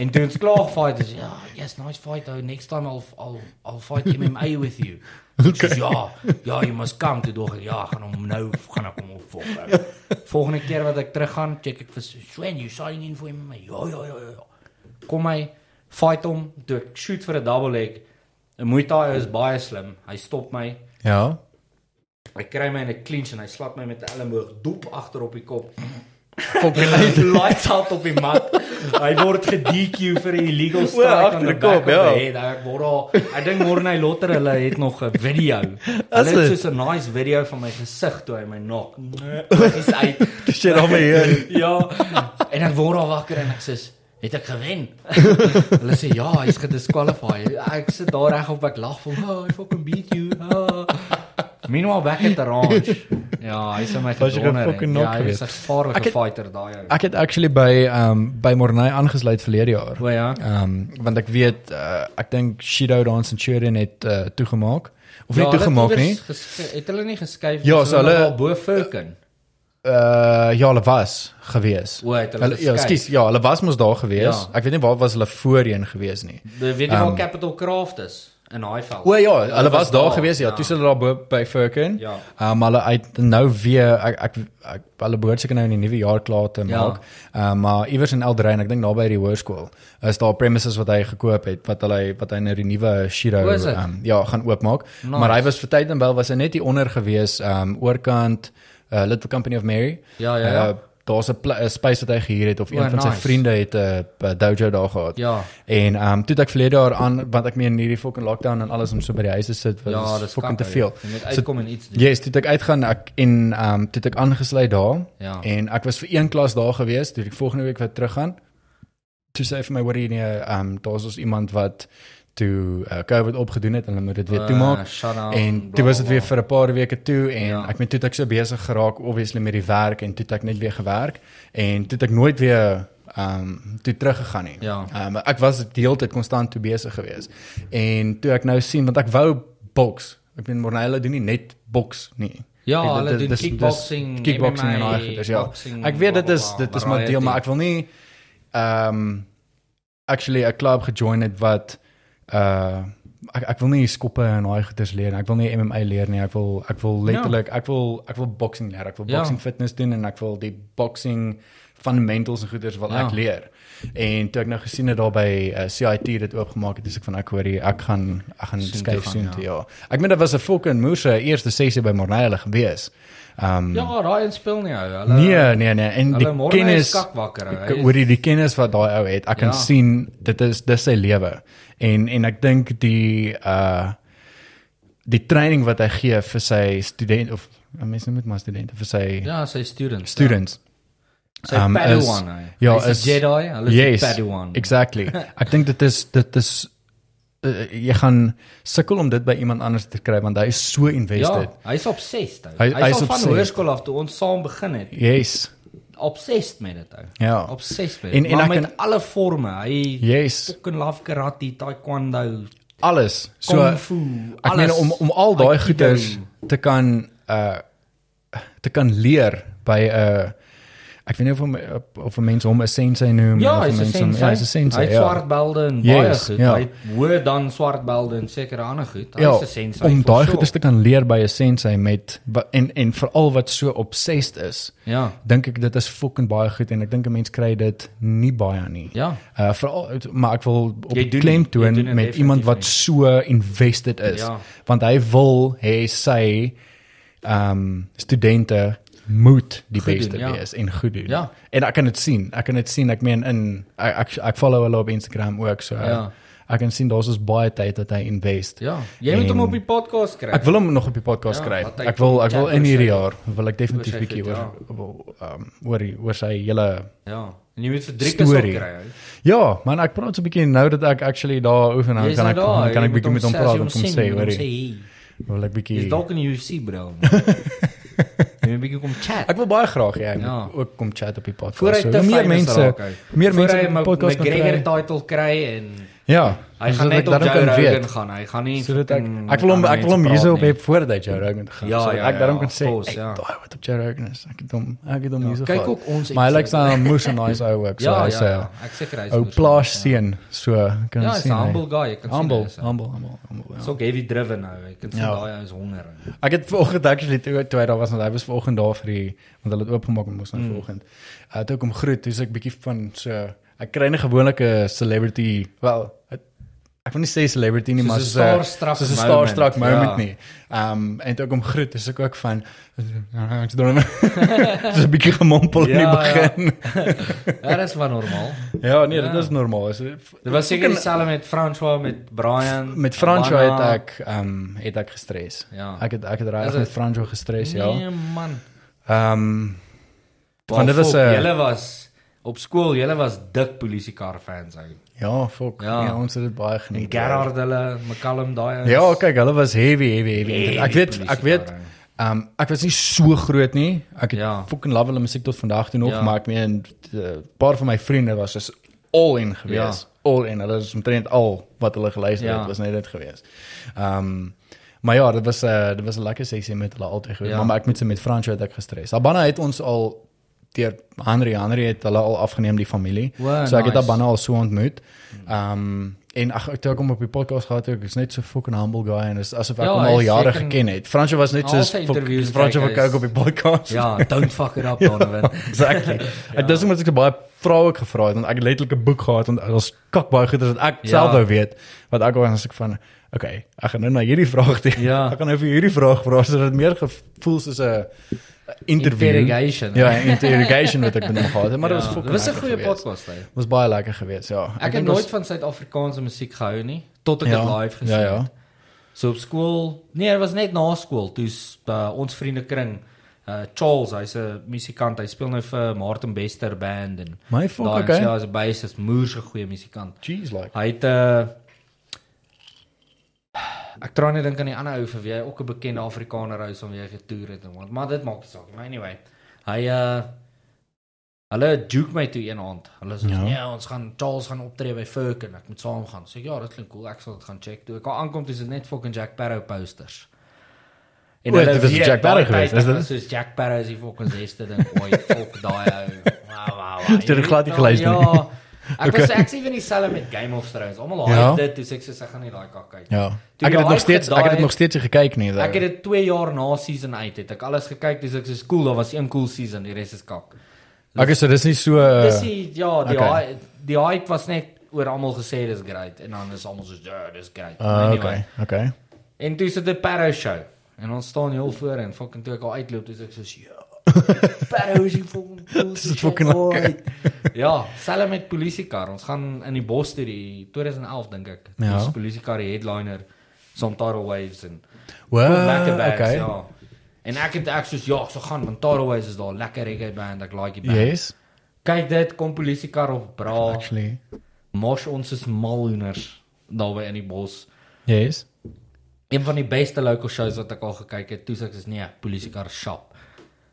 en doen ons klaar fight is ja, yes, nice fight though. Next time I'll I'll I'll fight MMA with you. Okay. Soos, ja, ja, jy moet kom toe dog. ek, Ja, gaan hom nou gaan ek hom opvolg. ou." Volgende keer wat ek terug gaan, check ek vir Swen, you signing in for MMA. Ja, ja, ja, ja, ja. Kom my fight hom, toe ek shoot vir 'n double leg. 'n Muay Thai ou is baie slim. Hy stop my.
Ja.
Hy kry my in 'n clinch en hy slap my met 'n elleboog doep agter op die kop.
Fucking
Hy lights out op die mat. Hy word ge-DQ vir 'n illegal strike
agter
aan die
die
kop.
kop, ja.
Ja, daar word al. Ek dink Morney Lotter hulle het nog 'n video. Hulle
dit?
het so 'n nice video van my gesig toe hy my nok. Dis uit.
Shit hom hier.
ja. En ek word al wakker en ek sê Het ek gewen? Hulle sê ja, hy's gedisqualify. Ek sit daar reg op ek lag van, "Oh, I fucking beat you." Oh. Meanwhile back at the ranch. Ja, hy's aan my
Was jy
gedonder.
gefucking
en- Ja,
knock
hy's 'n
Ek
gevaarlike
het-
fighter daai ou.
Ek het actually by ehm um, by Morney aangesluit verlede jaar.
O ja.
Ehm um, want ek weet uh, ek dink Shido Dance and Churin het uh, toegemaak of nie
Ja, hulle het
toegemaak
iewers
nie.
geske- Het hulle nie geskuif
Ja,
nie,
so hulle-
al bo Vulcan.
Uh ja, hulle was gewees.
O, het hulle
ja,
geskuif?
skus, ja, hulle was mos daar gewees.
Ja.
Ek weet nie waar was hulle voorheen gewees nie.
Weet jy waar Capital Craft is in Highveld?
Ehm. O ja, hulle was daar gewees. Ja, toe sit hulle daar bo by Furkin.
Ja.
Um hulle uit nou weer ek ek, ek hulle behoort seker nou in die nuwe jaar klaar te
Ja.
maak. Um maar iewers in Eldrain, ek dink naby die hoërskool, is daar premises wat hy gekoop het wat hulle wat hy nou die nuwe Shiro
O, is dit?
um ja, gaan oopmaak.
Nice.
Maar hy was vir tyd en wel was hy net hier onder gewees um oorkant uh, Little Company of Mary.
Ja, ja, ja.
Uh, Daar's 'n pla- 'n space wat hy gehuur het of
O,
een van sy
nice.
vriende het 'n uh, dojo daar gehad.
Ja.
En ehm um, toe het ek verlede jaar aan want ek meen hierdie fucking lockdown en alles om so by die huis te sit was
Ja,
ja,
dis
fucking
kakker,
te veel. Ja.
Jy moet
So-
uitkom en iets doen.
Yes, toe het ek uitgaan ek en ehm um, toe het ek aangesluit daar
Ja.
en ek was vir een klas daar gewees, toe ek volgende week weer teruggaan. Toe sê hy vir my hoor hier nee, ehm um, daar's ons iemand wat toe uh, COVID opgedoen het en hulle moet dit weer
O,
toemaak.
Eh, shut down,
En
bla,
toe was dit
bla,
weer
bla.
vir 'n paar weke toe en
Ja.
ja. ek meen toe het ek so besig geraak obviously met die werk en toe het ek net weer gewerk en toe het ek nooit weer ehm um, toe teruggegaan nie.
Ja.
Ehm um, ek was deeltyd konstant toe besig geweest. En toe ek nou sien want ek wou boks. Ek meen Mornella doen nie net boks nie.
Ja,
Dit-
hulle
dit-
doen
dis- dis
kickboxing,
kickboxing en
MMA,
daai goeders ja.
boxing,
Ek weet dit is
blablabla,
dit is maar deel maar ek wil nie ehm um, actually 'n klub gejoin het wat uh ek ek wil nie skoppe en daai goeders leer nie. Ek wil nie MMA leer nie. Ek wil ek wil letterlik ek wil ek wil boksing leer. Ek wil
Ja.
boksing fitness doen en ek wil die boksing fundamentals en goeders wat
Ja.
ek leer. En toe ek nou gesien het daar by uh, CIT dit oopgemaak het, dis ek van ek hoor hier, ek gaan ek gaan
toe
skuif
gaan,
soen
ja.
toe ja. Ek meen dit was 'n fucking moerse eerste sessie by Mornelle gewees. Um
Ja, daai een speel nie ou. Hulle
nee, nee, nee, en
Eh, hulle
die
môre is
kennis
skakwakker. ou. Hy
Ek
is-
oor die, die kennis wat daai ou het, ek kan
Ja.
sien dit is dis sy lewe. En en ek dink die uh die training wat hy gee vir sy student of uh, mense noem dit maar studente vir sy ja,
Ja, sy students.
students.
Ja. Sy
um,
Padawan.
is-
hy.
ja,
Hy's 'n
is-
Jedi, hulle is yes, Padawan.
Exactly. ek dink dit is dit is uh, jy gaan sukkel om dit by iemand anders te kry want hy is so invested.
Ja, hy's obsessed. ou.
Hy-
Hy's hy
hy's
al van
obsessed.
hoërskool af toe ons saam begin het.
Ja. Yes.
obsessed met dit ou.
Ja.
Obsessed met.
En-
En,
en
en
Ja.
maar
ek
met
kan-
alle forme. Hy
Yes.
fucking love karate, taekwondo,
Alles. So
kung fu,
Ek
alles.
meen om om al daai
Aikido.
goeders te kan uh te kan leer by 'n uh, ek weet nie of hom of 'n mens hom 'n sensei noem
Ja,
of
hy's 'n
hom-
sensei.
ja, hy's 'n sensei.
Hy het
ja.
swart belde en baie
Yes,
goed.
ja.
Hy het hoër dan swart belde en sekere ander goed. Hy's
Ja,
'n sensei.
om
for
daai
sure.
goeders te kan leer by 'n sensei met wa- en en veral wat so obsessed is.
Ja.
Dink ek dit is fucking baie goed en ek dink 'n mens kry dit nie baie nie.
Ja.
Uh veral maar ek wil op
Jy doen-
klem
jy doen
toon
dit
met iemand wat so invested is
Ja.
want hy wil hê sy ehm um, studente moet die
Goed
beste
doen, ja.
wees en goed doen.
Ja.
En ek kan dit sien. Ek kan dit sien. Ek meen in ek ek, ek follow hulle op Instagram ook so.
Ja.
Ek kan sien daar's ons baie tyd wat hy invest.
Ja, jy moet
En-
hom op die podcast kry.
Ek wil hom nog op die podcast
Ja,
kry.
laat hy
Ek wil ek wil in hierdie
chat
jaar wil ek definitief
Oor sy
bietjie
goed,
oor oor, ehm oor die- oor sy hele
Ja. En jy moet vir 3 keer op
Story.
kry. ou.
Ja, man, ek praat so 'n bietjie nou dat ek actually daar oefen
Jy
dan
is
kan
nou
ek
daar,
dan kan
jy
ek bietjie met hom
sê as
praat
jy
en kom
sien,
sê
jy
hoor.
moet
jy.
hé,
Wil ek
Jy's
bietjie
dalk in die UFC bro. Jy moet 'n bietjie kom chat.
Ek wil baie graag hê hy
Ja.
moet ook kom chat op die podcast.
Vooruit
So,
te
hoe meer
famous
mense
raak, ou.
meer
Voor
mense
hy
op die
Ma-
podcast kan
McGregor
kry.
title kry en
Ja.
Hy
Sodat
gaan
ek
net op
daarom
Joe
kan
Rogan
weet.
gaan. Hy gaan nie
Sodat ek
fucking
ek wil hom
ander
ek wil hom
mense
hierso op
praat
hê
nie.
voordat hy Joe Rogan toe gaan.
Ja,
sodat
ja,
ek daarom
ja,
kan sê,
of course,
"Hey,
ja.
daai wat op Joe Rogan is. Ek het hom ek het hom hierso.
Kyk
gehad."
ook ons
Maar hy lyk
episode.
so moes en nice ou ook. So
Ja,
hy
ja,
sê
ja. Ek seker hy is
ou
moes,
plaas
ja.
seun. So kan
Ja,
ons
hy's
sien.
'n
hy-
humble guy. Ek kan sien.
humble,
hy is, ja.
humble, humble, humble.
Hy's
ja.
ook heavy driven nou. Ek kan sien
Ja.
daai ou is honger.
Ek het vanoggend actually toe toe hy daar was want hy was vanoggend daar vir die want hulle het oopgemaak en
Hmm.
mos nou vanoggend. Hy het ook hom groet, dis ek bietjie van so ek kry 'n gewone celebrity, wel het, ek wil nie sê celebrity nie,
Soos
maar
een
soos 'n
starstruck
soos 'n
moment,
starstruck
ja.
moment nie. Ehm um, en toe ek hom groet, dis ek ook van ek sê dan dis 'n bietjie gemompel in die
Ja, ja.
begin.
Ja, dit is maar normaal.
Ja, nee,
Ja.
dit is normaal. Is dit-
Dit was seker dieselfde met François met Brian.
met Franco het
Havana.
ek ehm um, het ek gestres.
Ja.
Ek het ek het
Is
regtig
het?
met Franco gestres, ja.
Nee man.
Ehm um,
Want dit was
'n-
julle was op skool, julle was dik polisiekar fans ou.
Ja, fuck.
Ja.
Ja, ja ons het dit baie
En
geniet.
Gerard hulle, McCallum daai ouens.
nee. Ja, kyk, hulle was heavy, heavy, heavy.
Heavy
Heavy ek weet,
polisie
ek weet.
daar,
Ehm um, ek was nie so groot nie. Ek het
Ja.
ja. fucking love hulle musiek tot vandag toe nog,
Ja.
ja. maar ek meen 'n paar van my vriende was is all in gewees. Ja. All in. Hulle is omtrent al wat hulle geluister
Ja.
ja. het, was net dit gewees. Ehm um, maar ja, dit was 'n uh, dit was 'n lekker sessie met hulle altyd gewees.
Ja.
Ja. Maar, maar ek moet sê met Franco het ek gestres. Abana het ons al deur Henry Henry het hulle al afgeneem die familie.
Wow,
so ek het
Ah, nice.
Abana al so ontmoet. Ehm um, en ag ek het ook hom op die podcast gehad, ek is net so fucking humble guy en is asof ek
Ja,
hom
hy
al
is
jare
seker-
geken het. Fransjo was net
Al
soos
sy interviews
Fransjo
kyk,
wat
hy
kyk
is-
op die podcast.
Ja, don't fuck it up Donovan.
exactly. Ek dis omdat ek so baie vrae ook gevra het want ek het letterlik 'n boek gehad en daar's kak baie goed wat ek
Ja.
self wou weet wat ek wou en as ek van okay, ek gaan nou na hierdie vraag toe.
Ja.
Ek gaan nou vir hierdie vraag vra sodat dit meer gevoel soos 'n interview.
Interrogation.
Ja, 'n interrogation wat ek met hom gehad het, maar dit was
dit
fucking
Ja, was 'n
lekker
goeie
geweest.
podcast hy.
Was baie lekker geweest, ja.
Ek het
dink ons-
nooit van Suid-Afrikaanse musiek gehou nie tot ek dit
ja,
live gesien
Ja,
het.
ja.
So op skool, nee, dit was net na skool, toe uh, ons vriende kring uh Charles, hy's 'n musikant, hy speel nou vir Martin Bester band en
My fuck,
daai
okay.
ouens, Ja, hy's 'n bassist, moerse goeie musikant.
Jeez like.
Hy het 'n Ek try net dink aan die ander ou vir wie hy ook 'n bekende Afrikaner ou is van wie hy getoer het en wat, maar dit maak nie saak nie. Maar anyway, hy uh hulle juke my toe een aand. Hulle sê ja.
Ja.
nee, ons gaan Charles gaan optree by Furk en ek moet saam gaan. Sê ek, ja, dit klink cool. Ek sal dit gaan check toe. Ek al aankom dis dit net fucking Jack Sparrow posters.
O, dit is
weet,
Jack Sparrow
daai tyd,
geweest, is
ek
dit?
was Soos Jack Sparrow is die fucking zesde ding ooit fok daai ou. Wow, wow. wow.
Is dit glad nie geluister nie?
Ja. Ek okay. was ek sien nie dieselfde met Game of Thrones. Almal haat
Ja.
dit, dis ek sê ek gaan nie daai kak kyk. nie.
Ja.
Toe
Ek
jy
het dit nog
hype
steeds ek
gedaai
het dit nog steeds nie gekyk nie.
Ek het dit 2 jaar na season 8 het ek alles gekyk, dis ek sê cool, daar was een cool season, die res is kak.
Okay, so dis nie so uh,
Dis die, ja, die
Eh, okay.
okay. die hype was net oor almal gesê dis great en dan is almal so ja, dis great.
Ah, okay. Okay.
En toe is dit 'n Parow show en ons staan heel voor en fucking toe ek al uitloop, dis ek so ja. Parow is die fucking cool.
Dis fucking lekker.
Ja, selfs met polisiekar. Ons gaan in die bos toe die 2011 dink ek.
Ja.
Dis polisiekar die headliner som Tidal Waves en
Wow,
lekker
Ah,
bands,
okay.
ja. En ek het ek soos ja, ek sou gaan want Tidal Waves is daar lekker reggae band, ek like die band.
Yes.
Kyk dit kom polisiekar op bra.
Actually.
Mos ons is malhoenders daarby in die bos.
Yes.
Een van die beste local shows wat ek al gekyk het. Toe sê ek is nee, polisiekar shop.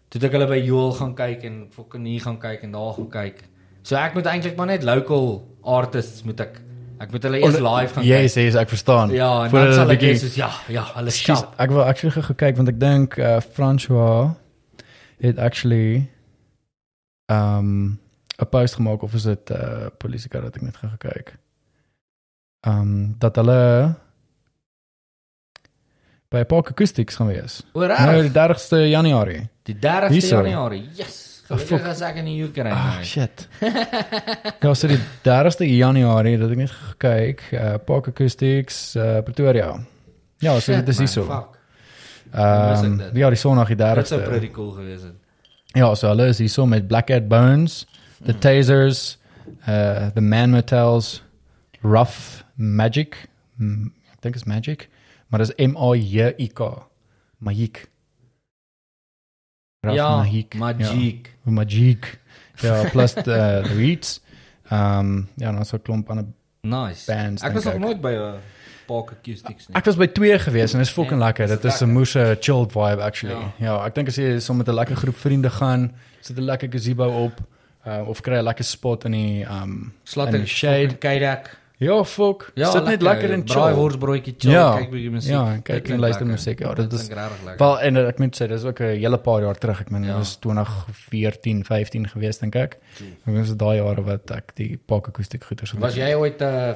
Toe het ek hulle by Joel gaan kyk en fucking hier gaan kyk en daar gaan kyk. So ek moet eintlik maar net local artists moet ek ek moet hulle eers live gaan
Yes, yes, ek verstaan.
kyk. Ja, en
Voordat
dan
dit
sal ek
bietjie-
eers soos ja, ja, hulle
Skus,
shop.
Ek wil actually gou kyk want ek dink uh François het actually um 'n post gemaak of is dit uh Politica dat ek net gou gekyk. Um dat hulle by Park Acoustics gaan wees.
Oor
Nou
reg.
die 30ste Januarie.
Die 30ste
Hierso.
Januarie. Yes.
Ah,
Gelukkig
fuck.
as ek in die UK ry.
Ah,
nou.
shit. ja, so die 30ste Januarie dat ek net gekyk, uh, Park Acoustics uh, Pretoria. Ja, so
Shit,
dit is
man,
hierso.
fuck. dan mis ek
Ehm
dit.
ja, die Sondag die
Dit sou
30ste.
pretty cool gewees het.
Ja, so hulle is hierso met Black Cat Bones, The
Mm.
Tasers, uh The Man Motels, Rough Magic. Mm, ek dink is Magic, maar dis M A J I K. Magic. Rough
Ja,
Magic. ja.
Magiek.
Magiek. Ja, plus de The Reeds. Ehm ja, nou so 'n klomp ander.
Nice.
Bands,
ek
dink
was nog
ek.
nooit by 'n Park Acoustics nie.
Ja. Ek was by twee gewees en dit is fucking
Nee,
lekker.
dis
Dit is
lekker.
'n moose chilled vibe actually. Ja, ek dink as jy saam met 'n lekker groep vriende gaan, sit 'n lekker gazebo op uh, of kry 'n lekker spot in die ehm
Slat
in
en
die shade.
shade kyk ek.
Ja, fuck.
Ja,
Sit net lekker in
Braai
chill.
worsbroodjie chill,
Ja.
kyk bietjie musiek.
Ja, en
Dit
kyk en
klink
luister
lekker.
musiek, ja, dit is-
klink regtig lekker.
Wel en ek moet sê dis ook 'n hele paar jaar terug. Ek meen dit
Ja.
was 2014, 15 gewees dink ek. Ek was daai jare wat ek die pak akoestiek goeters
Was jy ooit eh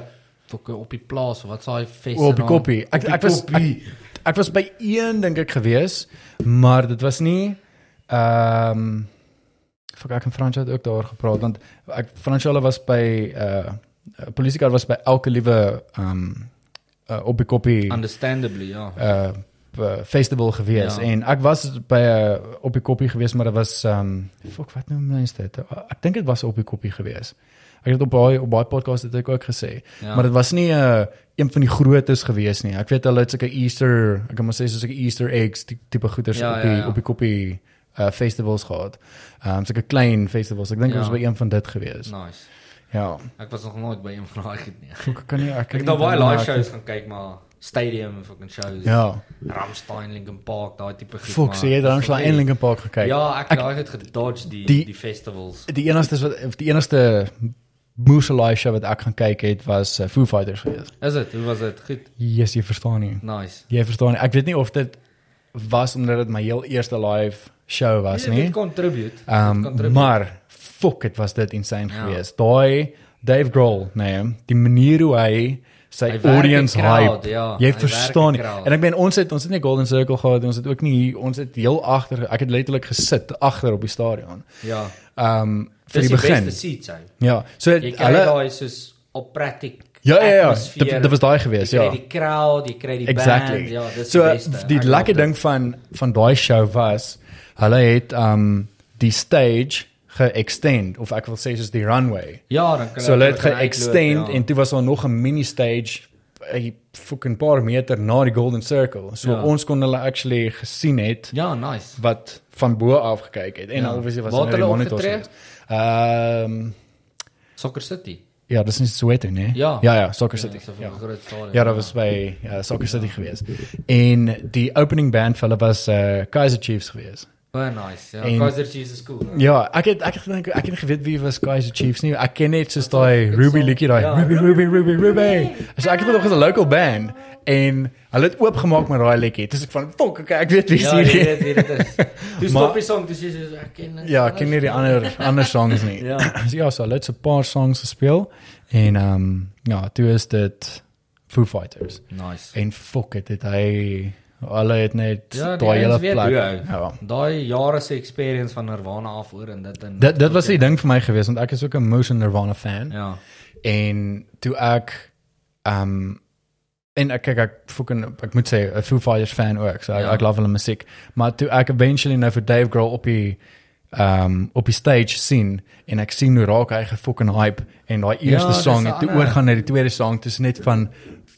fuck, op die plaas of wat s'n daai fees?
O, Oh, op die koppie.
Op
Ek
die
ek was
koppie.
ek, ek was by een dink ek gewees, maar dit was nie ehm um, fuck ek en Fransjo het ook daar gepraat want ek Fransjo was by eh uh, polisiekar was by elke liewe ehm um, uh, op die koppie
understandably, ja.
uh uh, festival gewees
Ja.
ja. en ek was by 'n op die koppie gewees maar dit was um fuck wat noem mens dit? Ek dink dit was op die koppie gewees. Ek het op baie op baie podcast het ek ook gesê.
Ja.
Ja. Maar dit was nie 'n uh, een van die grootes gewees nie. Ek weet hulle het seker Easter, ek kan maar sê soos 'n Easter eggs die- tipe goeders
Ja,
ja, op die
ja,
ja,
ja.
ja. op die koppie uh festivals gehad. Um seker klein festivals. Ek dink
Ja. Nou.
ja. ons by een van dit gewees. No.
Nice.
Ja.
Ek was nog nooit by een van daai goed nie.
Fuck, Ek kan nie ek
Ek
kan
het
nie
daar baie
onthou,
live
maar ek-
shows gaan kyk maar stadium fucking shows.
Ja.
Ramstein Linkin Park, daai tipe goed.
Fuck,
maar-
sê jy dan slaan
Nee.
in Linkin Park gekyk.
Ja, ek het daai het gedodge die die,
Die-
festivals.
die enigste wat of die enigste Moose Alive show wat ek gaan kyk het was uh, Foo Fighters gewees.
Is dit? Hoe was dit? Goed.
Yes, jy verstaan nie.
Nice.
Jy verstaan nie. Ek weet nie of dit was omdat dit my heel eerste live show was nie.
Nee, Dit contribute. Dit
Ehm um,
contribute.
maar fuck, dit was dit insane
Ja.
ja. geweest. Daai Dave Grohl, nee, die manier hoe hy sy
Hy werk in
audience
crowd,
hype.
ja. Hy
jy
werk in
verstaan nie.
crowd.
En ek meen ons het ons het nie Golden Circle gehad, ons het ook nie hier- ons het heel agter ek het letterlik gesit agter op die stadion.
ja.
Ehm um,
Dis
vir die begin.
beste seats ou.
Ja, so
Jy
het,
kry
hulle
daai soos operatic.
Ja ja ja,
atmosfeer.
dit, dit was daai gewees,
Jy
ja.
kry die crowd, jy kry die
Exactly.
band. Ja, dis
so
die beste.
die
Ek love
lekker
dit.
ding van van daai show was hulle het um die stage ge-extend of ek wil sê soos die runway.
Ja, dan kan
So hulle het
kan
ge-extend
uitloop, ja.
en toe was daar nog 'n mini stage 'n fucking paar meter na die Golden Circle. So
Ja.
ja. ons kon hulle actually gesien het
Ja, nice.
wat van bo af gekyk het en
Ja.
ja. obviously was
Waar
daar
het
nou die
hulle
monitors.
opgetree?
geweest. Ehm um,
Soccer City.
ja, dis nie Soweto nie.
Ja.
ja, ja Soccer City.
Ja, so
Ja.
ja. groot stadion.
Ja, dat was bij eh Soccer City geweest. En die opening band van hulle was eh Kaiser Chiefs geweest.
Baie nice. Ja,
En-
Kaiser Chiefs is cool. hè?
Ja, ek het ek het gedink ek het nie geweet wie was Kaiser Chiefs nie. Ek ken net soos daai Ruby liedjie daai.
Ja.
Ruby Ruby Ruby Ruby. So ek het nog as 'n local band en hulle het oopgemaak met daai liedjie. Dis ek van fuck, okay, ek weet wie is
Ja, jy
hierdie.
weet wie dit is. Toe
Maar-
stop die song, dis is ek ken. niks
Ja, ek ken nie die ander ander songs nie.
Ja.
So ja, so hulle het so 'n paar songs gespeel en ehm um, ja, toe is dit Foo Fighters.
anders. Nice.
En fuck het dit hy alle het net
Ja,
ja,
die
daai hele
ouens weet
plek.
hoe, ou.
Ja.
Daai jare se experience van Nirvana af oor en dit en
Dit dit was die ding vir my gewees want ek is ook 'n Motion Nirvana fan
Ja.
en toe ek um en ek kyk ek fucking ek moet sê 'n Foo Fighters fan ook. So ek,
Ja.
ja. ek love hulle musiek. Maar toe ek eventually nou vir Dave Grohl op die um op die stage sien en ek sien hoe raak hy gefucking hype en daai eerste
dis
ja, song en
die
toe
ander.
oorgaan na die tweede song dis net van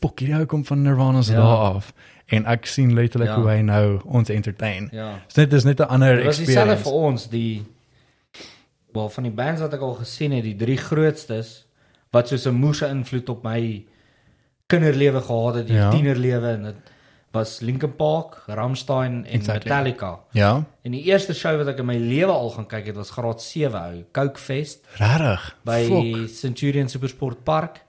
fuck hierdie ou kom van Nirvana se
Ja.
ja. dae af en ek sien letterlik
Ja.
ja. hoe hy nou ons entertain. Ja.
Ja.
So dit is net 'n ander
Dit was dieselfde
experience.
vir ons die wel van die bands wat ek al gesien het, die drie grootstes wat soos 'n moerse invloed op my kinderlewe gehad het, die ja.
Ja.
tienerlewe en dit was Linkin Park, Rammstein en exactly.
Exactly.
Metallica.
Ja,
En die eerste show wat ek in my lewe al gaan kyk het was graad 7 ou, Coke Fest.
regtig.
by
Fuck.
Centurion Supersport Park.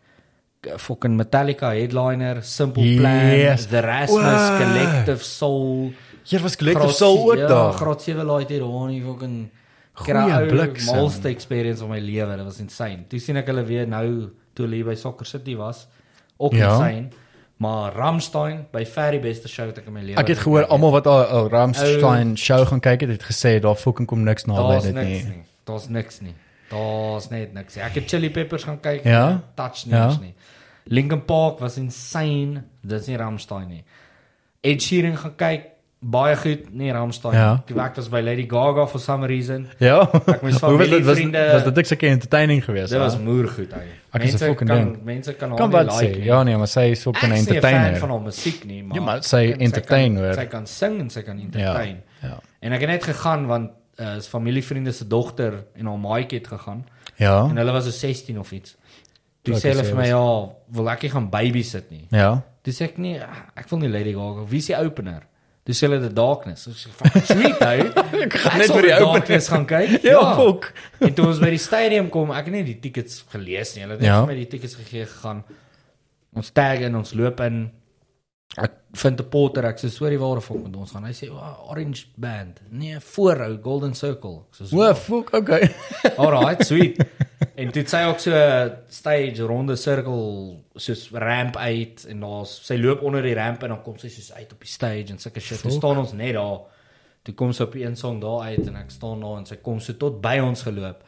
K- Fucking Metallica headliner, Simple
Yes.
Plan, The Rasmus
Wow.
Collective Soul.
Hier was Collective
Graad
Soul
sie-
ook
ja,
daar.
Graad 7 laait hier daar nie fucking
Goeie bliksem.
Malste experience van my lewe, dit was insane. Toe sien ek hulle weer nou toe hulle hier by Soccer City was, ook ja.
Ja.
insane. Maar Ramstein by Ferry beste show wat Ja, ek in my lewe
Ek het gehoor almal wat al, al Ramstein show gaan kyk het, het gesê daar fucking kom niks naby
daar's
dit
niks
nie.
nie. Daar's niks nie. Daar's net niks. nie. Ek het Chili Peppers gaan kyk,
Ja?
nie, touch niks
Ja?
nie. Linkin Park was insane. Dis nie Rammstein nie. Ed Sheeran gaan kyk, baie goed, nie Rammstein
Ja.
nie. Ek was by Lady Gaga for some reason.
Ja.
Ek moes
Hoe was dit was,
familievriende-
was dit ek seker entertaining geweest.
Dit was
hè?
moer goed hy.
Ek is 'n fucking
kan
ding.
mense kan haar
kan
nie
wat
like
sê.
nie.
Ja nee, maar sy is ook 'n
Ek is nie 'n fan van
entertainer.
haar musiek nie, maar
Ja, maar sy
en
entertain,
kan-
hoor.
Sy kan sing en sy kan entertain.
Ja. Ja.
En ek het net gegaan want uh, is familievriende se dogter en haar maatjie het gegaan.
Ja.
En eh, hulle was so 16 of iets. Toe
Ek
sê hulle
sê
vir my ja, wil ek nie gaan babysit nie.
Ja.
Toe sê ek nee, ah, ek wil nie Lady Gaga. Wie is die opener? Toe sê hulle The Darkness. Ek sê fuck sweet ou.
Ek gaan
sal
net vir die
The
opening.
Darkness gaan kyk.
Ja, fok.
En toe ons by die stadium kom, ek het nie die tickets gelees nie. Hulle het net
Ja.
vir my die tickets gegee gegaan. Ons tag in, ons loop in. Ek vind 'n porter, ek sê sorry waar of met ons gaan. Hy sê oh, Orange Band. Nee, voorhou Golden Circle. Ek sê so,
Wow, fuck, okay.
Alright, sweet. En dit sy ook so 'n stage ronde sirkel soos ramp uit en daar's sy loop onder die ramp en dan kom sy soos uit op die stage en sulke shit. Toe
Fuck.
staan ons net daar. Toe kom sy op die een song daar uit en ek staan daar en sy kom so tot by ons geloop.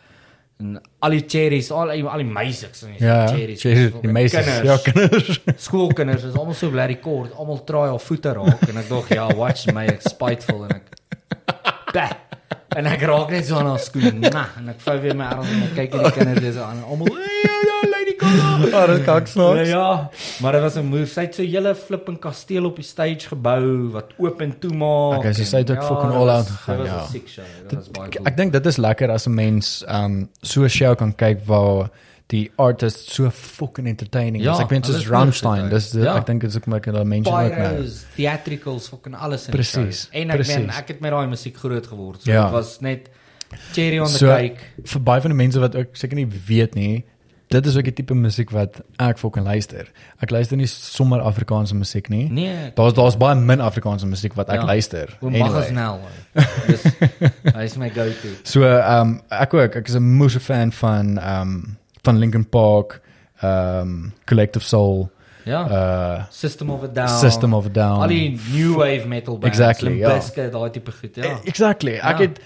En al die cherries, al al die meisies en die
Ja,
cherries.
Jesus, die meisies, ja, kinders.
Skoolkinders is almal so bly kort, almal traai haar voete raak en ek dink ja, watch my ek spiteful en ek bah, en ek raak net so aan haar skoen. Nah, en ek vou weer my arms en ek kyk hierdie kinders dis aan almal "Hey, ja ja lady Gaga.
Ah, dit kan
Ja,
snaaks.
ja, maar dit was 'n move. Sy het so 'n hele flipping kasteel op die stage gebou wat oop en toe maak.
Okay, so sy het ook fucking
dit
all
was-
out gegaan,
Dit
ja.
was 'n sick show. Dit was baie cool.
Ek dink dit is lekker as 'n mens um so 'n show kan kyk waar die artist so fucking entertaining
Ja,
is. Ek meen
hulle
soos
is
Rammstein,
entertaining.
dis
Ja.
ja. ek dink dit is ook maar 'n mense ook nou.
pyros, theatricals, fucking alles in
Presies,
die show. En ek
presies.
meen, ek het met daai musiek groot geword. So
Ja.
dit was net cherry on the
So-
cake.
Vir baie van die mense wat ook seker nie weet nie, dit is ook die tipe musiek wat ek fucking luister. Ek luister nie sommer Afrikaanse musiek nie.
Nee.
Daar's daar's baie min Afrikaanse musiek wat ek
Ja.
ja. luister.
Oom anyway. Magasnel. nou, Dis hy is my go-to.
So ehm um, ek ook ek is 'n moose fan van ehm um, van Linkin Park, ehm um, Collective Soul,
Ja. Uh,
uh
System of a Down.
System of a Down.
Al die new wave metal bands.
Exactly,
Limp
ja. Eh,
Bizkit, daai tipe goed, ja.
Exactly. Ek
Ja.
het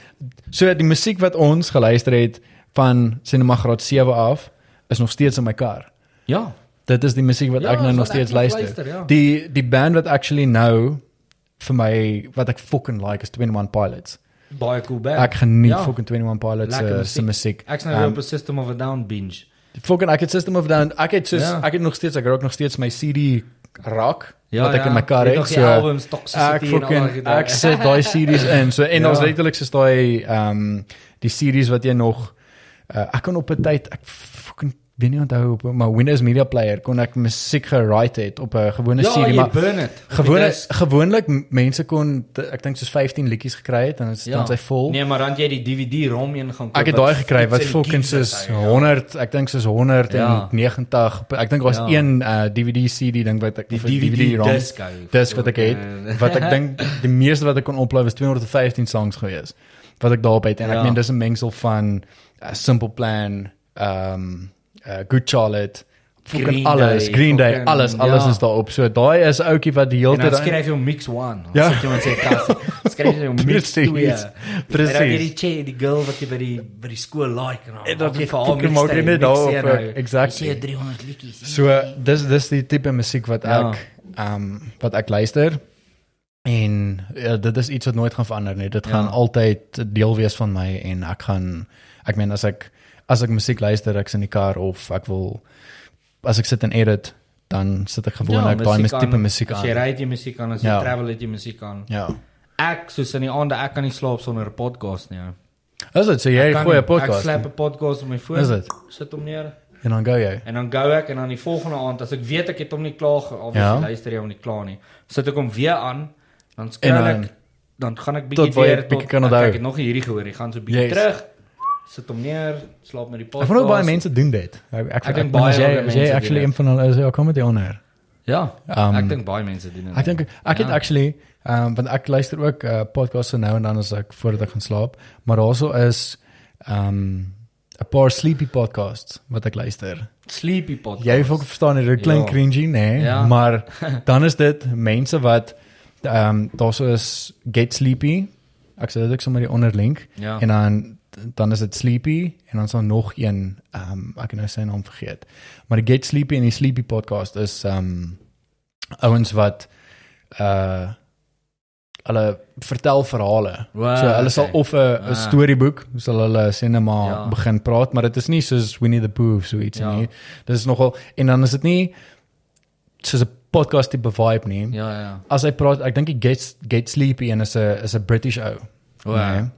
so die musiek wat ons geluister het van sinema graad 7 af is nog steeds in my kar.
Ja.
Dit is die musiek wat
Ja,
ek nou
is
nog
wat
steeds
ek nog
luister.
luister, ja.
Die die band wat actually nou vir my wat ek fucking like is 21 Pilots.
Baie cool band.
Ek geniet
Ja.
fucking 21 Pilots
Lekker
se se musiek.
Ek's nou
Ehm,
um, op 'n System of a Down binge.
Fucking ek het System of a Down. Ek het soos
Ja.
ek het nog steeds ek rook nog steeds my CD rak
Ja,
wat ek
ja.
in my kar
Jy
het.
nog die albums, Toxicity
ek
en al daai
fucking
gedoe.
ek sit daai CD's in. So en
Ja.
ons letterlik is daai ehm die CD's wat jy nog uh, ek kon op 'n tyd ek fucking weet nie onthou op maar Windows Media Player kon ek musiek gewrite het op 'n gewone
Ja,
CD
jy
maar
burn it.
gewone gewoonlik m- mense kon t- ek dink soos 15 liedjies gekry het en dit
Ja.
staan sy vol.
Nee, maar dan het jy die DVD rom een gaan koop.
Ek het
wat
daai gekry wat
fiets en
fucking
keys
soos
is, ja.
100, ek dink soos 190. Ek dink daar's
Ja.
een uh, DVD CD ding wat ek
Die
of 'n
DVD
ROM,
disk, ou.
dis wat ek het wat ek dink die meeste wat ek kon oplaai was 215 songs gewees wat ek daarop het en
Ja.
ek meen dis 'n mengsel van uh, Simple Plan, ehm uh, Good Charlotte, fucking
Green
alles,
Day,
Green Day,
fucking-
alles, alles
ja.
is daarop. So daai is ouetjie wat die hele
En dan
tyd aan-
skryf jy mix 1. Ja.
Ja.
Sit jy met sy kas. Skryf jy mix 2.
Precies.
En dan
Presies.
hierdie che die girl wat jy by die by die skool like en dan
En dan
maak jy vir haar
fucking
mix
maak jy
twee,
net
mix
daar op,
een, nou.
eh, exactly.
Jy sê 300 liedjies.
So dis dis die tipe musiek wat
Ja.
ek ehm wat ek luister en ja, dit is iets wat nooit gaan verander nie. Dit
Ja.
gaan altyd 'n deel wees van my en ek gaan ek meen as ek as ek musiek luister, ek's in die kar of ek wil as ek sit en edit, dan sit ek
Ja,
gewoonlik daai mus- tipe musiek
As jy
aan.
ry het jy musiek aan, as jy
Ja.
travel het jy musiek aan.
Ja.
Ek soos in die aande ek kan nie slaap sonder 'n podcast nie. ou.
Is dit so jy
Kan
gooi 'n
nie. Ek
podcast
slap 'n podcast op my foon.
Is dit?
Sit hom neer.
en dan go jy.
En dan gou ek en dan die volgende aand as ek weet ek het hom nie klaar ge- obviously
Ja.
ja. luister jy hom nie klaar nie. Sit ek hom weer aan, dan skrol
En
ek
dan-
dan gaan ek bietjie
Tot waar jy
weer tot
bietjie kan
ek-
onthou.
ek het nog nie hierdie gehoor, ek gaan so bietjie
Yes.
yes. terug. Sit hom neer, slaap met die
Ek
podcast.
wonder hoe baie mense doen dit. Ek ek,
Ek
ek
dink
dink baie
baie
jy
ouer
as
mense
jy
doen
actually
dit.
een van hulle is ja, kom met die ander.
Ja, um,
Um,
ek dink baie mense doen dit.
Ek dink ek het
Ja.
actually ehm um, want ek luister ook uh, podcasts nou en dan as ek voordat ek gaan slaap, maar daarso is ehm um, 'n paar sleepy podcasts wat ek luister.
sleepy podcast.
Jy wil verstaan dit klink
Ja.
cringy, nee,
Ja.
maar dan is dit mense wat ehm um, daarso is Get Sleepy. Ek sal dit ook sommer die onderlink
Ja.
en dan dan is dit Sleepy en dan is daar nog een ehm um, ek het nou sy naam vergeet. Maar die Get Sleepy en die Sleepy podcast is ehm um, ouens wat uh hulle vertel verhale.
Wow,
so hulle sal
okay.
of 'n 'n
Ah.
storieboek, sal hulle sinema
Ja.
begin praat, maar dit is nie soos Winnie the Pooh of so iets
Ja.
nie. Dit is nogal en dan is dit nie soos 'n podcast tipe vibe nie.
Ja, ja.
As hy praat, ek dink die Get Get Sleepy en is 'n is 'n British ou.
Wow.
Nee.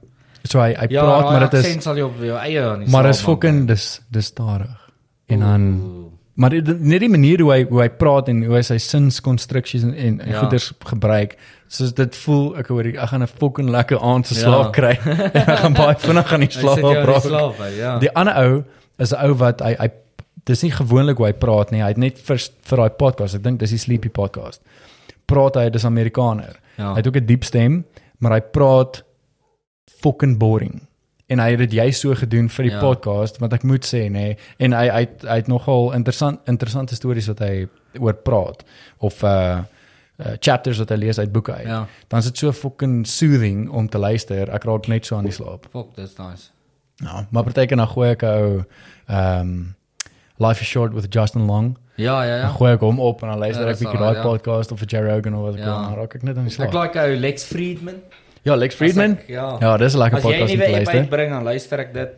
So hy hy
Ja,
praat, maar dit is
sens al jy op jou eie aan die
maar
slaap
is
maak. ja.
fucking dis dis stadig. En dan
Oeh.
Maar dit- dit- net die manier hoe hy hoe hy praat en hoe hy sy sinskonstruksies en, en
Ja.
ja. goeders gebruik, soos dit voel ek hoor ek gaan 'n fucking lekker aand se
Ja.
slaap kry. ek gaan baie vinnig gaan die
Hy sit
slaap
jou in die
raak.
slaap, hy, ja.
Die ander ou is 'n ou wat hy hy Dis nie gewoonlik hoe hy praat nie. Hy het net vir vir daai podcast, ek dink dis die Sleepy podcast. Praat hy dis Amerikaner.
Ja.
Hy het ook 'n diep stem, maar hy praat fucking boring. En hy het dit juist so gedoen vir die
Ja.
ja. podcast, want ek moet sê nê, nee, en hy hy het, hy het nogal interessant interessante stories wat hy oor praat of uh, uh chapters wat hy lees uit boeke uit.
Ja.
Dan is dit so fucking soothing om te luister. Ek raak net so aan die slaap.
Fuck, that's nice.
Ja, Nou, maar partykeer dan gooi ek 'n ou ehm Life is Short with Justin Long.
Ja, ja,
Dan
ja.
gooi ek hom op en dan
Ja,
luister
dat
ek
is
bietjie
alright,
daai
ja.
podcast of vir Joe Rogan of wat ek
Ja.
wil, dan raak ek net aan die
Ek
slaap.
like ou Lex Friedman.
Ja, Lex Friedman.
As Ek, ja.
Ja, dis 'n lekker
As jy
podcast om
nie
te
weer by
luister.
bring dan luister ek dit.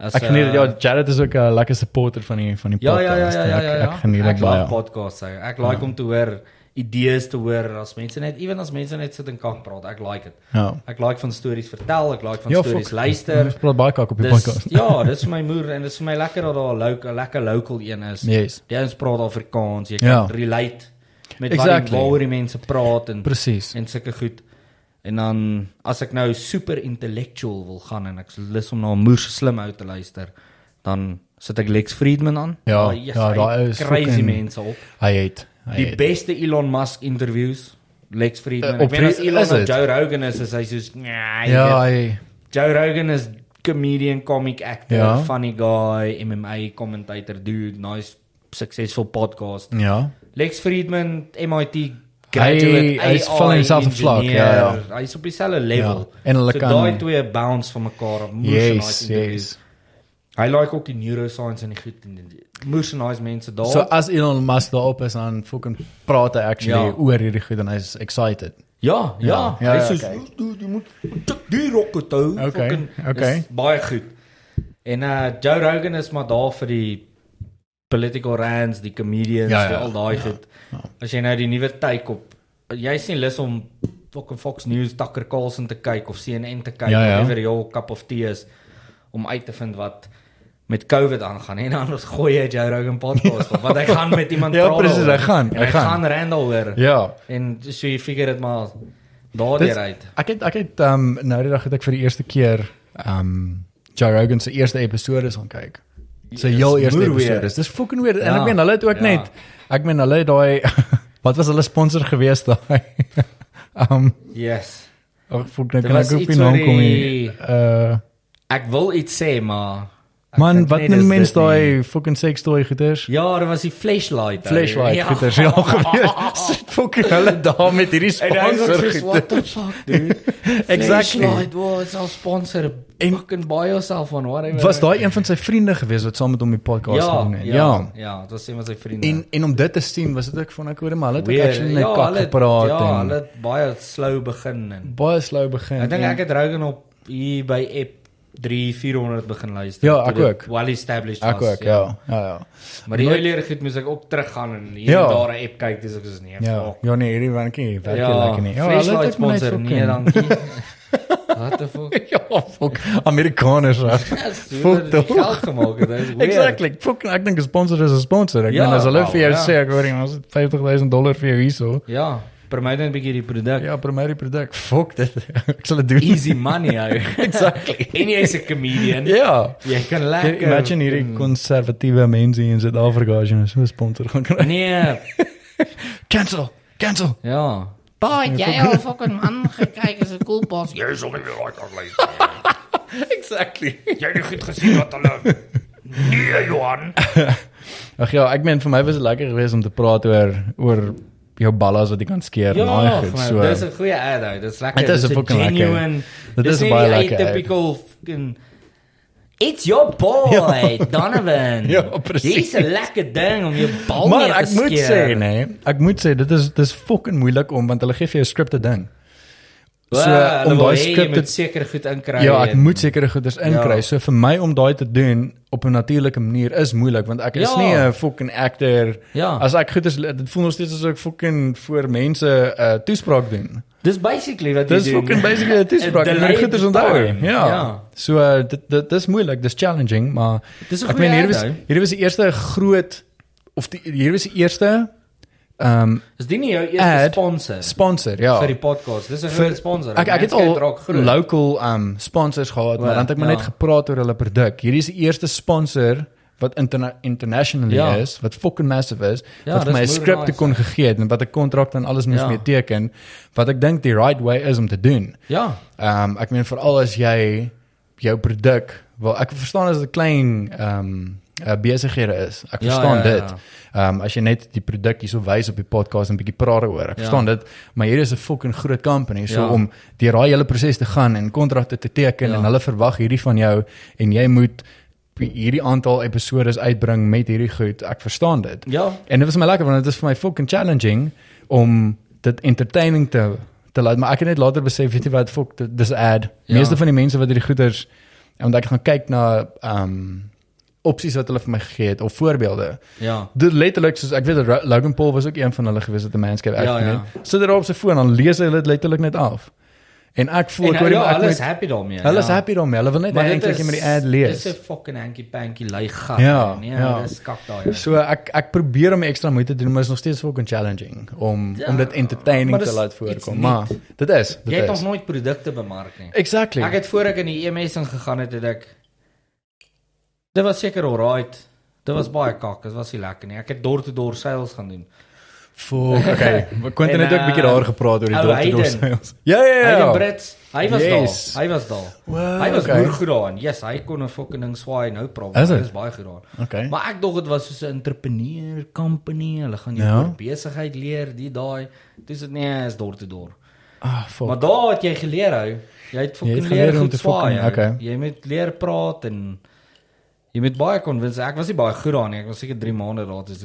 As, eh,
Ek geniet dit. Ja, Jared is ook 'n lekker supporter van die van die
Ja,
podcast.
ja, ja, ja,
en
ja,
ek-
ja.
Ek geniet
ek
dit
love
baie. Ja.
podcasts. Ek, ek like om te hoor idees te hoor as mense net ewen as mense net sit en kak praat. Ek like dit.
Ja.
Ek like van stories vertel, ek like van
Ja,
stories
fuck.
luister.
Ons praat baie kak op die
Dis
podcast.
ja, dis vir my moer en dis vir my lekker dat daar 'n local, lekker local een is.
Yes.
Die ouens praat Afrikaans, jy kan
Ja.
relate met exactly.
Exactly.
wat waaroor die mense praat en
Presies.
en sulke goed. En dan as ek nou super intellectual wil gaan en ek's lus om na 'n moer se slim ou te luister, dan sit ek Lex Friedman aan.
Ja,
Ah, yes,
ja,
hy
daai is
crazy
fucking-
mense op.
Hy het. hy
Die
het.
beste Elon Musk interviews, Lex Friedman.
Eh,
Uh,
op
ek weet as
Frie-
Elon
is
en
het?
Joe Rogan is, is hy soos nee,
Ja, hy
Joe Rogan is comedian, comic actor,
Ja.
funny guy, MMA commentator dude, nice successful podcast.
ja.
Lex Friedman, MIT
Hy-
graduate,
hy is
AI
val in dieselfde vlak, ja, ja.
engineer. Hy is op dieselfde level.
Ja, en hulle
so
kan-
daai twee bounce van mekaar af.
Yes,
Moersonite interviews.
yes.
Hy like ook die neuroscience en die goed en moersonite mense daar.
So as Elon Musk daarop is dan fucking praat hy actually
Ja.
oor hierdie goed en hy's excited.
Ja,
Ja,
ja,
ja,
hy
ja,
sê
oké.
okay. jy moet tik die rocket hou.
Oké,
fucking,
oké.
dis Baie goed. En uh Joe Rogan is maar daar vir die political rants, die comedians,
Ja, ja,
die- al daai goed. As jy nou die nuwe take op, jy's nie lus om fucking Fox News, Tucker Carlson te kyk of CNN te kyk,
Ja, ja.
whatever your cup of tea is om uit te vind wat met COVID aangaan en dan ons gooi jy Joe Rogan podcast op want hy gaan met iemand
Ja,
praat.
precies,
daaroor.
hy gaan,
En
hy
hy
gaan.
gaan Randall hoor.
Ja.
En so jy figure dit maar daardeur uit.
ek het ek het um nou die dag het ek vir die eerste keer um Joe Rogan se eerste episode gaan kyk. Sy
Yes,
heel eerste
moer
episode.
weer.
Dis fucking weird. En
Ja,
ek meen hulle het ook
ja.
net ek meen hulle het daai wat was hulle sponsor gewees daai? um
Yes.
ek voel net nou
Dit
kan
was
ek ook
iets
nie naam
oor
kom
die-
nie. Uh
Ek wil iets sê maar ek
man,
dink
wat
nie
noem
dis
mens
dit nie.
daai fucking seks toy goeters?
Ja, daar was die flashlight. ou.
Flashlight
Ja.
goeters ja gewees. Sit fucking hulle daar met hierdie
En hy was
sponsor
soos,
goeters.
what the fuck dude.
Exactly.
Flashlight was al sponsor.
En-
Fucking buy yourself one whatever.
Was daai een van sy vriende gewees wat saam met hom die podcast
ja,
gedoen het?
ja, ja. Ja, dit was een van sy vriende.
En en om dit te sien was dit ook van ek hoor maar hulle het ook
Weer,
actually net kak
hulle het-
gepraat
Ja,
en
hulle het baie slow begin en
baie slou begin.
ek dink
en-
ek het Rogan op hier by app 3 400 begin luister.
Ja, ek
toe dit
ook.
Well established was.
ek ook ja. Ja ja.
Maar die
Nooit-
earlier goed moes ek ook teruggaan en hier
Ja.
en daar 'n app kyk dis ek soos nee.
Ja,
fuck.
ja nee, hierdie wankie werk ja, lekker nie. Ja,
flashlight
het ook maar net
sponsor
fucking-
nee dankie. What the fuck?
ja, fuck Amerikaners. ja.
Fuck
Fuck
die
the
geld gemaak het. dis weird.
exactly. Fuck ek dink 'n sponsor is 'n sponsor. Ek
Ja,
ja, meen as hulle
wel,
vir jou
ja.
sê ek hoor jy ons het 50000 dollar vir jou hierso.
Ja, promote net 'n bietjie die produk.
Ja, primêre produk. Fuck dit. ek sal dit doen.
Easy money ou.
Exactly.
en jy's 'n comedian.
Ja.
Jy kan lekker
Like, imagine hierdie
Mm.
konservatiewe mense hier in Suid-Afrika as jy nou so 'n sponsor gaan kry.
Nee.
Cancel. Cancel.
Ja.
Boy, het jij al fucking man gekeken is een koelpas.
Jy is ook nie weer raak aan lei.
Exactly.
Jy het nie goed gesien wat hulle Nee, Johan.
Ag ja, ek meen vir my was dit lekker geweest om te praat oor oor jou ballas wat jy kan skeer en daai
Ja,
goed.
man,
So
dis 'n goeie ad ou. Dis lekker.
Dit is
Dis 'n
fucking lekker.
genuine.
Dit
dis
is
nie
baie
die
lekker ad.
Typical fucking It's your boy, Donovan.
Ja, presies.
Dis 'n lekker ding om jou bal
maar
mee te
ek
skeer.
moet sê nee, ek moet sê dit is dis fucking moeilik om want hulle gee vir jou 'n skripte ding.
Wow,
so,
hulle
om
wil
daai
hê jy
skrip te-
moet seker goed inkry.
Ja, ek
en-
moet sekere goeders inkry.
Ja.
Ja. So vir my om daai te doen op 'n natuurlike manier is moeilik want ek is
Ja.
ja. nie 'n fucking actor.
Ja.
As ek goeders dit voel nog steeds asof ek fucking voor mense 'n uh, toespraak doen.
Dis basically wat jy
Dis
doen.
fucking basically 'n toespraak.
Een
Ek moet
delayed
goeders onthou.
time.
Ja.
Ja.
ja. So uh, dit dit dis moeilik, dis challenging, maar
Dis 'n
ek
goeie
meen hier was
ad, ou.
hier was die eerste groot of die, hier was die eerste ehm um,
Is dit nie jou eerste
ad
sponsor
sponsor, ja.
vir die podcast? Dis 'n groot sponsor.
Ek ek het
Manscaped raak
al
groot.
local um sponsors gehad, maar dan het ek maar
ja.
net gepraat oor hulle produk. Hierdie is die eerste sponsor wat interna internationally
Ja.
is, wat fucking massive is,
Ja,
wat
dis
vir my 'n
moeder
skrip te
nice,
kon gegee het en wat 'n kontrak en alles moes
Ja.
mee teken, wat ek dink die right way is om te doen.
Ja.
Ehm ek meen veral as jy jou produk, wel ek verstaan as dit 'n klein ehm eh, besighede is. Ek
Ja,
verstaan
ja, ja,
dit. Ehm as jy net die produk hierso wys op die podcast en 'n bietjie praat daaroor. Ek
Ja.
verstaan dit, maar hier is 'n fucking groot company so
Ja.
om deur daai hele proses te gaan en kontrakte te teken
Ja.
en hulle verwag hierdie van jou en jy moet hierdie aantal episode uitbring met hierdie goed. Ek verstaan dit.
Ja.
En dit was my lekker want dit is vir my fucking challenging om dit entertaining te te laat maar ek het net later besef weet jy wat fuck dit- dis 'n ad.
Ja.
Meeste van die mense wat hierdie goeders want ek gaan kyk na ehm um, opsies wat hulle vir my gegee het of voorbeelde.
Ja.
Dit letterlik soos ek weet dat Ra- Logan Paul was ook een van hulle gewees wat 'n manscape
Ja,
actor
ja.
ja, ja. Sit daar op sy foon dan lees hy dit letterlik net af. En ek voel
En
ek hoor
ja,
ja,
hulle is
met
happy daarmee.
hulle is
ja.
happy daarmee. Hulle wil net eintlik net met die ad lees.
Dis 'n fucking hanky panky lui gat.
Ja,
nee,
ja.
dis kak daai. ja.
So ek ek probeer om ekstra moeite te doen, maar is nog steeds fucking challenging om
Ja,
om dit entertaining
maar dis
te laat
iets
voorkom.
nuuts.
Maar dit is
Jy het
dit
nog
is.
nooit produkte bemark nie.
Exactly.
Ek het voor ek in die EMS ingegaan het, het ek Dit was seker alright. Dit was baie kak, dit was nie lekker nie. Ek het deur te deur sales gaan doen.
Fuck, okay. Quentin het
En,
ook 'n bietjie
eh,
daar gepraat oor die
ou
dorp
Hayden.
doorsels. Ja ja
Hy en
ja.
Brits, hy was
Yes.
daar. Hy was daar.
Wow,
hy was
okay.
okay. goed daaraan. Yes, hy kon 'n fucking ding swaai nou probeer.
Is
Hy
it?
was baie goed daaraan.
Okay.
Maar ek dink dit was soos 'n entrepreneur company. Hulle gaan jou
Ja.
oor besigheid leer, die daai. Dis dit nee, is deur te deur.
Ah, fuck.
Maar daar het jy geleer hou. Jy het
Jy
fucking
het
leer
geleer om
goed
te
swaai.
fucking-
hou.
okay.
Jy moet leer praat en jy moet baie convince. Ek was nie baie goed daarin nie. Ek was seker 3 maande daar toe.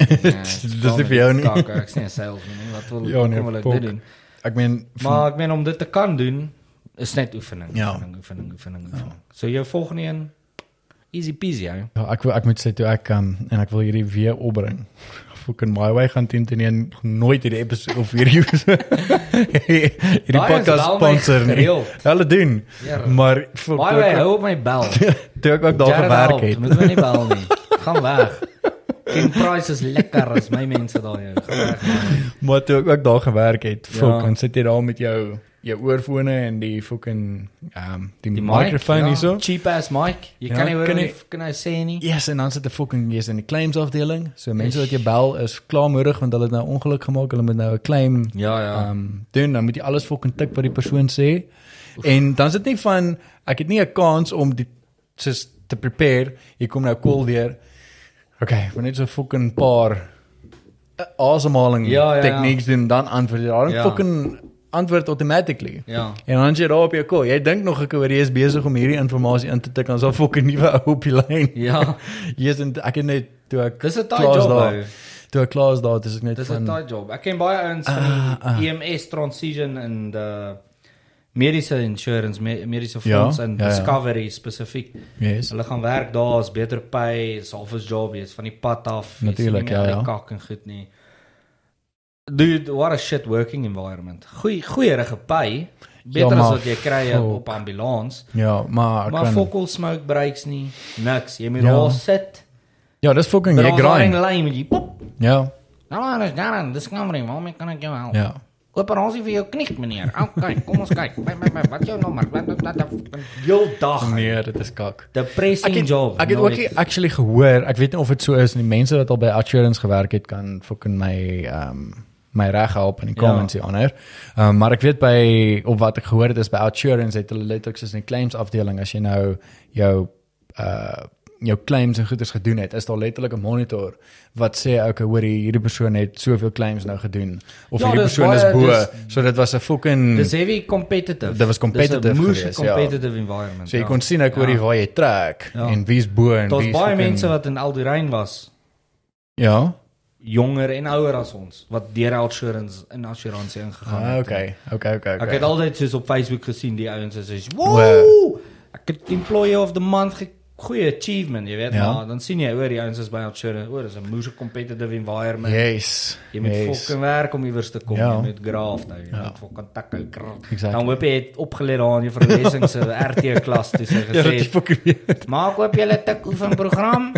Dis nie vir jou nie.
Kak, ek's nie 'n salesman nie. Wat wil
Ja,
ja,
nee,
kom hulle
fuck.
dit doen?
Ek meen
Maar ek meen om dit te kan doen is net oefening,
Ja.
oefening, oefening, oefening, oefening. So jou volgende een easy peasy. Hou.
Ja, ek wil, ek moet sê toe ek um, en ek wil hierdie weer opbring. Fucking my way gaan teen teen een nooit hierdie episode of hierdie hierdie
Daai is
podcast
wel my
sponsor nie.
gereeld.
Hulle doen.
Ja.
Maar fuck,
By the
toe
way,
ek ook-
hou op my bel.
toe ek ook daar gewerk het.
Moet my nie bel nie. Gaan weg. King Price is lekker as my mense daar jou. Gaan weg. man.
Maar toe ek ook daar gewerk het, fuck,
Ja.
dan sit jy daar met jou jou oorfone en die fucking ehm um, die,
Die mic, ja.
microfoon hierso.
Cheap ass mic. Jy
Ja,
kan nie hoor
kan
nie.
nie-
Kan hy sê nie?
Yes, en dan sit die fucking yes in die claims afdeling. So mense wat jy bel is klaarmoedig want hulle het nou ongeluk gemaak. Hulle moet nou 'n claim
Ja, ja.
Ehm doen dan moet jy alles fucking tik wat die persoon sê. En dan is dit nie van ek het nie 'n kans om die soos te prepare. Jy kom nou cool deur. Okay, maar net so fucking paar eh, asemhaling
Ja, ja, ja.
tegnieks doen dan antwoord jy. Daarom
Ja.
fucking antwoord automatically.
Ja.
En dan is jy daar op jou kol. Jy dink nog ek oor jy is besig om hierdie inligting in te tik en so fucking nuwe ou op die lyn.
Ja.
Jy is ek het net toe ek
Dis 'n taai
klaar is
job,
daar-
ou.
Toe ek klaar is daar, dis ek net
Dis 'n
van Ah,
taai job. Ek ken baie ouens van die EMS transition en die mediese insurance, me, mediese
Ja,
fonds en
ja, ja.
discovery spesifiek.
Yes.
Hulle gaan werk daar, is beter pay, is halfs job, jy's van die pad af. jy sien
Natuurlijk,
nie meer
ja,
al die
ja.
Kak en goed nie. Dude, what a shit working environment. Goeie goeie reg pay. Beter
Ja,
as
maar
wat jy kry
fuck.
op ambulans.
Ja, maar
Maar
kan-
fokol smoke breaks nie. Niks. Jy moet
Ja.
daar sit.
Ja, dis fucking jy
Daar's
grind.
'n lyn met jy pop. Nou,
Ja.
Hallo, dis Darren, dis Cameron. Waarmee kan ek jou help?
Ja.
Operasie vir jou knie, meneer. OK, kom ons kyk. Wait, wait, wait, Wat is jou nommer? Wat wat wat
Heel dag.
Nee, dit is kak.
Depressing
Ek het,
job. nou
ek het ook nie actually gehoor, ek weet nie of dit so is nie. Mense wat al by assurance gewerk het kan fucking my ehm um, my reg help in die
Ja.
comments hieronder. Ehm um, maar ek weet by op wat ek gehoor het is by assurance het hulle letterlik soos 'n claims afdeling as jy nou jou uh jou claims en goeders gedoen het, is daar letterlik 'n monitor wat sê okay, hoor hier, hierdie persoon het soveel claims nou gedoen of
Ja,
hierdie
dis
persoon
baie-
is bo.
dis-
so dit was 'n fucking
Dis heavy competitive.
Dit was competitive
Dis 'n moes
geweest, ja.
competitive environment.
So jy
ja.
kon sien ek hoor hier waar jy trek
Ja.
en wie's bo en
Daar's
wie's
baie
fucking-
mense wat in Alderrein was,
Ja.
jonger en ouer as ons, wat deur insurance in assuransie ingegaan
Ah,
het.
okay. Okay, okay.
Ek het altyd soos op Facebook gesien die ouens is soos,
Wow.
"Woew! Ek het employee of the month ge goeie achievement, jy weet,
Ja.
maar dan sien jy oor die ouens is by insurance, oor is 'n moes competitive environment.
Yes.
Jy moet
yes.
fucking werk om iewers te kom.
Ja.
Jy moet graaf nou. Jy moet fucking takke kraak.
Exactly.
Dan hoop jy het opgeleer daar in jou verlesing se RT klas toe sy
Ja, dit is
gesê.
fucking weird.
Maak oop julle tik oefenprogram.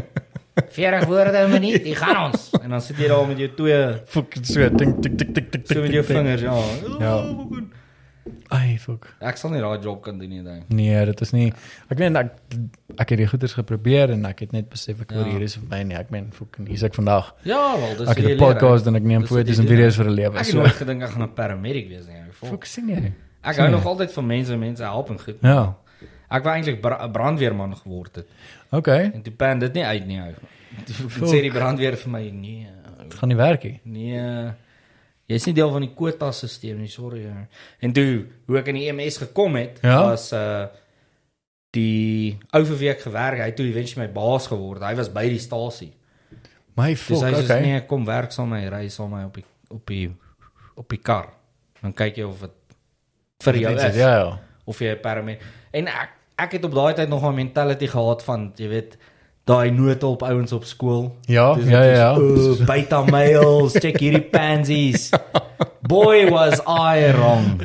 40 woorde 'n minuut.
Jy gaan ons. En dan sit jy daar met jou twee
Fucking so tik tik tik tik tik tik.
so met jou
tik, tik.
vingers ja.
Ja.
Oh, fucking.
Ai, fuck.
Ek sal nie daai job kan doen nie, dink.
Nee, dit is nie ek meen ek ek het die goeders geprobeer en ek het net besef ek wil
Ja.
hier is vir my nee, ek meen fucking hier's ek vandag.
Ja, wel, dis
Ek het
die
'n
leer,
podcast
hè.
en ek neem
Dis wat
foto's
jy
en
doen.
video's vir 'n lewe.
Ek het
So,
nooit gedink ek gaan 'n paramedic wees nie. ek voel-
fuck sien jy?
Ek
sien
hou
jy?
nog altyd van mense, en mense help en goed.
Ja.
Ek wou eintlik bra brandweerman geword het.
Okay.
En toe pan dit nie uit nie ou. Toe sê die brandweer vir my nee.
Dit gaan nie werk nie.
Nee. Jy's nie deel van die quota stelsel nie, sorry. ou. En toe hoe ek in die EMS gekom het
Ja?
was uh die ou vir wie ek gewerk het, hy het toe eventually my baas geword. Hy was by die stasie.
My
Dis
fuck,
hy sê
okay.
nee, kom werk saam met my, ry saam met my op die op die op die kar. Dan kyk jy of dit vir jou
Dit is-
is
Ja, ja.
of jy 'n permit. En ek ek het op daai tyd nog 'n mentality gehad van jy weet daai noodhulp ouens op skool.
Ja,
Dis
ja,
wat
ja.
is, "Oh, Beta males, check hierdie pansies. Boy was I wrong.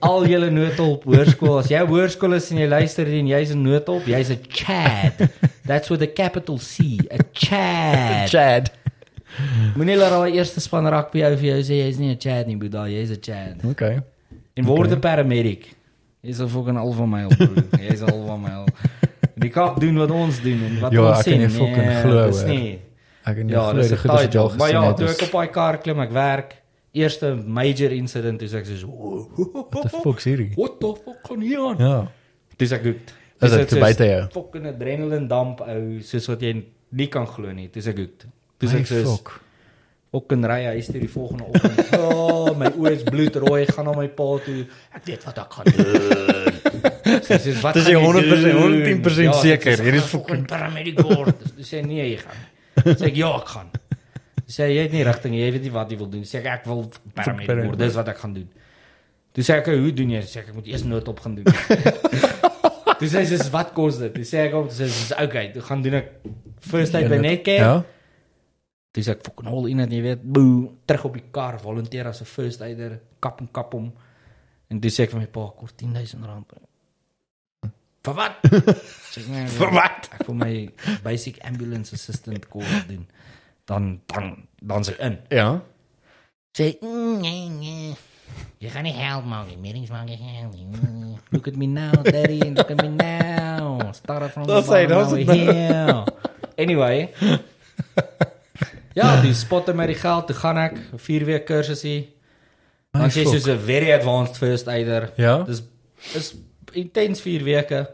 Al julle noodhulp hoërskool, as jy hoërskool is en jy luister hier en jy's 'n noodhulp, jy's 'n Chad. That's with a capital C, a Chad.
eh, Chad.
Moenie laat daai eerste span rugby ou vir jou sê jy's nie 'n Chad nie, boeda, jy's 'n Chad.
Okay.
En word 'n paramedic. Jy's 'n fucking alpha male, broer. Jy's 'n alpha male. Die kop doen wat ons doen en wat
Ja,
ons
ek
sê.
kan nie fucking glo,
Dis
hoor.
nie.
Ek het nie
Ja,
ja,
dis
die
'n
goeders wat jy al
title. Maar
gesien
ja,
het.
toe ek
is-
op daai kar klim, ek werk. Eerste major incident dis ek sê, "What
What the fuck is hierdie?
What the fuck gaan hier aan?"
Ja.
Dis ek goed.
Is
Dis
dit
ek
te
soos
buite ja?" jou?
Fucking adrenaline damp ou, soos wat jy nie kan glo nie. Dis ek goed. Dis
My
ek soos
fuck.
Ook en ry hy is toe die volgende oggend. O, oh, my oë is bloedrooi, ek gaan na my pa toe. Ek weet wat ek gaan doen. Sy sê wat
Dis
gaan
jy
jy
100%,
doen?" Ja,
110%
sy
seker,
sê,
hier is
"Ek gaan fucking paramedic word. Sy sê nee, jy gaan. nie." Sê ek ja, ek gaan. Sy sê jy het nie rigting, nie, jy weet nie wat jy wil doen. Sê ek ek wil paramedic word. Dis wat ek gaan doen. Toe sê ek hoe doen jy? Sê ek ek moet eers noodop gaan doen. toe sê sy "Dis wat kos dit? Toe sê ek hom, toe sê sy okay, toe gaan doen ek first aid by Netcare.
Ja.
Dis ek fucking hol in en jy weet, boe, terug op die kar, volunteer as 'n first aider, kap en kap hom. En dis ek vir my pa kort 10000 rand. Vir wat? Sê ek, nee, vir wat? Ek vir my basic ambulance assistant kurs doen. Dan dan dan se in.
Ja.
Sê, "Mm, nee, nee. Jy gaan nie geld maak nie. Meetings maak jy geld nie. Mm.
Look at me now, daddy, and look at me now. Started from
Dis
the
hy,
bottom, now
dis
we're
het nou.
here. Anyway. ja, die spotte met die geld, toe gaan ek 'n 4 week kursusie.
My
Dan sê jy
fuck.
soos 'n very advanced first aider.
Ja.
Dis is intens 4 weke.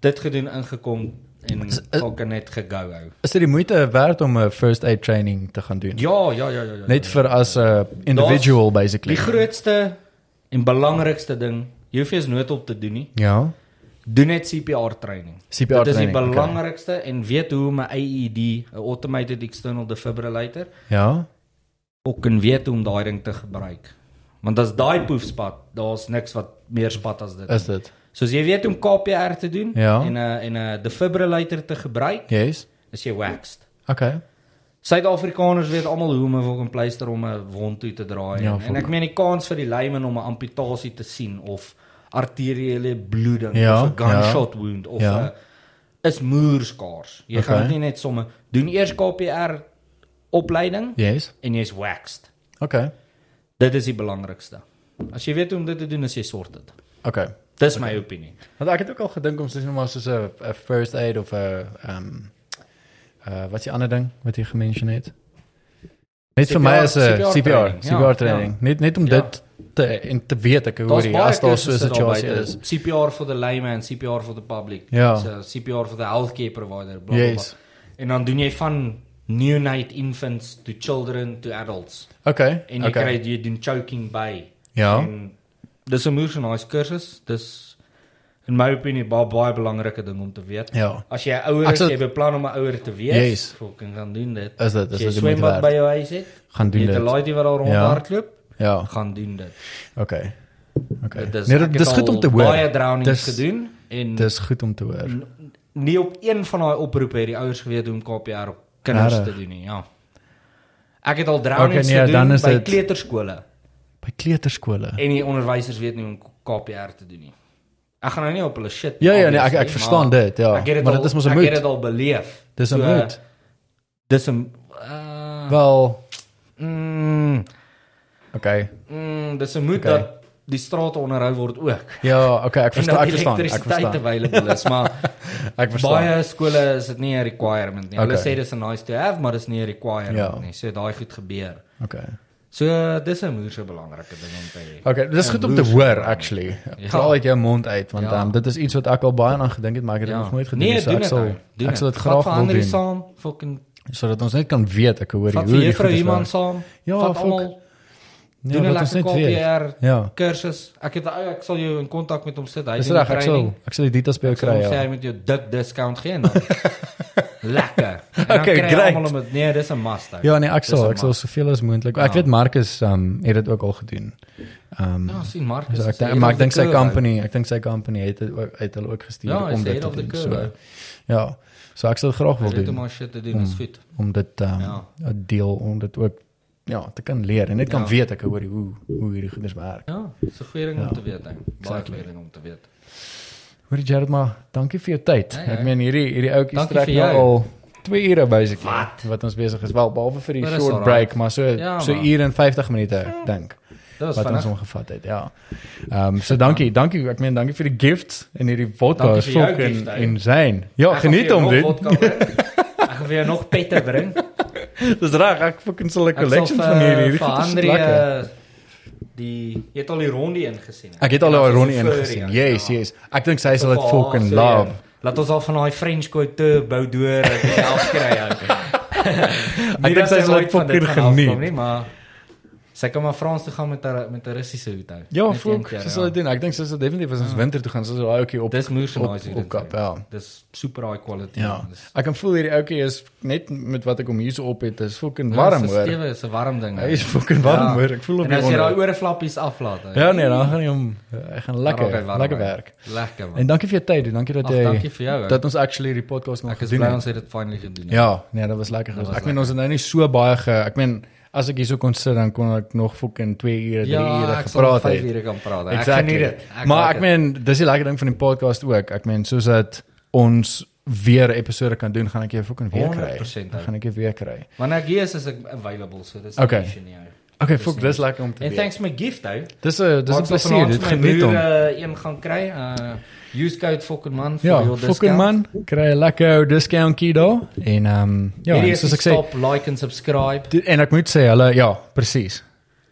Dit gedoen ingekom en ook net gegou hou.
Is dit die moeite werd om 'n first aid training te gaan doen?
Ja, ja, ja, ja. ja
Net
ja.
vir as 'n individual basically.
die grootste en belangrikste ding, jy hoef nie eens noodop te doen nie.
Ja.
Doen net CPR training.
CPR
Dit is die
training, oké.
belangrikste en weet hoe om 'n AED, 'n automated external defibrillator,
Ja.
ook en weet hoe om daai ding te gebruik. Want as daai poef spat, daar's niks wat meer spat as dit.
Is dit?
Soos jy weet om KPR te doen
Ja.
en 'n en 'n defibrillator te gebruik,
Yes.
is jy waxed.
Okay.
Suid-Afrikaners weet almal hoe om 'n fucking pleister om 'n wond toe te draai
Ja,
en, en ek meen die kans vir die layman om 'n amputasie te sien of arteriële bloeding
Ja,
of 'n gunshot wound of 'n
Ja.
is moerskaars. Jy gaan
Okay.
dit nie net sommer doen eers KPR opleiding
Yes.
en jy's waxed.
Okay.
Dit is die belangrikste. As jy weet hoe om dit te doen, as jy sort dit.
Okay.
Dis my opinie.
Want ek het ook al gedink om soos nou maar soos 'n 'n first aid of 'n ehm uh wat is die ander ding wat jy gemention het? Net vir my
CPR
is eh, 'n CPR,
training,
CPR,
ja,
training.
ja.
Net net om
Ja.
dit te en te weet ek hoor
Daar's
jy
baie
as daar so 'n
kursusse daar
situasie
buite.
is.
CPR for the layman, CPR for the public, eh,
Ja.
so CPR for the healthcare provider, blah blah.
Yes.
Yes. En dan doen jy van neonate infants to children to adults.
Okay.
En jy okay.
okay.
kry jy doen choking by.
Ja.
En dis 'n moeilike nice kursus. Dis in my opinie baie baie belangrike ding om te weet.
Ja.
As jy ouer
Ek
is,
sal-
jy beplan om 'n ouer te wees,
Yes.
fucking gaan doen dit.
Is dit is
As jy
dit die moeite
swembad by
werd?
jou huis het,
Gaan doen
jy het 'n
dit.
laaitie wat daar rondhardloop,
Ja.
gaan doen dit.
Okay. Okay.
Dit is
Nee,
Eh, ek
dit
het
dis goed
al
om te hoor.
Baie drownings
Dis-
gedoen en
Dis goed om te hoor.
nie op een van daai oproepe het die ouers geweet hoe om KPR op kinders
Regtig?
te doen nie, ja. Ek het al drownings
Okay, nee, dan
gedoen
is
by
dit-
kleuterskole
By kleuterskole.
en die onderwysers weet nie hoe om KPR te doen nie. Ek gaan nou nie op hulle shit
Ja, ja, nee,
obviously,
ek- ek
maar
verstaan dit, ja.
ek het
Maar
al-
dit is mos 'n
Ek
moet.
het dit al beleef.
Dis 'n
So, eh,
moed.
Dis 'n uh,
Wel,
mm,
okay.
mm, dis 'n moed
Okay.
dat die strate onderhou word ook.
Ja, okay, ek verstaan,
en
ek
dat
verstaan, ek
elektrisiteit
verstaan.
available is, maar
Ek verstaan.
baie skole is dit nie 'n requirement nie. Hulle
Okay.
sê dis 'n nice to have, maar dis nie 'n requirement
Ja.
nie. So daai goed gebeur.
Okay.
So dis 'n moeë so belangrike ding om te hê.
Okay, dis goed om te hoor actually.
Ja.
Praal uit jou mond uit want
Ja.
ehm, dit is iets wat ek al baie aan gedink het, maar ek het dit nog nooit gedoen
nee,
so
doen
ek
het
sal
nou. Doen
ek sal
het.
dit
Vat
graag
vir
wil
ander
doen
saam, fucking
sodat ons net kan weet ek hoor
vat
hoe
vir
die
juffrou
goed is
iemand
werk.
saam.
Ja,
vat
fuck.
almal
Ja,
doen 'n
dat ons
lekker eh,
net weet.
KPR
Ja.
kursus. Ek het 'n ou, ek sal jou in kontak met hom sit. Hy
Dis
doen die
reg, ek sal
training.
ek sal die details by jou
Ek sal
kry.
hom sê
ja.
hy moet jou dik discount gee en dan. Lekker. En dan
Okay,
kry jy
great.
Almal om dit. Nee, dis 'n must. ou.
Ja nee, ek
Dis
sal
een
ek sal
must.
soveel as moontlik. Ek
Ja.
weet Marcus um, het dit ook al gedoen. Ehm
Ja, sien Marcus.
so
is
ek
die
dink maar ek
head
dink
of
sy
the crew,
company, ek dink sy company het dit ook het hulle ook gestuur
Ja, hy
om
is
dit
head
te
of the
doen.
crew,
So
hè.
ja. So ek sal dit graag
ou.
wil
Dit om
doen
maar shit te doen
Hmm.
is goed.
om dit ehm
Ja.
'n deel om dit ook ja, te kan leer en net kan
Ja.
weet ek hoor hoe hoe hierdie goeders werk.
Ja, dis 'n goeie ding om te weet, hè. Baie
Exactly.
goeie ding om te weet.
Hoor jy Jared maar, dankie vir jou tyd.
Nee,
Ek
nee.
meen hierdie hierdie ouetjie
Dankie
trek
vir
nou
jou.
al 2 ure basically wat, wat ons besig is wel behalwe vir die
Maar dis
short
alright.
break, maar so
Ja,
so
man.
uur en 50 minute ek dink.
Dit was
wat ons
vinnig.
omgevat het. Ja. Ehm um, so dankie, dankie. Ek meen dankie vir die gift en hierdie vodka
Dankie
is
vir jou
fucking
gift, ou.
insane. Ja,
Ek gaan
geniet
vir jou
hom
nog
dit.
vodka bring. Ek gaan vir jou nog pette bring.
Dis reg, ek fucking sal 'n
Ek sal
collection
vir-
van hierdie hierdie
vir
goed is
André,
lekker.
eh, Die jy het al die rondie ingesien. hè?
Ek het al
En
haar
dan
Ronnie
is dit
ingesien.
voor jou.
Yes,
Ja.
yes. Ek dink sy
So ja.
sal dit
vir haar
fucking
sê,
love.
Laat ons al van daai French Couture bou deur en dit afskry uit.
dink sy sal dit fucking geniet.
nie, maar sy kan maar Frans toe gaan met haar met 'n Russiese hoed hou.
Ja,
Net een
fok,
keer,
sy sal dit doen. Ek dink sy sal definitief as ons winter toe gaan, sy sal daai ouetjie op
Dis moeilik
op-
nice
op kap, ja.
Dis super high quality.
Ja.
Dis-
Ek kan voel hierdie ouetjie is net met wat ek hom hierso op het, is fucking
Ja,
warm
dis 'n
hoor.
Stewe, is 'n warm ding. Ja.
Hy is fucking warm hoor. Ek voel hom
En
hier
as jy daai
onder.
oorflappies aflaat. hè.
Ja nee, dan gaan hy hom hy gaan
Dan raak hy
lekker
warm,
lekker
hè.
werk.
Lekker man.
En dankie vir jou tyd en dankie dat
Ag,
jy
dankie vir jou, hè.
dat ons actually die podcast nog
Ek is
gedoen
bly
het.
ons het dit finally gedoen. hè.
Ja, nee, dit was lekker
Dit
geweest.
was
Ek meen ons het nou nie so baie ge ek meen as ek hierso kon sit dan kon ek nog fucking 2 ure, 3 ure
Ja, ek sal
gepraat
nog
het.
vyf ure kan praat. hè. Ek
Exactly.
geniet dit.
maar
like
ek
dit.
meen dis die lekker ding van die podcast ook. Ek meen soos dat ons weer 'n episode kan doen, gaan ek jou fucking weer kry.
100%
Dan
ou.
gaan ek jou weer kry.
wanneer ek hier nou, is is ek available, so dis
Okay.
nie. ou.
Okay,
Dis
fuck,
nie-
dis lekker om te
En
weet.
thanks my gift ou.
Dis 'n dis 'n
Maak sal
plesier,
vanaand
dit
vir
geniet
my
hom.
broer, eh, een gaan kry. Uh use code fucking man vir
Ja,
your
fucking
discount.
man, kry 'n lekker ou discountie daar en ehm um, ja,
Hierdie
en
is
soos
die
ek sê,
stop like en subscribe.
Dit- En ek moet sê hulle ja, presies.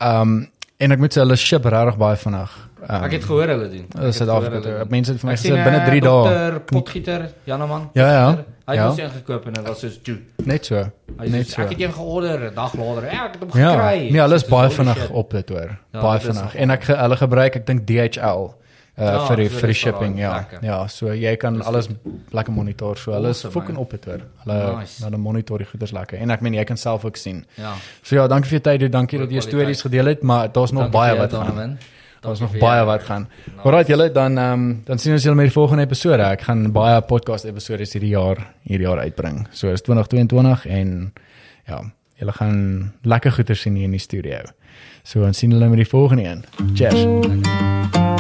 Ehm um, en ek moet sê hulle ship regtig baie vinnig. Um,
Ek het gehoor hulle doen. Ek
Hulle
het
Suid-Afrika
gehoor
toe.
hulle doen.
Mense het vir my
Ek sien,
gesê binne
eh,
3 dae.
Dr. Potgieter, Janeman.
Ja, ja.
Hy het
Ja.
ons een gekoop en dit was soos "Joe."
Net so.
Hy
Net
sê
so.
ek het een georder, 'n dag later. Ja, ek het hom
Ja.
gekry.
Nee, hulle is
Soos,
baie
holy
vinnig
shit.
op dit hoor.
Ja,
Baie
dit is
vinnig.
nogal.
En ek ge- hulle gebruik ek dink DHL. Uh,
Ja,
vir die,
so
vir die
dis wel
shipping ja
lekker.
ja so jy kan alles lekker monitor so hulle is
Awesome,
fucking
man.
op dit hoor hulle
Nice.
hulle monitor die goeders lekker en ek meen jy kan self ook sien
Ja.
so ja dankie vir jou tyd dude. dankie
Goeie
dat jy
kwaliteit.
stories gedeel het maar daar's nog
Dankie
baie
vir jou,
wat gaan
Donovan.
Daar's
Dankie
nog
vir
baie
jou.
wat gaan. Alraait julle dan ehm um, dan sien ons julle met die volgende episode. Ek gaan baie podcast episode hierdie jaar hierdie jaar uitbring. So is 2022 en ja, julle gaan lekker goeie sien hier in die studio. So ons sien julle met die volgende een. Cheers.